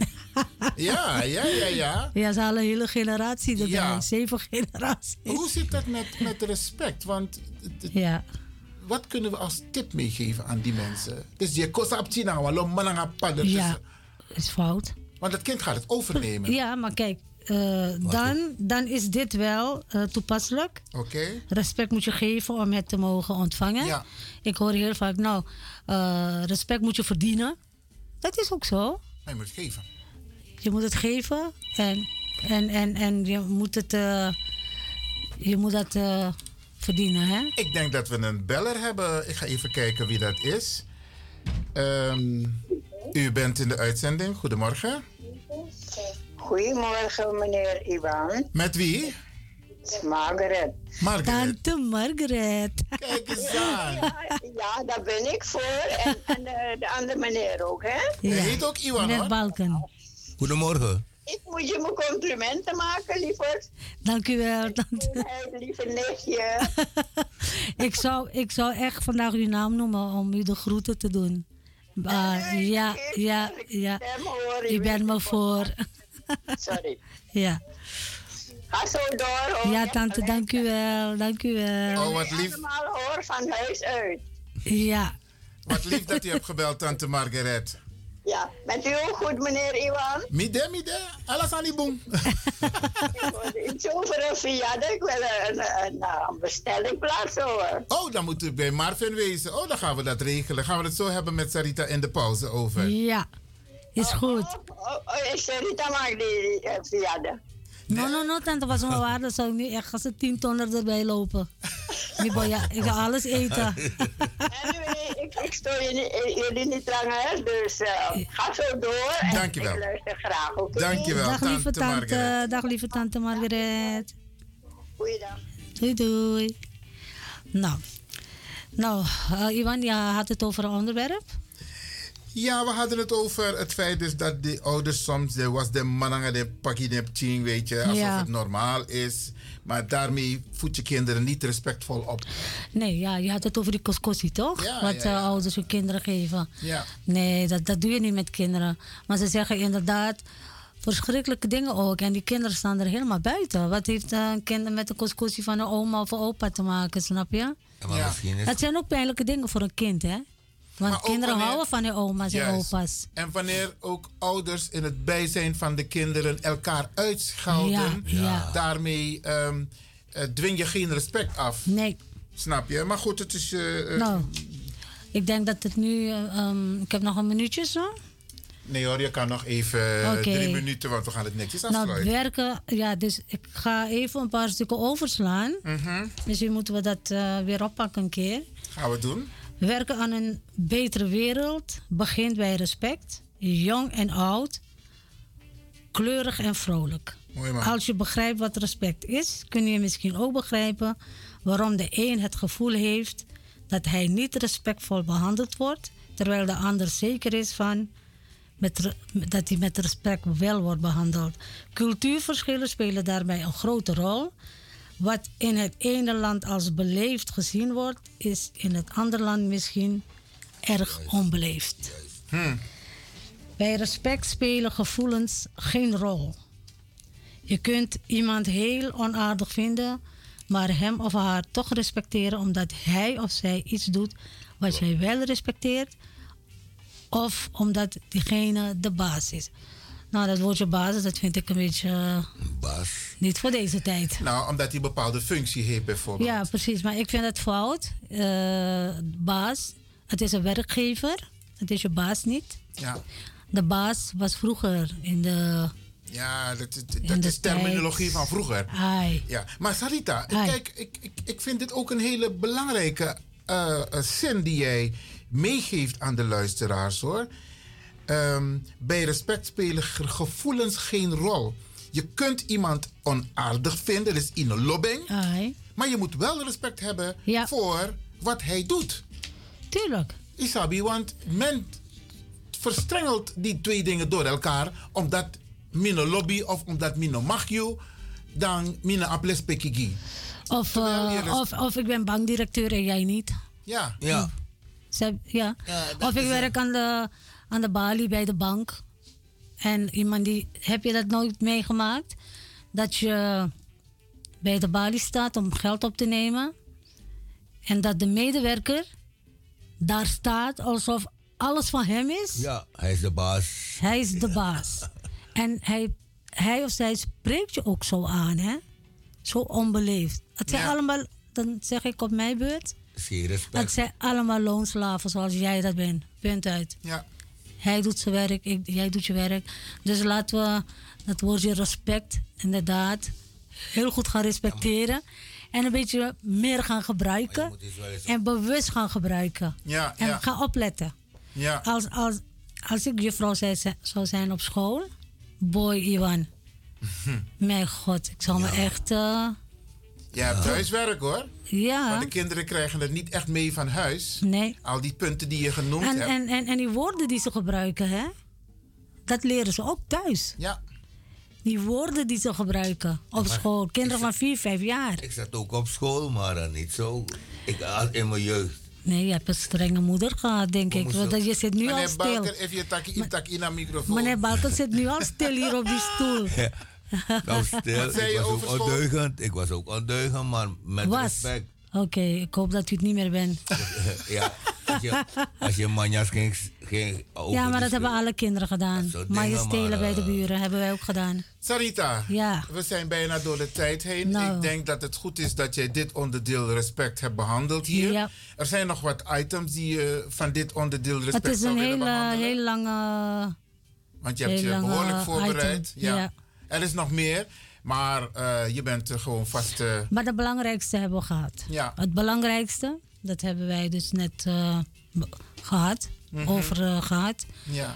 N: Ja, Ah, ja, ja, ja.
H: Ja, ze halen een hele generatie erbij.
N: Ja.
H: Zeven generaties.
N: Hoe zit dat met, met respect? Want het- het-
H: Ja.
N: wat kunnen we als tip meegeven aan die mensen? Dus je kost op China, walom mananga padden.
H: Ja, is fout.
N: Want dat kind gaat het overnemen.
H: Ja, maar kijk, eh, dan, dan is dit wel eh, toepasselijk.
N: Oké?
H: Respect moet je geven om het te mogen ontvangen. Ik hoor heel vaak, nou, eh, respect moet je verdienen. Dat is ook zo.
N: Hij moet het geven.
H: Je moet het geven en, en, en, en je moet het, eh, je moet dat eh, verdienen, hè?
N: Ik denk dat we een beller hebben. Ik ga even kijken wie dat is. Ehm, u bent in de uitzending. Goedemorgen.
R: Goedemorgen, meneer Iwan.
N: Met wie?
R: Margaret.
N: Margaret.
H: Tante Margaret.
N: Kijk eens
R: Ja, ja, daar ben ik voor. En, en de, de andere meneer ook, hè?
H: Meneer Balken.
Q: Goedemorgen.
R: Ik moet je mijn complimenten maken, lieverd.
H: Dank u wel, tante.
R: Hey, lieve nichtje.
H: ik, zou, ik zou echt vandaag uw naam noemen om u de groeten te doen. Ah, ja, ja, ja. U bent me voor.
R: Sorry.
H: ja.
R: Ga zo door. Hoor.
H: ja, tante, dank u wel. Dank u wel.
N: Oh,
R: Allemaal hoor van huis uit.
H: Ja.
N: Wat lief dat u hebt gebeld, tante Margaret.
R: Ja, bent u ook goed, meneer Iwan?
N: Mide, mide. Alles aan die boom.
R: Iets over een verjaardag. Ik wil een, een, een, Eh, nou, een bestelling plaatsen, hoor.
N: Oh, dan moet u bij Marvin wezen. Oh, dan gaan we dat regelen. Gaan we het zo hebben met Sarita in de pauze over.
H: Ja, is goed.
R: Oh, oh, is er niet aan mij die eh, verjaardag?
H: No, no, no, tante, was mijn waarde. Zou ik nu echt als een tientonner erbij lopen? Nee, boy, ja, ik ga alles eten.
R: Anyway, ik, ik stoor je niet- eh, jullie niet langer, hè, dus eh, ga zo door. En
N: Dankjewel.
R: Ik luister graag, oké?
N: Dankjewel,
H: Dag lieve
N: tante Margaret.
H: tante. Dag lieve tante Margaret.
R: Goeiedag.
H: Doei, doei. Nou, nou eh, Iwan, je had het over een onderwerp.
N: Ja, we hadden het over het feit dus dat de ouders soms, de was de mannen de pakkie de tien, weet je, alsof
H: Ja.
N: het normaal is. Maar daarmee voed je kinderen niet respectvol op.
H: Nee, ja, je had het over die koskossie, toch?
N: Ja,
H: Wat
N: ja,
H: eh,
N: ja.
H: ouders hun kinderen geven.
N: Ja.
H: Nee, dat, dat doe je niet met kinderen. Maar ze zeggen inderdaad verschrikkelijke dingen ook. En die kinderen staan er helemaal buiten. Wat heeft eh, een kind met de koskossie van een oma of een opa te maken, snap je?
Q: Ja, maar misschien is
H: Dat zijn ook pijnlijke dingen voor een kind, hè? Want
N: Maar ook
H: kinderen
N: wanneer-
H: houden van hun oma's en
N: Juist.
H: opa's.
N: En wanneer ook ouders in het bijzijn van de kinderen elkaar uitschelden,
H: Ja, ja.
N: daarmee ehm, eh, dwing je geen respect af.
H: Nee.
N: Snap je? Maar goed, het is. eh, eh,
H: Nou, ik denk dat het nu... eh, ehm, ik heb nog een minuutje zo.
N: Nee hoor, je kan nog even eh,
H: Oké.
N: drie minuten, want we gaan het netjes
H: Nou,
N: afsluiten.
H: werken, ja, dus ik ga even een paar stukken overslaan.
N: Mhm.
H: Misschien moeten we dat eh, weer oppakken een keer.
N: gaan we doen?
H: Werken aan een betere wereld begint bij respect, jong en oud, kleurig en vrolijk.
N: Mooi man.
H: Als je begrijpt wat respect is, kun je misschien ook begrijpen waarom de een het gevoel heeft dat hij niet respectvol behandeld wordt, terwijl de ander zeker is van met re- dat hij met respect wel wordt behandeld. Cultuurverschillen spelen daarbij een grote rol. Wat in het ene land als beleefd gezien wordt, is in het andere land misschien erg onbeleefd.
N: Hmm.
H: Bij respect spelen gevoelens geen rol. Je kunt iemand heel onaardig vinden, maar hem of haar toch respecteren omdat hij of zij iets doet wat jij wel respecteert, of omdat diegene de baas is. Nou, dat woordje baas, dat vind ik een beetje eh,
N: Bas.
H: niet voor deze tijd.
N: Nou, omdat hij een bepaalde functie heeft, bijvoorbeeld.
H: Ja, precies. Maar ik vind het fout. Eh, baas, het is een werkgever. Het is je baas niet.
N: Ja,
H: De baas was vroeger in de...
N: ja dat, is-
H: In
N: dat
H: de
N: is terminologie
H: tijd. Ah,
N: van vroeger.
H: Ai.
N: Ja, maar Sarita, kijk, ik, ik, ik vind dit ook een hele belangrijke eh, eh, zin die jij meegeeft aan de luisteraars hoor. Ehm, bij respect spelen ge- gevoelens geen rol. Je kunt iemand onaardig vinden, dat is in een lobbing. Maar je moet wel respect hebben voor wat hij doet.
H: Tuurlijk.
N: Isabi, want men verstrengelt die twee dingen door elkaar. Omdat mino lobby of omdat mino mag you, dan mino aples pekigi.
H: Of, eh, of, of ik ben bankdirecteur en jij niet.
N: dus- Ja.
Q: Ja.
H: Ze- ja. of ik werk aan de, aan de balie bij de bank. En iemand die... Heb je dat nooit meegemaakt? Dat je bij de balie staat om geld op te nemen. En dat de medewerker daar staat alsof alles van hem is.
Q: Ja, hij is de baas.
H: Hij is de baas. En hij, hij of zij spreekt je ook zo aan, hè? Zo onbeleefd. Het zijn allemaal, dan zeg ik op mijn beurt,
Q: Geen
H: het
Q: respect.
H: zijn allemaal loonslaven zoals jij dat bent. Punt uit.
N: Ja.
H: Hij doet zijn werk, ik, jij doet je werk. Dus laten we dat woordje respect inderdaad heel goed gaan respecteren. En een beetje meer gaan
N: Oh,
H: gebruiken. En bewust gaan gebruiken.
N: Ja,
H: en
N: ja.
H: ga opletten.
N: Ja.
H: Als, als, als ik juffrouw zou zijn- zou zijn op school, boy Iwan.
N: Hm.
H: Mijn god, ik zal me echt. eh,
N: Je hebt huiswerk hoor.
H: Ja.
N: Maar de kinderen krijgen het niet echt mee van huis.
H: Nee.
N: Al die punten die je genoemd
H: en,
N: hebt.
H: en, en, en die woorden die ze gebruiken, hè? Dat leren ze ook thuis.
N: Ja.
H: Die woorden die ze gebruiken op
Q: maar
H: school. Kinderen van 4, 5 jaar.
Q: Ik zat ook op school, maar dan niet zo. Ik had in mijn jeugd.
H: Nee, je hebt een strenge moeder gehad, denk ik.
Q: Kom eens
H: Want
Q: op.
H: je zit nu al
N: Meneer
H: stil.
N: Balker, even je takkie in takkie naar microfoon.
H: Meneer Balken zit nu al stil hier op die stoel.
Q: Nou, stil.
N: Wat zei
Q: Ik
N: je
Q: was ook
N: over school?
Q: ondeugend. Ik was ook ondeugend, maar met
H: Was. Oké,
Q: respect.
H: ik hoop dat u het niet meer bent.
Q: ja, als je, als je manjas ging, ging over
H: ja,
Q: de
H: maar dat hebben alle kinderen gedaan.
Q: soort
H: Maar je
Q: dingen,
H: stelen
Q: maar,
H: bij de
Q: eh,
H: buren hebben wij ook gedaan.
N: Sarita,
H: Ja. Nou.
N: we zijn bijna door de tijd heen. Ik denk dat het goed is dat jij dit onderdeel respect hebt behandeld hier. Er zijn nog wat items die je van dit onderdeel respect
H: Het is
N: zou
H: een
N: willen
H: hele,
N: behandelen.
H: hele lange.
N: Want je hebt
H: heel
N: je
H: lange
N: behoorlijk
H: item.
N: voorbereid. Ja.
H: Ja.
N: Er is nog meer, maar eh, je bent er gewoon vast. eh,
H: Maar het belangrijkste hebben we gehad.
N: Ja.
H: Het belangrijkste, dat hebben wij dus net eh, be- gehad.
N: Mhm.
H: Over eh, gehad.
N: ja.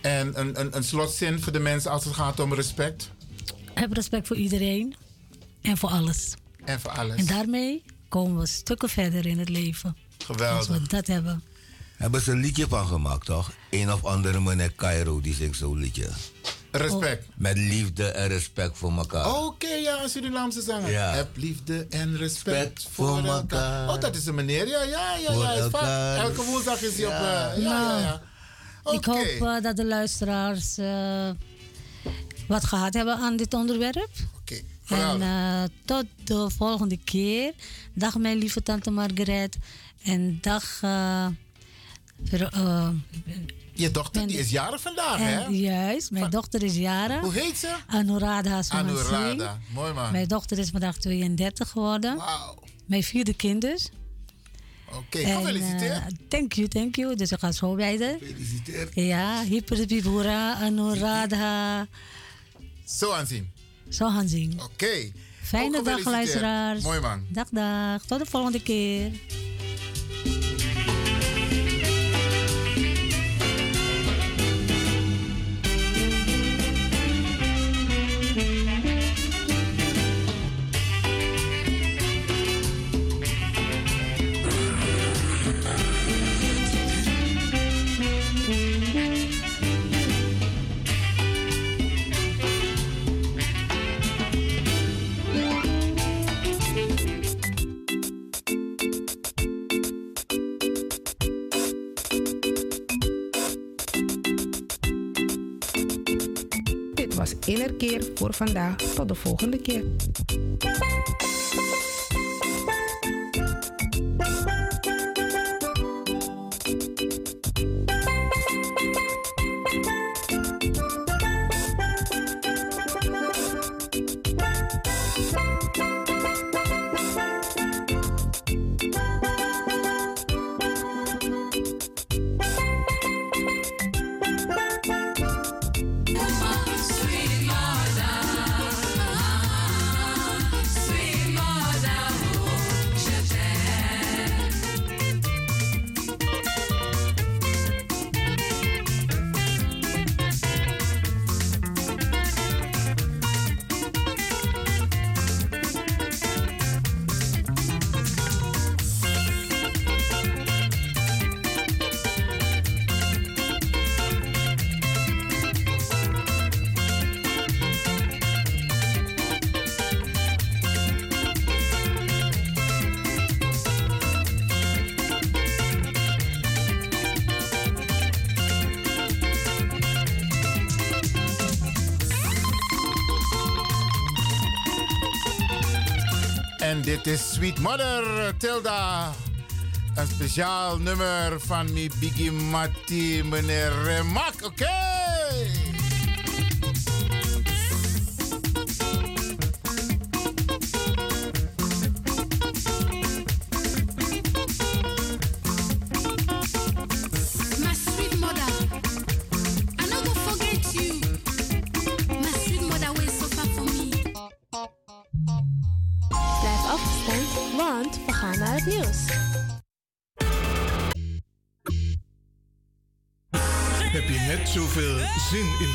N: En een, een, een slotzin voor de mensen als het gaat om respect.
H: Heb respect voor iedereen en voor alles.
N: En voor alles.
H: En daarmee komen we stukken verder in het leven. Als
N: Geweldig.
H: we dat hebben.
Q: hebben ze een liedje van gemaakt, toch? Een of andere meneer Cairo, die zingt zo'n liedje.
N: Respect.
H: Oh.
Q: Met liefde en respect voor elkaar.
N: Oké, ja, een Surinaamse zanger.
Q: Ja.
N: Heb liefde en respect voor,
Q: voor
N: elkaar.
Q: elkaar.
N: Oh, dat is een meneer. Ja, ja, ja.
Q: Voor
N: ja. is vaak-
Q: elkaar.
N: Elke woensdag is hij op...
Q: Ja.
N: eh, ja, ja,
E: Nou.
N: ja.
E: Ah. Ik hoop eh, dat de luisteraars eh, wat gehad hebben aan dit onderwerp.
N: Oké.
E: En eh, tot de volgende keer. Dag mijn lieve tante Margaret. En dag... eh, Ver- eh,
N: Je dochter die is jarig vandaag,
E: en-
N: hè?
E: Juist, mijn dochter is jaren.
N: Hoe heet ze?
E: Anuradha Sumansi.
N: Anuradha. Mooi man.
E: Mijn dochter is vandaag 32 geworden. Mijn vierde kind dus.
N: Oké,
E: En,
N: gefeliciteerd.
E: eh, thank you, thank you. Dus ik ga zo wijden.
N: Gefeliciteerd.
E: Ja, hyperbibura, anuradha.
N: Zo aanzien.
E: Zo gaan zien.
N: Oké.
E: Fijne
N: Ook
E: dag,
N: gefeliciteerd.
E: luisteraars.
N: Mooi man.
E: Dag, dag. Tot de volgende keer.
M: Dit was Innerkeer voor vandaag. Tot de volgende keer.
C: Sweet mother, sweet mother, oh, je t'aime.
N: En dit is Sweet Mother Tilda. Een speciaal nummer van mi Biggie Matti, meneer Remak. Oké.
C: My sweet mother, I no go forget you. My sweet mother will suffer for me.
O: Blijf afgestemd, want we gaan naar het nieuws.
A: Heb je net zoveel zin in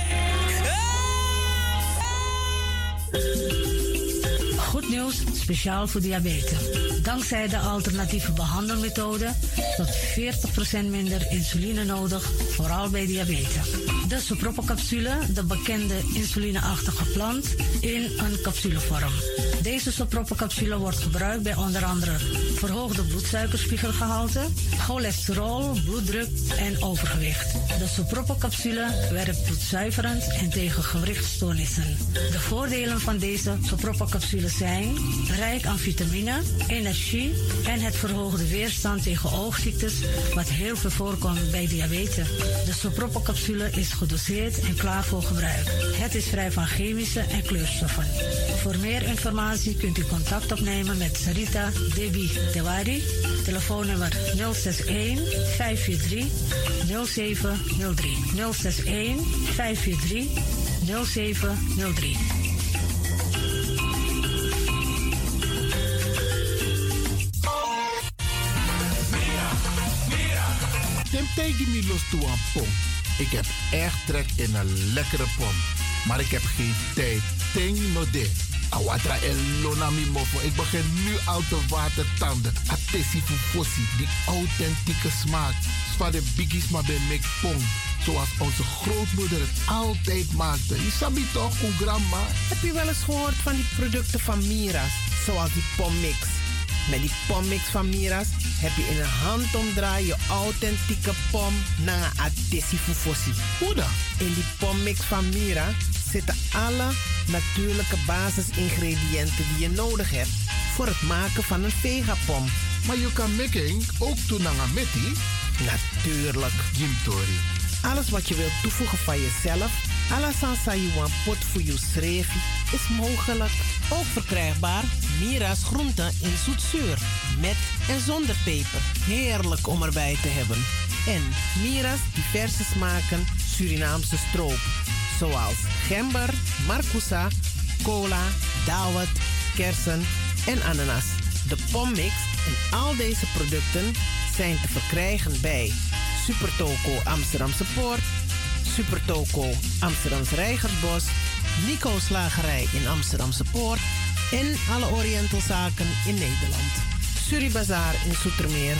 H: Goed nieuws, speciaal voor diabetes. Dankzij de alternatieve behandelmethode tot 40% minder insuline nodig, vooral bij diabetes. De soproppencapsule, de bekende insulineachtige plant, in een capsulevorm. Deze soproppencapsule wordt gebruikt bij onder andere verhoogde bloedsuikerspiegelgehalte, cholesterol, bloeddruk en overgewicht. De soproppencapsule werkt bloedzuiverend en tegen gewrichtstoornissen. De voordelen van deze soproppencapsule zijn zijn rijk aan vitamine, energie en het verhoogde weerstand tegen oogziektes, wat heel veel voorkomt bij diabetes. De sopropocapsule is gedoseerd en klaar voor gebruik. Het is vrij van chemische en kleurstoffen. Voor meer informatie kunt u contact opnemen met Sarita Debi Dewari, telefoonnummer 061 543 0703 061 543 0703.
E: Tim tegen me los toe aan pom. Ik heb echt trek in een lekkere pom. Maar ik heb geen tijd. Ting no de. Awatra elona mi mofo. Ik begin nu al te watertanden. Atesi fufosi. Die authentieke smaak. Zwaar de biggies maar bij mek pom. Zoals onze grootmoeder het altijd maakte. Je sabi toch, hoe grandma?
I: Heb je wel eens gehoord van die producten van Mira's? Zoals die pommix. Met die pommix van Mira's heb je in een handomdraai je authentieke pom na atesi fufosi. Hoe dan? In die pommix van Mira zitten alle natuurlijke basisingrediënten die je nodig hebt voor het maken van een vegapom.
E: Maar je kan making ook doen aan metti?
I: Natuurlijk.
E: Jim Tori.
I: Alles wat je wilt toevoegen van jezelf, alles aan je one pot voor je schreef, is mogelijk.
S: Ook verkrijgbaar Mira's groenten in zoetzuur. Met en zonder peper. Heerlijk om erbij te hebben.
I: En Mira's diverse smaken Surinaamse stroop. Zoals gember, marcousa, cola, dawet, kersen en ananas. De pommix en al deze producten zijn te verkrijgen bij Supertoco Amsterdamse Poort, Supertoco Amsterdamse Rijgersbos,
S: Nico Slagerij in Amsterdamse Poort. En alle Orientalzaken in Nederland.
I: Suribazaar in Soetermeer,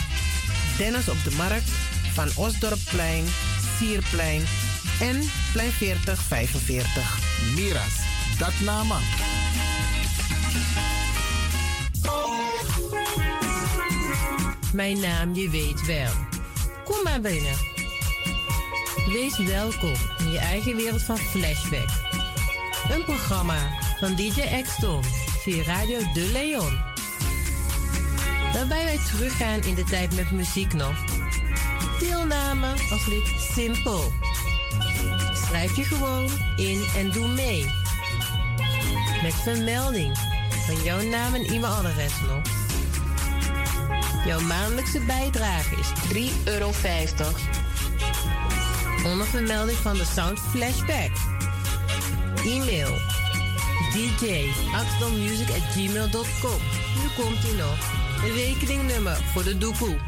I: Dennis op de Markt, Van Osdorpplein, Sierplein en Plein 4045.
E: Mira's, dat nama.
K: Mijn naam, je weet wel. Kom maar binnen. Wees welkom in je eigen wereld van Flashback. Een programma van DJ Exton via Radio De Leon. Waarbij wij teruggaan in de tijd met muziek nog. Deelname als lid simpel. Schrijf je gewoon in en doe mee. Met vermelding van jouw naam en e-mailadres nog. Jouw maandelijkse bijdrage is 3,50 euro. Onder vermelding van de Sound Flashback. E-mail djaxdommusic.gmail.com Nu komt ie nog. Een rekeningnummer voor de doekoe.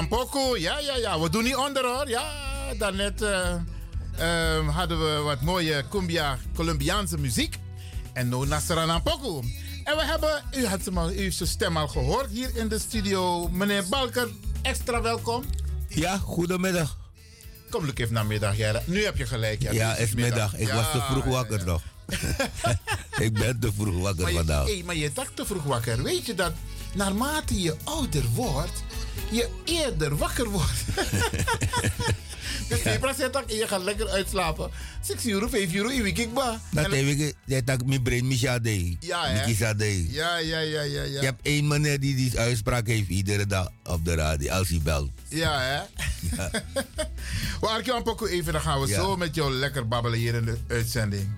N: Tampoco, ja, ja, ja. We doen niet onder hoor. Ja, daarnet eh, ehm, hadden we wat mooie cumbia, Colombiaanse muziek. En no Nasra Nampoku. En we hebben, u, had hem al, u heeft zijn stem al gehoord hier in de studio. Meneer Balker, extra welkom.
Q: Ja, goedemiddag.
N: Kom, Luc, even namiddag. Ja, nu heb je gelijk. Ja,
Q: Ja,
N: nu
Q: is middag. Ik
N: Ja,
Q: was te vroeg wakker nog. ik ben te vroeg wakker
N: Maar je,
Q: vandaag.
N: hey, maar je dacht te vroeg wakker. Weet je dat naarmate je ouder wordt, je eerder wakker wordt? dus je procent en je gaat lekker uitslapen. 6 euro, 5 euro, in week ba.
Q: Dat heb ik, dat heb ik mijn brain Mishadei.
N: Ja, hè?
Q: Mishadei.
N: Ja, ja, ja, ja,
Q: Je
N: ja.
Q: hebt één meneer die die uitspraak heeft iedere dag op de radio, als hij belt.
N: Ja, hè? We Arkie Ampoku even, dan gaan we
Q: Ja.
N: zo met jou lekker babbelen hier in de uitzending.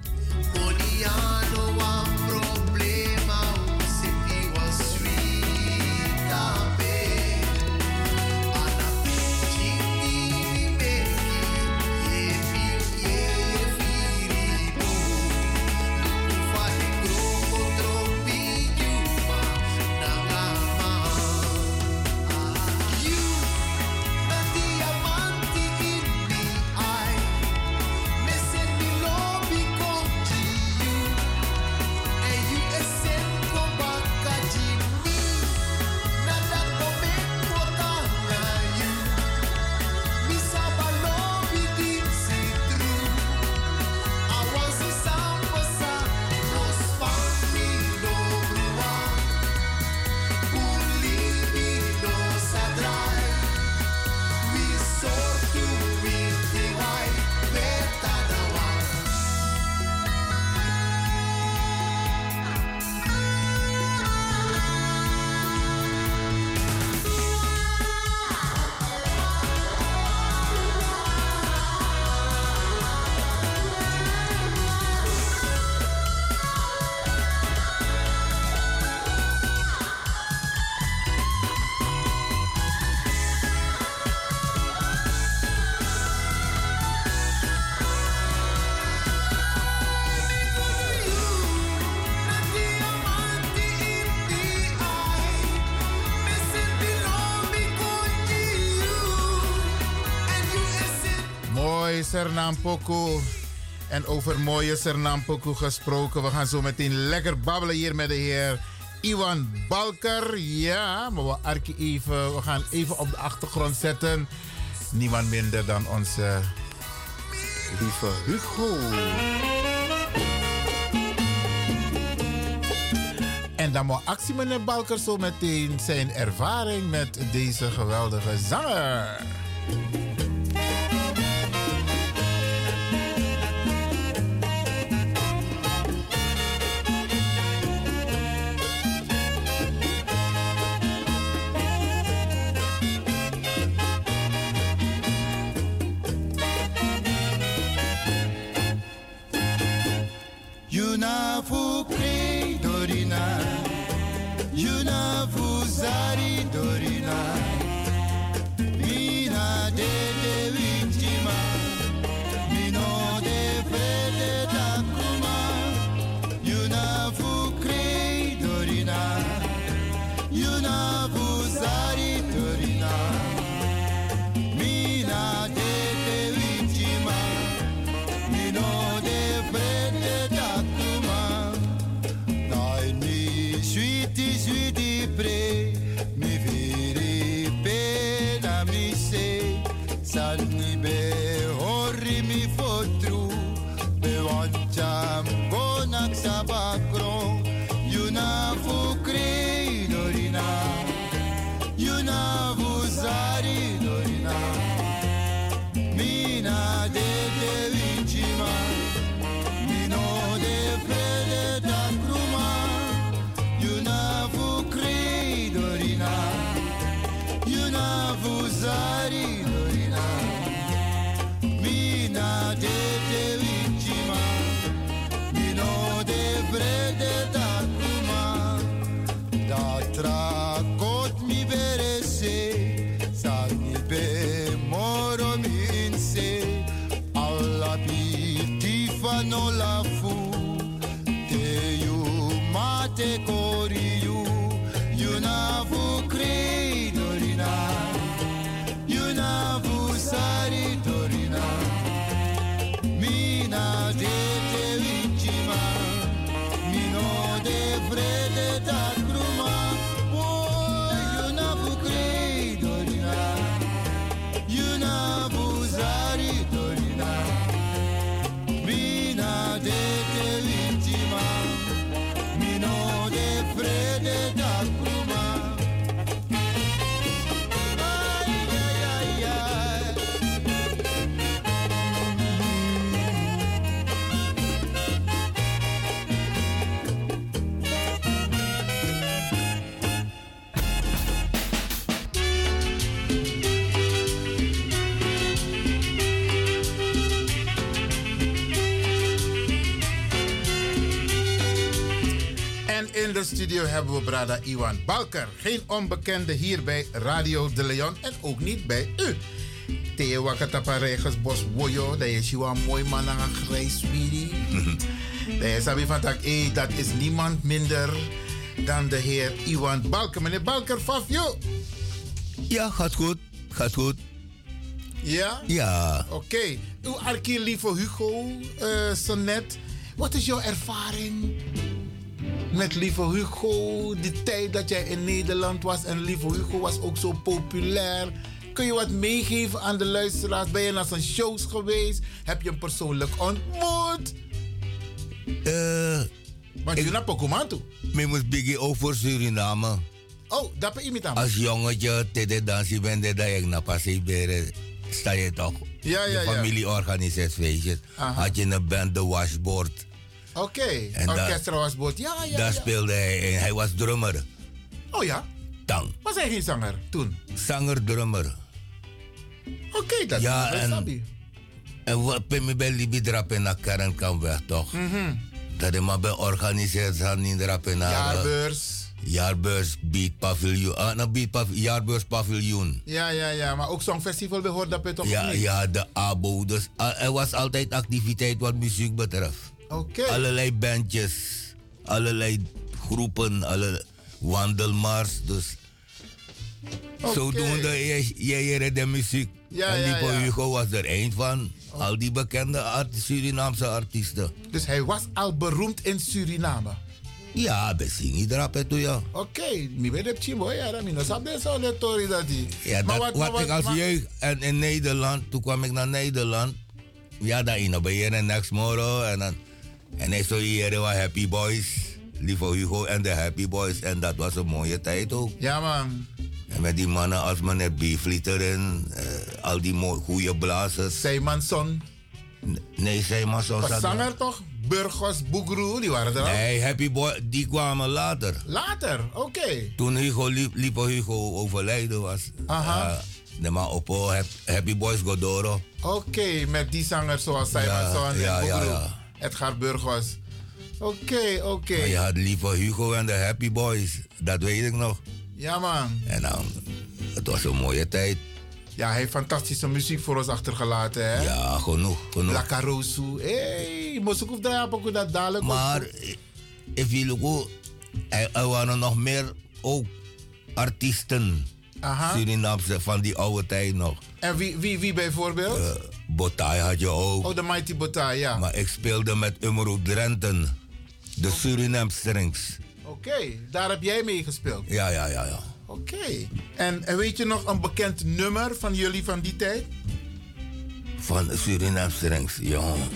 N: Mooi Sernampoku. En over mooie Sernampoku gesproken. We gaan zo meteen lekker babbelen hier met de heer Iwan Balker. Ja, maar we, Arkie even, we gaan even op de achtergrond zetten. Niemand minder dan onze lieve Hugo. En dan moet actie meneer Balker zo meteen zijn ervaring met deze geweldige zanger.
T: You na fu pre dorina. You na fu zari dorina. Mina de de wintima. Mino de fede takuma. You na fu cre dorina. You na fu zari dorina. Mina de de wintima. Mino de vende takuma Dai mi suiti suiti pre Mi viri pena mi se Sanni be horri mi fotru Be wancam bonak sabakro Yuna fu crei dorina Yuna fu zari dorina Mina de te vincima, mino de fede da cruma, iuna vu cridorina, iuna vu zaridorina. Mina de te vincima, mino de fede da cruma, da tracot mi verese, sa mi be moro mi inse, alla pi tifano la fu, te iu mate cori iu, iu na fu credorina,
U: vrede dat prima. Ai, ai, ai, ai.
N: En in de studio hebben we Brada Iwan Balker. Geen onbekende hier bij Radio de Leon en ook niet bij u. Theo Wakatapa Regers Bos Woyo, dat is jouw mooi man aan een grijs spiri. Dat is Abi van Tak, eh, dat is niemand minder dan de heer Iwan Balker. Meneer Balker, Fafio.
Q: Ja, gaat goed. Gaat goed.
N: Ja?
Q: Ja.
N: Oké. Uw arkie lieve Hugo eh Sonnet. Wat is jouw ervaring met lieve Hugo? De tijd dat jij in Nederland was en lieve Hugo was ook zo populair. Kun je wat meegeven aan de luisteraars? Ben je naar zijn shows geweest? Heb je hem persoonlijk ontmoet?
Q: Eh.
N: Want je naar Pokémon toe.
Q: Me moest biggie over Suriname.
N: Oh, dat ben je met hem.
Q: Als jongetje, tede dansie ben dat ik nou, naar passie beren. eh, Sta je toch?
N: Ja, ja,
Q: de
N: ja.
Q: familie organiseert feestjes.
N: Aha.
Q: Had je een band, de Washboard.
N: Oké,
Q: En dat-
N: orkestra was boord. Ja, ja,
Q: Daar
N: ja.
Q: speelde hij in. Hij was drummer.
N: Oh ja?
Q: Tang.
N: Was hij geen zanger toen?
Q: Zanger, drummer.
N: Oké, dat
Q: ja,
N: dat snap je.
Q: en, en wat ben je bij Libi drapen naar Karen kan weg, toch?
N: Mhm.
Q: Dat hij maar bij organiseert, zal niet drapen naar... eh,
N: Jaarbeurs.
Q: Jaarbeurs, Beat Paviljoen. Ah, nou, Beat Pav- Jaarbeurs Paviljoen.
N: Ja, ja, ja. Maar ook Songfestival behoort dat bij toch
Q: Ja,
N: niet?
Q: ja, de ABO. Dus ah, er was altijd activiteit wat muziek betreft.
N: Oké.
Q: Allerlei bandjes, allerlei groepen, alle wandelmars. Dus zodoende jij jij leerde de muziek.
N: Ja,
Q: en
N: ja,
Q: Nico
N: ja.
Q: Hugo was er één van. Al die bekende art Surinaamse artiesten.
N: Dus hij was al beroemd in Suriname.
Q: Ja, we zingen erop en toe, ja.
N: Oké, mi ben de chimbo, ja, dat minder snap dat zo, dat tori dat die.
Q: Ja, dat, wat, ik als jeugd en in Nederland, toen kwam ik naar Nederland. Ja, dan in bij hier en next morgen. En dan en ik zo hier eh, wat Happy Boys. Lieve Hugo en de Happy Boys. En dat was een mooie tijd ook.
N: Ja, man.
Q: En met die mannen als meneer Bieflieter en eh, al die mooie, goede blazers.
N: Seymanson.
Q: Nee, Seymanson
N: Was
Q: zat
N: zanger toch? Burgos, Boegroe, die waren er al.
Q: Nee, Happy Boy, die kwamen later.
N: Later, oké.
Q: Toen Hugo liep, liep Hugo overlijden was.
N: Aha.
Q: eh, de man op oh, Hap- Happy Boys Godoro.
N: Oké, met die zangers zoals
Q: Ja,
N: Seymanson
Q: ja,
N: en
Q: ja,
N: Boegroe.
Q: ja.
N: Edgar Burgos. Oké, oké.
Q: Maar je had liever Hugo en de Happy Boys. Dat weet ik nog.
N: Ja, man.
Q: En dan, het was een mooie tijd.
N: Ja, hij heeft fantastische muziek voor ons achtergelaten, hè?
Q: Ja, genoeg, genoeg.
N: La Caruso. Hé, moest ik hoef daar ook dat dadelijk
Q: Maar if je look, oh, er, er waren nog meer ook artiesten.
N: Aha.
Q: Surinaamse van die oude tijd nog.
N: En wie, wie, wie bijvoorbeeld?
Q: Eh, Botai had je ook.
N: oh, de Mighty Botai, ja.
Q: Maar ik speelde met Umro Drenten. De
N: Oh.
Q: Suriname Strings.
N: Oké, daar heb jij mee gespeeld.
Q: Ja, ja, ja, ja.
N: Oké. En, en weet je nog een bekend nummer van jullie van die tijd?
Q: Van de Suriname Strings, jongen.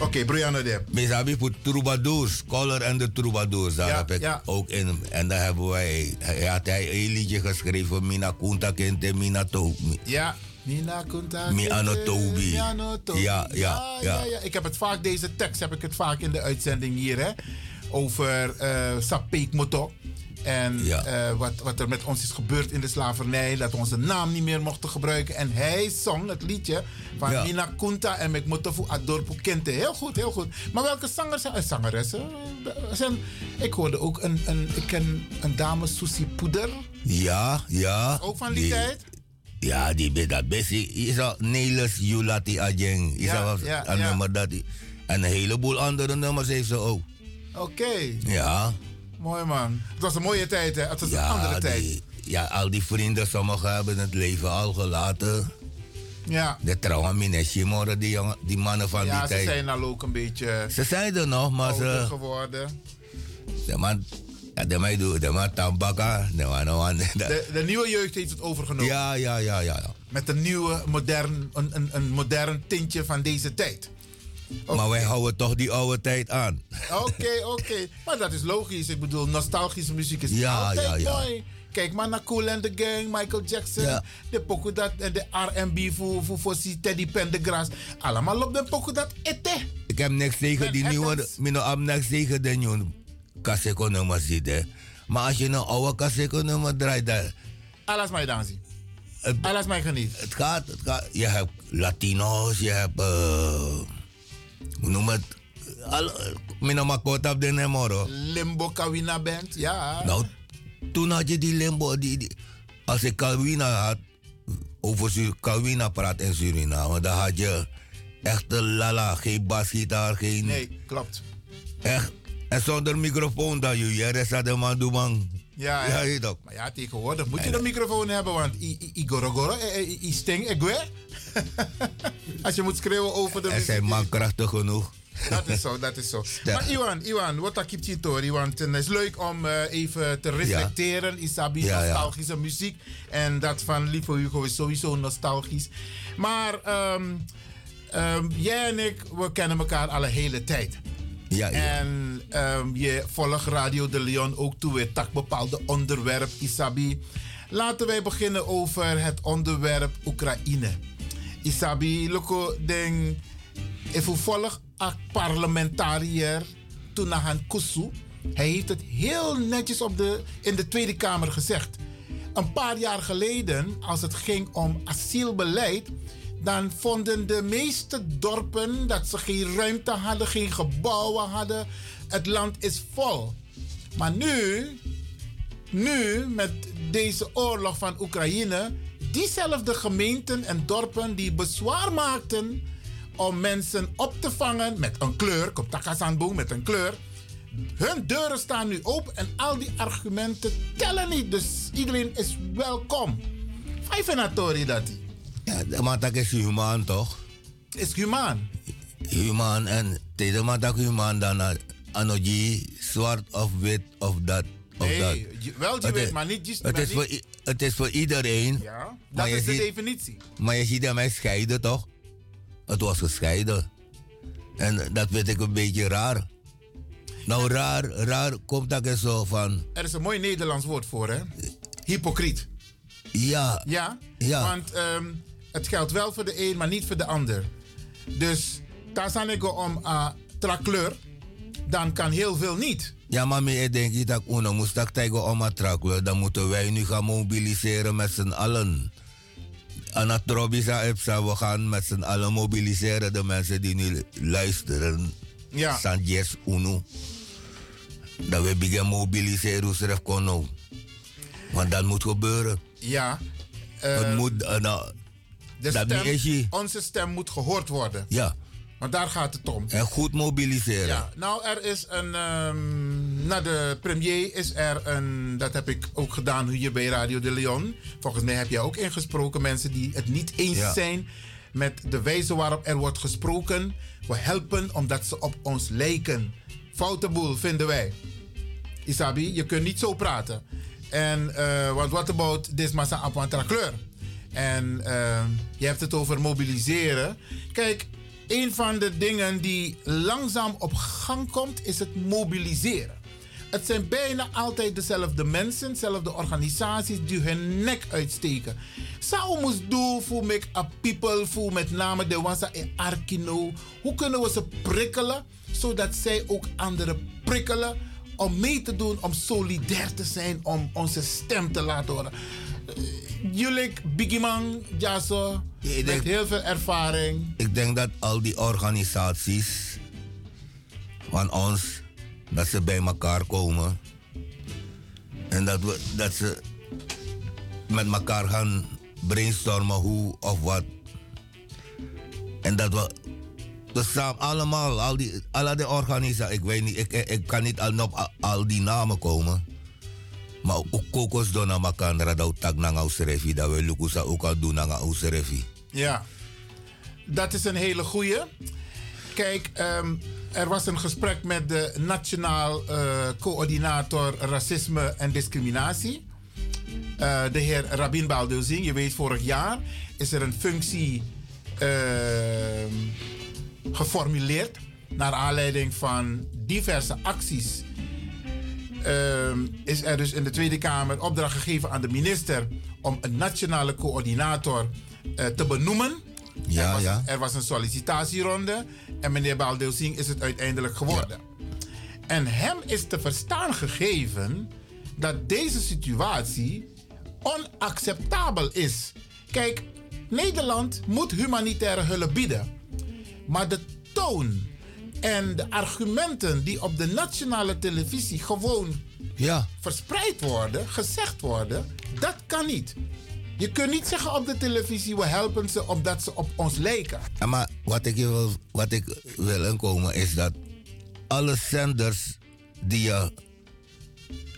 N: Oké, Brianna de.
Q: Misabi voor troubadours, Collar en de troubadours, daar heb ik ook in. En daar hebben wij, hij had hij een liedje geschreven, Mina Kunta Kente, Mina To. Mi-
N: Ja. Nina Kunta.
Q: Mi ano Tobi.
N: Mi ano Tobi.
Q: Ja, ja,
N: ja,
Q: ja.
N: ja. Ik heb het vaak, deze tekst heb ik het vaak in de uitzending hier, hè. Over eh Sapik Moto. En eh, wat, wat er met ons is gebeurd in de slavernij. Dat we onze naam niet meer mochten gebruiken. En hij zong het liedje van
Q: Ja.
N: Nina Kunta en Mek Motofu Adorpu Kente. Heel goed, heel goed. Maar welke zangers zijn, eh, zangeressen? eh, Zijn, ik hoorde ook een, een, ik ken een dame, Susie Poeder.
Q: Ja, ja.
N: Ook van die tijd?
Q: Ja, die ben dat best. Is al Nelis Julati Ajeng. Is
N: Ja,
Q: al
N: ja,
Q: een
N: ja.
Q: nummer dat die- En een heleboel andere nummers heeft ze ook.
N: Oké.
Q: Ja.
N: Mooi man. Het was een mooie tijd, hè? Het was een andere tijd.
Q: die- ja, al die vrienden, sommigen hebben het leven al gelaten.
N: Ja,
Q: De trouwen, Mine Shimora, die, jongen, die mannen van
N: ja
Q: die
N: ze
Q: tijd.
N: zijn Oh, al ook een beetje
Q: Ze zijn er nog, maar
N: ouder
Q: ze...
N: geworden.
Q: De man, ja, de man doet, de man tambaka, de man, de man-
N: De, de nieuwe jeugd heeft het overgenomen.
Q: Ja, ja, ja, ja. ja.
N: Met een nieuwe, modern, een, een, een modern tintje van deze tijd.
Q: Maar wij houden toch die oude tijd aan.
N: Oké, oké. Maar dat is logisch. Ik bedoel, nostalgische muziek is
Q: Ja,
N: altijd
Q: ja, ja.
N: mooi. Kijk maar naar Cool and the Gang, Michael Jackson, de pokoe dat en de R&B voor voor voor si Teddy Pendergrass. Allemaal op de pokoe dat ete.
Q: Ik heb niks tegen die nieuwe, mino am niks tegen de nieuwe kaseko nummer ziet, hè. Maar als je een oude kaseko nummer draait, dan...
N: Alles mij dansen. Alles mij genieten.
Q: Het gaat, het gaat. Je hebt Latino's, je hebt, eh, hoe noem het? Al, mino makot op de nemoro.
N: Limbo Kawina Band, ja.
Q: Nou, toen had je die limbo. Die, die- als ik Calwina had, over Sur Calwina praat in Suriname, dan had je echte lala. Geen basgitaar, geen.
N: Nee, klopt.
Q: Echt. En zonder microfoon dan, joh. Je rest had de man doe man.
N: Ja,
Q: Ja,
N: ja.
Q: je toch.
N: Maar ja, tegenwoordig moet je de microfoon hebben, want i- i- i gorogoro, eh, eh, i sting, ik weet. Als je moet schreeuwen over de
Q: En
N: muziek.
Q: zijn man krachtig genoeg.
N: Dat is zo, dat is zo.
Q: Ja.
N: Maar Iwan, Iwan, wat dat kiept je door, Iwan? Het is leuk om eh, even te reflecteren. Isabi,
Q: Ja, ja.
N: nostalgische muziek. En dat van Lieve Hugo is sowieso nostalgisch. Maar ehm, ehm, jij en ik, we kennen elkaar al een hele tijd.
Q: Ja,
N: En ehm, je volgt Radio de Leon ook toe weer tak bepaalde onderwerp, Isabi. Laten wij beginnen over het onderwerp Oekraïne. Isabi, loko ding... Even volg een parlementariër Tunahan Kusu. Hij heeft het heel netjes op de, in de Tweede Kamer gezegd. Een paar jaar geleden, als het ging om asielbeleid, dan vonden de meeste dorpen dat ze geen ruimte hadden, geen gebouwen hadden. Het land is vol. Maar nu, nu met deze oorlog van Oekraïne, diezelfde gemeenten en dorpen die bezwaar maakten om mensen op te vangen met een kleur, komt Takasanboom met een kleur. Hun deuren staan nu open en al die argumenten tellen niet. Dus iedereen is welkom. Vijf en atori dat die.
Q: Ja, de man dat is humaan toch?
N: Is humaan.
Q: Humaan en tegen de man dat humaan dan eh, anogee, zwart of wit of dat. Of
N: Nee,
Q: dat.
N: je- wel die
Q: Het
N: weet,
Q: is-
N: maar niet die-
Q: het,
N: maar
Q: is voor,
N: niet-
Q: i- het is voor iedereen.
N: Ja,
Q: maar
N: dat
Q: je
N: is de
Q: ziet-
N: definitie.
Q: Maar je ziet hem mij scheiden toch? Het was gescheiden. En dat vind ik een beetje raar. Nou, raar, raar komt dat eens zo van.
N: Er is een mooi Nederlands woord voor, hè? Hypocriet.
Q: Ja.
N: Ja?
Q: Ja.
N: Want ehm, het geldt wel voor de een, maar niet voor de ander. Dus daar zijn ik om uh, trakleur. Dan kan heel veel niet.
Q: Ja, maar meer, ik denk niet dat Uno moest dat tegen oma trakken. Dan moeten wij nu gaan mobiliseren met z'n allen. Anatrobisa Epsa, we gaan met z'n allen mobiliseren. De mensen die nu luisteren.
N: Ja.
Q: San yes Uno. Dat we beginnen mobiliseren, hoe ze dat konden. Want dat moet gebeuren.
N: Ja.
Q: Het moet, eh, nou,
N: De
Q: dat
N: stem-
Q: niet is je.
N: onze stem moet gehoord worden.
Q: Ja.
N: Want daar gaat het om.
Q: Ya. En goed mobiliseren.
N: Ja, nou, er is een. ehm na de premier is er een. Dat heb ik ook gedaan hier bij Radio de Leon. Volgens mij heb jij ook ingesproken mensen die het niet eens
B: Ja.
N: zijn met de wijze waarop er wordt gesproken. We helpen omdat ze op ons lijken. Foute boel, vinden wij. Isabi, je kunt niet zo praten. En, eh, want what about this massa apwantra kleur? En eh, je hebt het over mobiliseren. Kijk, een van de dingen die langzaam op gang komt, is het mobiliseren. Het zijn bijna altijd dezelfde mensen, dezelfde organisaties die hun nek uitsteken. Sao moest doen voor make a people, voor met name de Wansa en Arkino. Hoe kunnen we ze prikkelen, zodat zij ook anderen prikkelen om mee te doen, om solidair te zijn, om onze stem te laten horen. Eh, Jullie, Biggie Man, Jaso, met heel veel ervaring.
Q: Ik denk dat al die organisaties van ons, dat ze bij elkaar komen. En dat, we, dat ze met elkaar gaan brainstormen hoe of wat. En dat we dus samen allemaal, al die, alle de organisaties, ik weet niet, ik, ik, ik kan niet al, op al, al die namen komen. Maar ook kokos doen aan elkaar, dat we tak naar ons refi, dat we lukusa ook al doen naar ons refi.
N: Ja, dat is een hele goeie. Kijk, ehm, er was een gesprek met de Nationaal eh, Coördinator Racisme en Discriminatie. Eh, de heer Rabin Baldeuzin. Je weet, vorig jaar is er een functie ehm, geformuleerd naar aanleiding van diverse acties. Ehm, is er dus in de Tweede Kamer opdracht gegeven aan de minister om een nationale coördinator eh, te benoemen.
Q: Ja,
N: er, was,
Q: ja.
N: er was een sollicitatieronde en meneer Baldew Singh is het uiteindelijk geworden. En hem is te verstaan gegeven dat deze situatie onacceptabel is. Kijk, Nederland moet humanitaire hulp bieden. Maar de toon en de argumenten die op de nationale televisie gewoon verspreid worden, gezegd worden, dat kan niet. Je kunt niet zeggen op de televisie, we helpen ze omdat ze op ons lijken.
Q: Ja, maar wat ik, je wil, wat ik wil inkomen is dat alle zenders die je.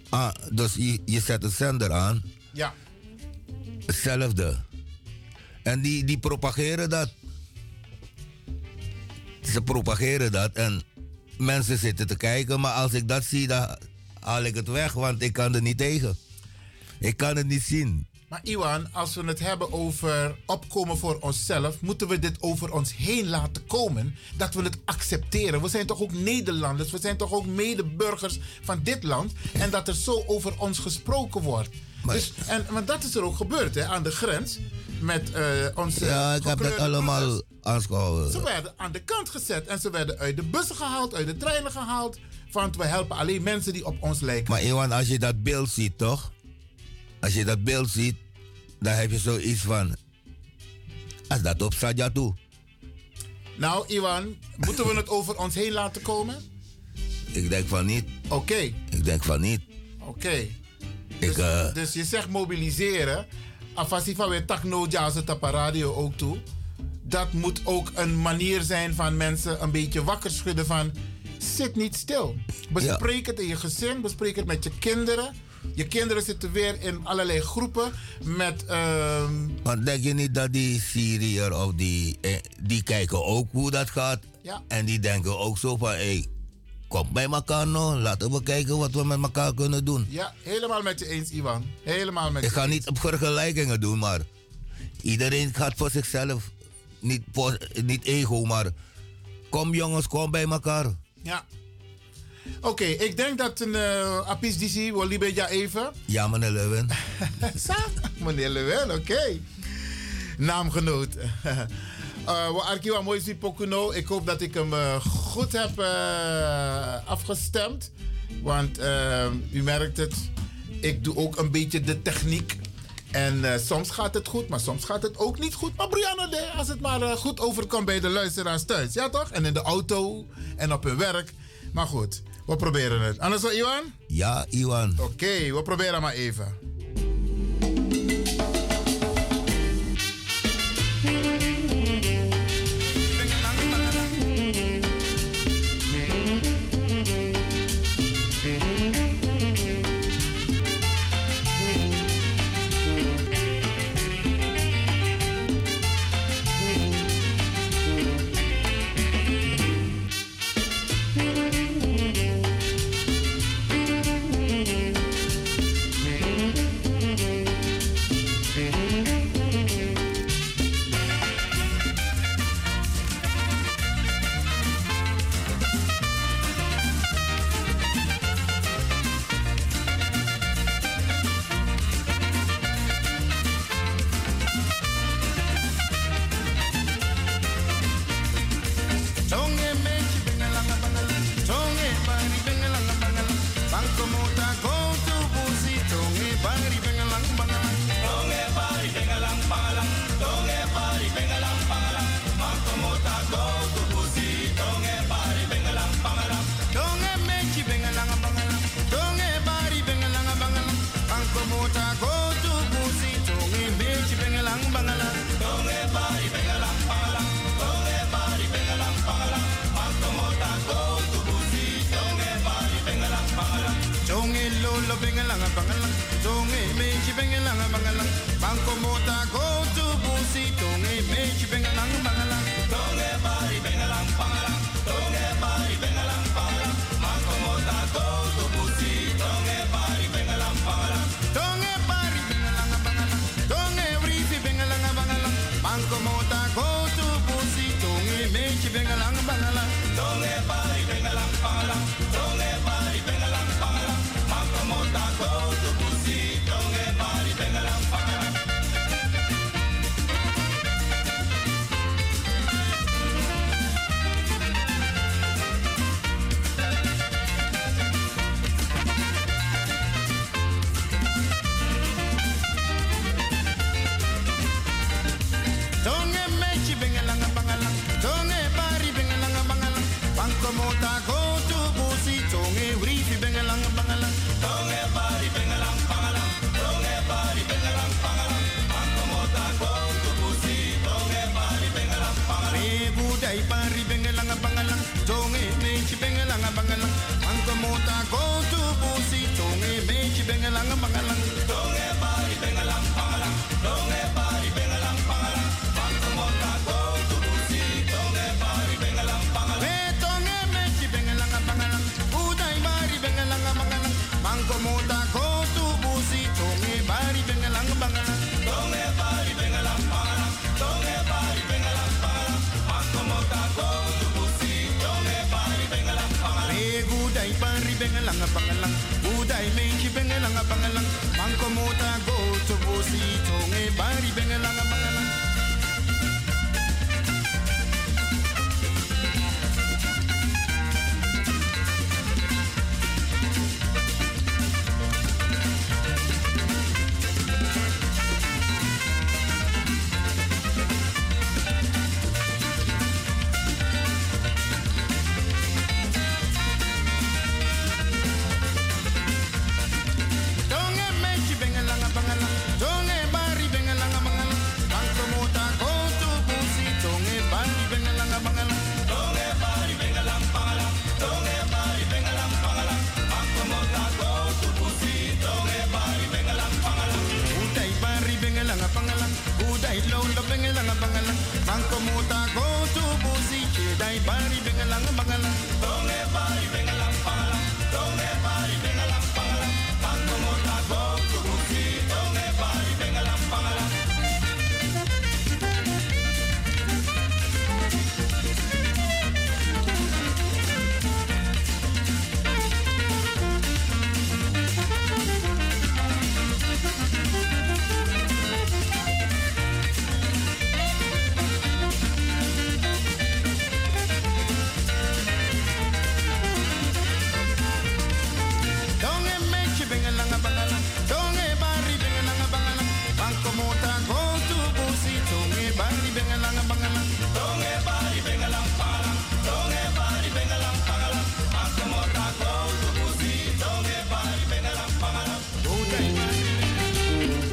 Q: Ah, dus je, je zet een zender aan,
N: Ja,
Q: hetzelfde. En die, die propageren dat. Ze propageren dat en mensen zitten te kijken, maar als ik dat zie, dan haal ik het weg, want ik kan er niet tegen. Ik kan het niet zien.
N: maar Iwan, als we het hebben over opkomen voor onszelf, moeten we dit over ons heen laten komen. Dat we het accepteren. We zijn toch ook Nederlanders, we zijn toch ook medeburgers van dit land. En dat er zo over ons gesproken wordt. Dus, en, want dat is er ook gebeurd hè, aan de grens met eh, onze.
Q: Ja, ik heb dat
N: gekleurde
Q: allemaal
N: broeders. Ze
Q: aanschouwen.
N: werden aan de kant gezet en ze werden uit de bussen gehaald, uit de treinen gehaald. Want we helpen alleen mensen die op ons lijken.
Q: Maar Iwan, als je dat beeld ziet, toch? Als je dat beeld ziet, dan heb je zoiets van. Als dat op Sadia toe.
N: Nou, Iwan, moeten we het over ons heen laten komen?
Q: Ik denk van niet.
N: Oké,
Q: Ik denk van niet.
N: oké.
Q: Ik, eh,
N: Dus je zegt mobiliseren. Afasi van weer takno jazz het op een radio ook toe. Dat moet ook een manier zijn van mensen een beetje wakker schudden van... Zit niet stil. Bespreek het in je gezin, bespreek het met je kinderen. Je kinderen zitten weer in allerlei groepen met... ehm,
Q: want denk je niet dat die Syriër of die. eh, die kijken ook hoe dat gaat.
N: Ja.
Q: En die denken ook zo van: hé, kom bij elkaar nou, laten we kijken wat we met elkaar kunnen doen.
N: ja, helemaal met je eens, Iwan. Helemaal met
Q: Ik
N: je
Q: ga niet op vergelijkingen doen, maar iedereen gaat voor zichzelf. Niet, voor, niet ego, maar kom jongens, kom bij elkaar.
N: Ja. Oké, ik denk dat een eh apis DC, Walibe, ja even.
Q: Ja, meneer Lewin.
N: Sa? Meneer Lewin, oké. Naamgenoot. Eh, We Arkiwa Moisi Pokuno. nou. Ik hoop dat ik hem eh, goed heb eh, afgestemd. Want eh, u merkt het, ik doe ook een beetje de techniek. En eh, soms gaat het goed, maar soms gaat het ook niet goed. Maar Brianna, de- als het maar eh, goed overkomt bij de luisteraars thuis. Ja toch? En in de auto en op hun werk. Maar goed, we proberen het. Anders wel, Iwan?
Q: Ja, Iwan.
N: Oké, we proberen maar even.
U: Tonge mechi bengalanga bangala, tonge bari bengalanga bangala, banco mota go to busi, tonge bari bengalanga bangala, tonge bari bengalanga bangala, tonge bari bengalanga bangala, banco mota go to busi, tonge bari bengalanga bangala, tonge mechi bengalanga bangala, tonge bari bengalanga bangala, banco mota go to busi, tonge mechi bengalanga bangala, tonge bari bengalanga bangala. Tonge lolo bengalanga bangalang, tonge meji bengalanga bangalang, banco mota go to busi, tonge meji bengalanga bangalang, tonge bari bengalang bangalang, tonge bari bengalang bangalang, banco mota go to busi, tonge bari bengalang bangalang, tonge bari bengalanga bangalang, tonge brisi bengalanga bangalang, banco mota go to busi, tonge meji bengalanga bengelang bangalang. Donge bari bengelang bangalang. Donge bari bengelang bangalang. Bantu mota go to busi. Donge bari bengelang bangalang. Me donge mechi bengelang bangalang. Udai bari bengelang bangalang. Bantu mota go to busi. Donge bari bengelang bangalang. Donge bari bengelang bangalang. Donge bari bengelang bangalang. Bantu mota go to busi. Donge bari bengelang bangalang. Me gudai bari bengelang bangalang. Budai menchi bengelanga bangalang. Manko mota go to busi tonge bari bengelanga bangalang. Donge menchi bengelanga bangalang. Donge bari bengelanga bangalang. Manko mota go to busi tonge bari bengelanga bangalang. Tonge bari bengelang bangalang. Tonge bari bengelang bangalang. Manko mota go to busi tonge bari bengelang bangalang. Budai bari bengelanga bangalang. Budai lolo bengelanga bangalang. Manko mota go to busi chedai bari bengelanga bangalang. Tonge bari bengelang bangalang. Tonge bari bengelang bangalang. Manko mota go to busi tonge bari bengelang bangalang. Donge mechi bengelanga bangalang. Donge bari bengelanga bangalang. Banko mota go to busi. Donge bari bengelanga bangalang. Donge bari bengelang bangalang. Donge bari bengelang bangalang. Banko mota go to busi. Donge bari bengelang bangalang. Donge bari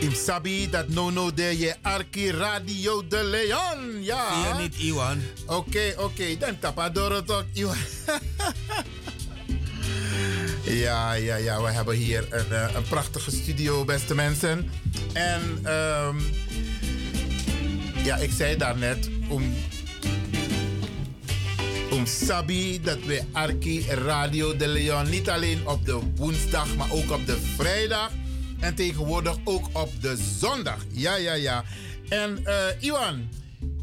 N: Im Sabi dat no no de je Arki Radio de Leon. Ja.
Q: Zie je niet, Iwan?
N: Oké, oké. Dan tapadoro toch, Iwan. ja, ja, ja. We hebben hier een, eh, een prachtige studio, beste mensen. En ehm, ja, ik zei daarnet om, om Sabi dat we Arki Radio de Leon niet alleen op de woensdag, maar ook op de vrijdag. En tegenwoordig ook op de zondag. Ja, ja, ja. En eh, Iwan,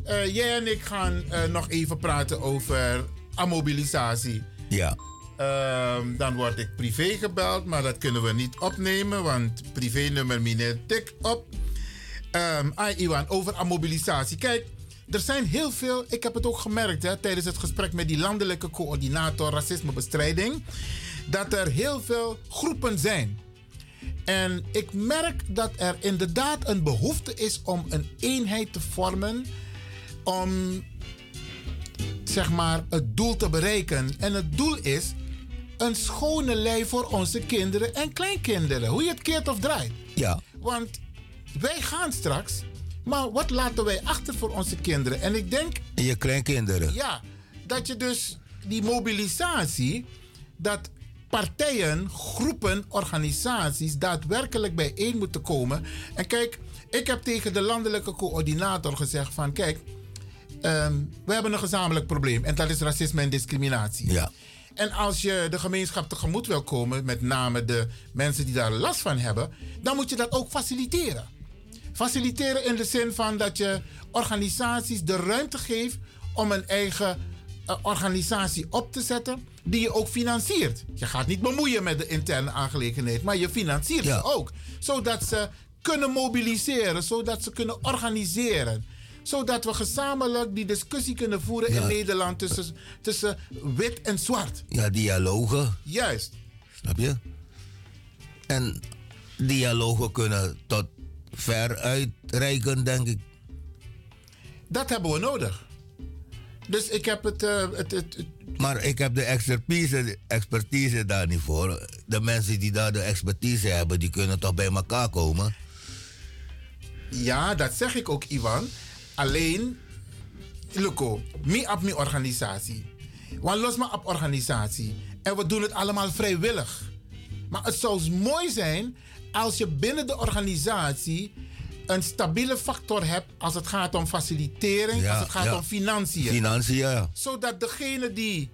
N: eh, jij en ik gaan eh, nog even praten over ammobilisatie.
Q: Ja.
N: Ehm, dan word ik privé gebeld, maar dat kunnen we niet opnemen, want privé-nummer meneer tik op. Ehm ah, Iwan, over ammobilisatie. Kijk, er zijn heel veel, ik heb het ook gemerkt hè, tijdens het gesprek met die landelijke coördinator racismebestrijding, dat er heel veel groepen zijn. En ik merk dat er inderdaad een behoefte is om een eenheid te vormen om zeg maar, het doel te bereiken. En het doel is een schone lei voor onze kinderen en kleinkinderen. Hoe je het keert of draait.
Q: Ja.
N: Want wij gaan straks, maar wat laten wij achter voor onze kinderen? En ik denk
Q: En je kleinkinderen.
N: ja, dat je dus die mobilisatie, dat partijen, groepen, organisaties daadwerkelijk bijeen moeten komen. En kijk, ik heb tegen de landelijke coördinator gezegd van kijk, ehm, we hebben een gezamenlijk probleem en dat is racisme en discriminatie.
Q: Ja.
N: En als je de gemeenschap tegemoet wil komen, met name de mensen die daar last van hebben, dan moet je dat ook faciliteren. Faciliteren in de zin van dat je organisaties de ruimte geeft om een eigen eh, organisatie op te zetten die je ook financiert. Je gaat niet bemoeien met de interne aangelegenheid, maar je financiert ze ook. Zodat ze kunnen mobiliseren, zodat ze kunnen organiseren. Zodat we gezamenlijk die discussie kunnen voeren
Q: Ja.
N: in Nederland tussen, tussen wit en zwart.
Q: Ja, dialogen.
N: Juist.
Q: Snap je? En dialogen kunnen tot ver uitreiken, denk ik.
N: Dat hebben we nodig. Dus ik heb het. eh, het, het, het-
Q: Maar ik heb de expertise, expertise daar niet voor. De mensen die daar de expertise hebben, die kunnen toch bij elkaar komen.
N: ja, dat zeg ik ook, Ivan. Alleen, Luco, mi op mi organisatie. Want los maar op organisatie. En we doen het allemaal vrijwillig. Maar het zou mooi zijn als je binnen de organisatie een stabiele factor hebt als het gaat om facilitering,
Q: Ja,
N: als het gaat
Q: ja.
N: om financiën.
Q: Financiën, ja.
N: Zodat degene die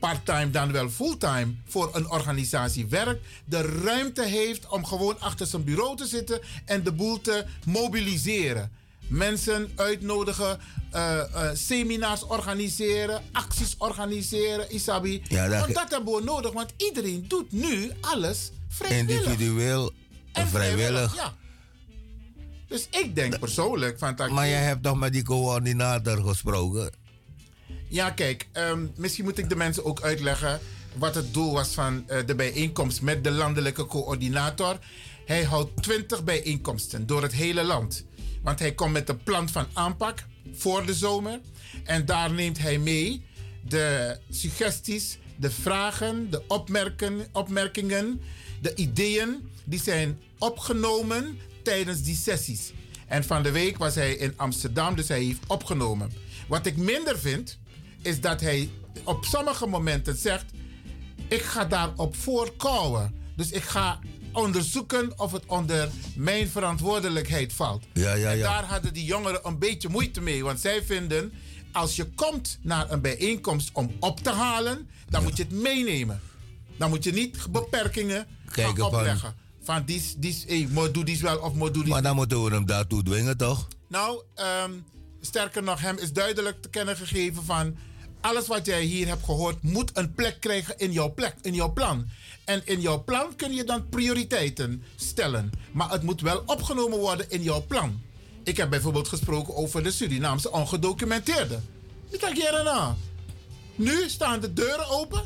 N: part-time dan wel fulltime voor een organisatie werkt, de ruimte heeft om gewoon achter zijn bureau te zitten en de boel te mobiliseren. Mensen uitnodigen, eh, eh, seminars organiseren, acties organiseren, Isabi.
Q: Ja, dat-
N: want dat hebben we nodig, want iedereen doet nu alles vrijwillig.
Q: Individueel en vrijwillig.
N: Ja. Dus ik denk persoonlijk van... dat-
Q: Maar jij hebt toch met die coördinator gesproken?
N: Ja, kijk, ehm, misschien moet ik de mensen ook uitleggen wat het doel was van eh, de bijeenkomst met de landelijke coördinator. Hij houdt 20 bijeenkomsten door het hele land. Want hij komt met een plan van aanpak voor de zomer. En daar neemt hij mee de suggesties, de vragen, de opmerken, opmerkingen, de ideeën die zijn opgenomen tijdens die sessies. En van de week was hij in Amsterdam, dus hij heeft opgenomen. Wat ik minder vind, is dat hij op sommige momenten zegt: Ik ga daarop voorkouwen. Dus ik ga onderzoeken of het onder mijn verantwoordelijkheid valt.
Q: Ja, ja,
N: En
Q: ja.
N: daar hadden die jongeren een beetje moeite mee. Want zij vinden, als je komt naar een bijeenkomst om op te halen, dan moet je het meenemen. Dan moet je niet beperkingen
Q: Kijken
N: gaan
Q: van-
N: opleggen. Van, die, die, hey, moet doe die wel of moet doe die
Q: Maar dan moeten we hem daartoe dwingen, toch?
N: nou, ehm, sterker nog, hem is duidelijk te kennen gegeven van... alles wat jij hier hebt gehoord moet een plek krijgen in jouw plek, in jouw plan. En in jouw plan kun je dan prioriteiten stellen. Maar het moet wel opgenomen worden in jouw plan. Ik heb bijvoorbeeld gesproken over de Surinaamse ongedocumenteerden. Ik kijk hier naar. Nu staan de deuren open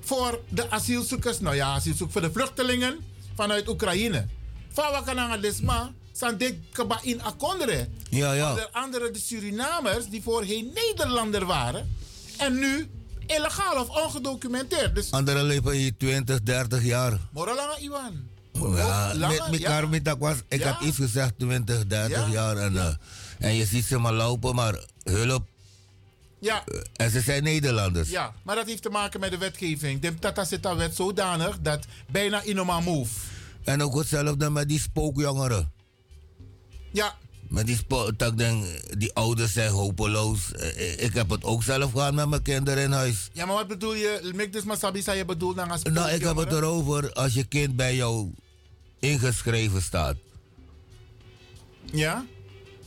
N: voor de asielzoekers, nou ja, asielzoekers, voor de vluchtelingen vanuit Oekraïne. Van Wakananga Desma, Sandek Kaba in Akondre.
Q: Ja, ja.
N: Onder andere de Surinamers die voorheen Nederlander waren en nu illegaal of ongedocumenteerd. Dus
Q: Anderen leven hier 20, 30 jaar.
N: Moralanga Iwan.
Q: Ja,
N: Oh, langer,
Q: met
N: ja.
Q: elkaar met dat was. Ik
N: Ja.
Q: heb iets gezegd, 20, 30 jaar. En, eh, en je ziet ze maar lopen, maar hulp.
N: Ja,
Q: En ze zijn Nederlanders.
N: ja, maar dat heeft te maken met de wetgeving. De Tata Sita wet zodanig dat bijna inoma move.
Q: En ook hetzelfde met die spookjongeren.
N: Ja.
Q: Met die spook, dat ik denk, die ouders zijn hopeloos. Eh, eh, Ik heb het ook zelf gehad met mijn kinderen in huis.
N: Ja, maar wat bedoel je? Mik dus Masabi zei je bedoelt naar een
Q: Nou, ik heb het erover als je kind bij jou ingeschreven staat.
N: Ja?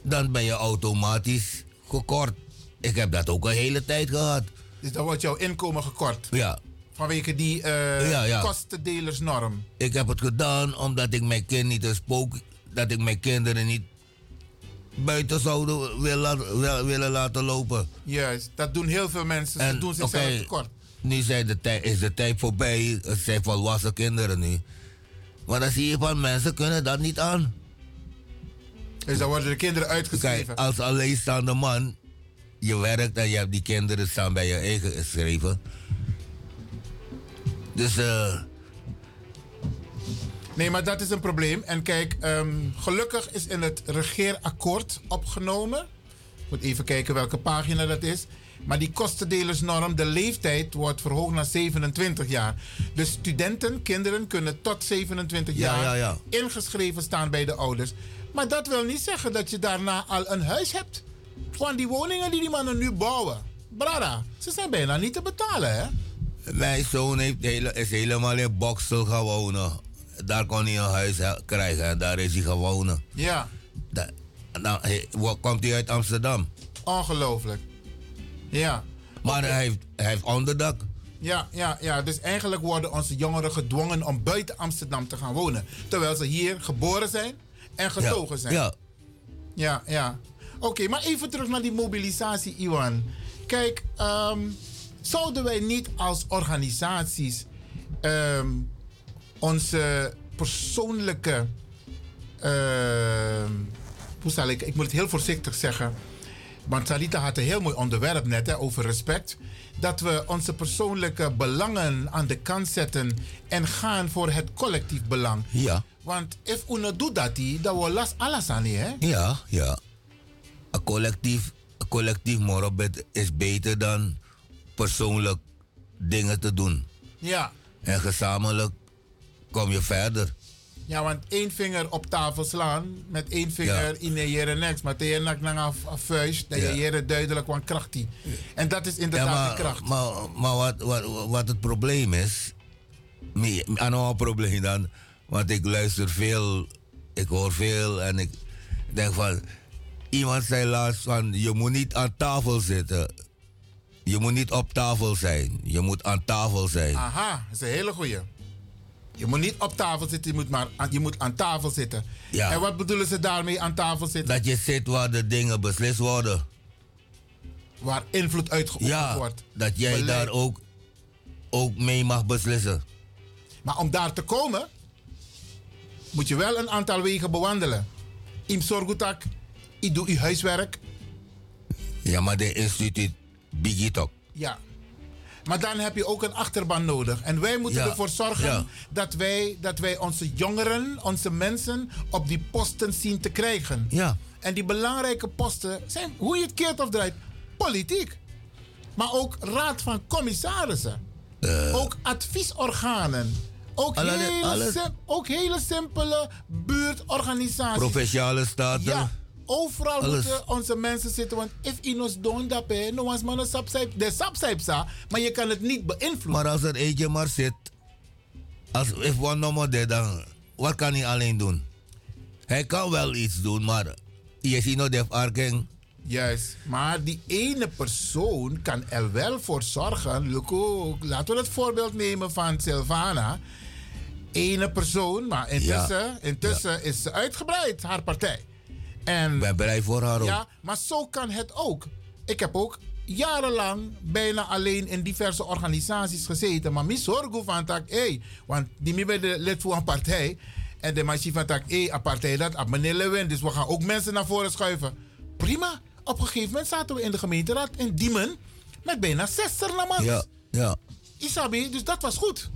Q: Dan ben je automatisch gekort. Ik heb dat ook een hele tijd gehad.
N: Dus dan wordt jouw inkomen gekort?
Q: Ja.
N: Vanwege die eh,
Q: Ja, ja.
N: kostendelersnorm.
Q: Ik heb het gedaan omdat ik mijn kind niet een spook... Dat ik mijn kinderen niet buiten zouden wil la- wil- willen laten lopen.
N: Juist, dat doen heel veel mensen. Ze
Q: En,
N: doen zichzelf
Q: oké,
N: tekort.
Q: Nu zijn de tij- is de tijd voorbij. Het zijn volwassen kinderen nu. Maar dan zie je van mensen kunnen dat niet aan.
N: Dus dan worden de kinderen uitgeschreven.
Q: Kijk, als alleenstaande man, je werkt en je hebt die kinderen staan bij je eigen geschreven. Dus eh,
N: Nee, maar dat is een probleem. En kijk, ehm, gelukkig is in het regeerakkoord opgenomen. Ik moet even kijken welke pagina dat is. Maar die kostendelersnorm, de leeftijd wordt verhoogd naar 27 jaar. Dus studenten, kinderen kunnen tot 27
Q: Ja,
N: jaar
Q: ja, ja.
N: ingeschreven staan bij de ouders. Maar dat wil niet zeggen dat je daarna al een huis hebt. Gewoon die woningen die die mannen nu bouwen. Brada, ze zijn bijna niet te betalen, hè?
Q: mijn zoon heeft hele, is helemaal in Boksel gewonnen. Daar kon hij een huis he- krijgen en daar is hij gewonnen.
N: Ja.
Q: dan, hij- wo- komt hij uit Amsterdam.
N: Ongelooflijk. Ja.
Q: Maar hij, heeft, hij heeft onderdak.
N: Ja, ja, ja. Dus eigenlijk worden onze jongeren gedwongen om buiten Amsterdam te gaan wonen. Terwijl ze hier geboren zijn en getogen zijn.
Q: Ja.
N: Ja, ja. Oké, maar even terug naar die mobilisatie, Iwan. Kijk, ehm, zouden wij niet als organisaties ehm, onze persoonlijke. ehm, hoe zal ik? Ik moet het heel voorzichtig zeggen. Want Salita had een heel mooi onderwerp net hè, over respect. Dat we onze persoonlijke belangen aan de kant zetten en gaan voor het collectief belang.
Q: Ja.
N: Want if uno doet dat, die, dan wordt las alles aan je, hè?
Q: Ja, ja. Een collectief, een collectief morobed is beter dan persoonlijk dingen te doen.
N: Ja,
Q: En gezamenlijk kom je verder.
N: ja, want één vinger op tafel slaan met één vinger in de jere niks. Maar tegen nak naar een vuist, dat je
Q: Ja.
N: jere duidelijk wat kracht die. En dat is inderdaad
Q: maar,
N: de kracht.
Q: Maar, maar wat, wat, wat het probleem is, nee, aan een probleem dan, want ik luister veel, ik hoor veel en ik denk van, iemand zei laatst van, je moet niet aan tafel zitten. Je moet niet op tafel zijn, je moet aan tafel zijn.
N: Aha, dat is een hele goeie. Je moet niet op tafel zitten, je moet, maar aan, je moet aan tafel zitten.
Q: Ja.
N: En wat bedoelen ze daarmee aan tafel zitten?
Q: Dat je zit waar de dingen beslist worden.
N: Waar invloed uitgeoefend
Q: ja,
N: wordt.
Q: dat jij
N: Beleid.
Q: daar ook, ook mee mag beslissen.
N: Maar om daar te komen, moet je wel een aantal wegen bewandelen. Im sorgutak, ik doe uw huiswerk.
Q: Ja, maar de instituut Bigitok.
N: Ja. Maar dan heb je ook een achterban nodig. En wij moeten
Q: Ja,
N: ervoor zorgen
Q: ja.
N: dat, wij, dat wij onze jongeren, onze mensen op die posten zien te krijgen.
Q: Ja.
N: En die belangrijke posten zijn, hoe je het keert of draait, politiek. Maar ook raad van commissarissen. ook adviesorganen. Ook,
Q: Alle-
N: hele,
Q: Eh. alle-
N: sim- ook hele simpele buurtorganisaties.
Q: Provinciale staten.
N: Ja, overal
Q: Alles.
N: moeten onze mensen zitten. Want if inos doen dat, eh, no one's man subsype. De subsype sa, maar je kan het niet beïnvloeden.
Q: Maar als er eentje maar zit, als if one no more dead, dan wat kan hij alleen doen? Hij kan wel iets doen, maar je ziet nou nog de arking.
N: Juist, maar die ene persoon kan er wel voor zorgen. Luco, laten we het voorbeeld nemen van Silvana. Ene persoon, maar intussen, intussen is ze uitgebreid, haar partij. En
Q: ben blij voor haar ook.
N: Ja, maar zo kan het ook. Ik heb ook jarenlang bijna alleen in diverse organisaties gezeten. Maar mijn zorgen van tak, hey, want die mij bij de lid voor een partij. En de machine van tak, hey, een partij dat, op meneer Lewin. Dus we gaan ook mensen naar voren schuiven. Prima. Op een gegeven moment zaten we in de gemeenteraad in Diemen met bijna 60 namens.
Q: Ja, ja.
N: Isabi, dus dat was goed.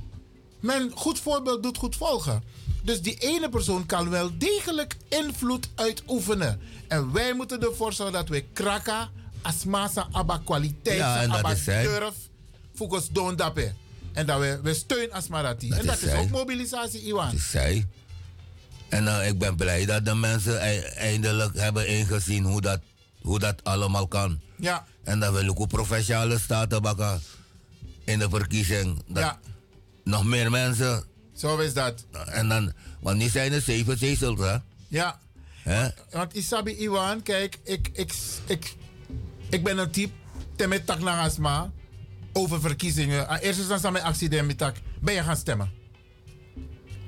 N: Men goed voorbeeld doet goed volgen. Dus die ene persoon kan wel degelijk invloed uitoefenen. En wij moeten ervoor zorgen dat we kraka, asmasa, abba kwaliteit,
Q: Ja, en dat
N: abba
Q: is zij.
N: durf, focus don dape. En dat we, we steun asmarati.
Q: Dat
N: en dat
Q: is
N: is,
Q: zij.
N: ook mobilisatie, Iwan.
Q: Dus zij. En eh, ik ben blij dat de mensen ei- eindelijk hebben ingezien hoe dat, hoe dat allemaal kan.
N: Ja,
Q: En dat we ook professionele staten bakken in de verkiezing. Dat
N: Ja.
Q: Nog meer mensen. Nou,
N: Zo is dat.
Q: En dan, want nu zijn er zeven zetels, hè?
N: ja.
Q: Hè?
N: Want Isabi Iwan, kijk, ik, ik, ik, ik ben een type, temet tak naar asma, over verkiezingen. Aan Eerst is dan mijn actie de met tak. Ben je gaan stemmen?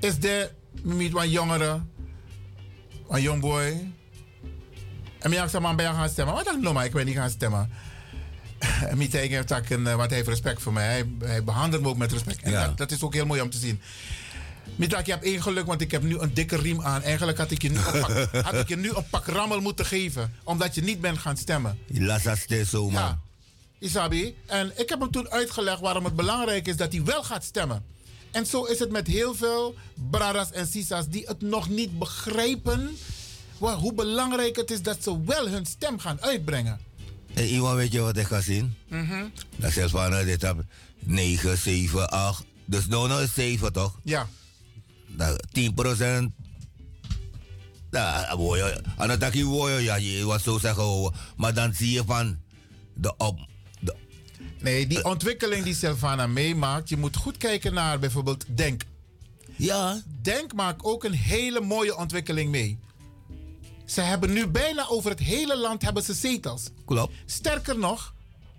N: Is de met wat jongeren, een jong boy. En mijn actie man, ben je gaan stemmen? Wat dan nou maar, ik ben niet gaan stemmen. En mijn teken heeft tak een, eh, want hij heeft respect voor mij. Hij, hij behandelt me ook met respect. En dat, dat is ook heel mooi om te zien. Mitak, je hebt één geluk, want ik heb nu een dikke riem aan. Eigenlijk had ik je nu een pak, had ik je nu een pak rammel moeten geven, omdat je niet bent gaan stemmen.
Q: Lassa Steso, man.
N: Ja. Isabi. En ik heb hem toen uitgelegd waarom het belangrijk is dat hij wel gaat stemmen. En zo is het met heel veel bradas en sisas die het nog niet begrijpen wa- hoe belangrijk het is dat ze wel hun stem gaan uitbrengen.
Q: En iemand weet je wat ik ga zien? Dat is van eh, dit heb 9, 7, 8. Dus nou nou is 7 toch?
N: Ja.
Q: Dat 10 procent. Ja, wou je- en dat ik je, ja, je wat zo zeggen. wou- Maar dan zie je van de op. De,
N: Nee, die ontwikkeling die Silvana meemaakt, je moet goed kijken naar bijvoorbeeld Denk.
Q: Ja.
N: Denk maakt ook een hele mooie ontwikkeling mee. Ze hebben nu bijna over het hele land hebben ze zetels.
Q: Klopt.
N: Sterker nog,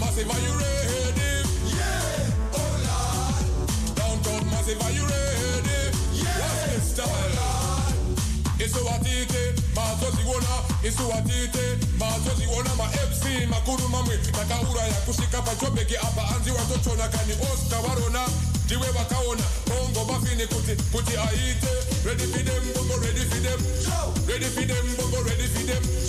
V: Massive, are you ready? Yeah, oh Lord. Downtown Massive, are you ready? Yeah, What's the style? It's what it is, my zozi wona. It's what it is, my zozi wona. My FC, my guru mamwe. Takaura ya kushika pa chobeki apa anzi watochona kani Oscar warona. Diwe wakaona, bongo bafini kuti, kuti aite. Ready for them, bongo ready for them. Ready for them, bongo ready for them.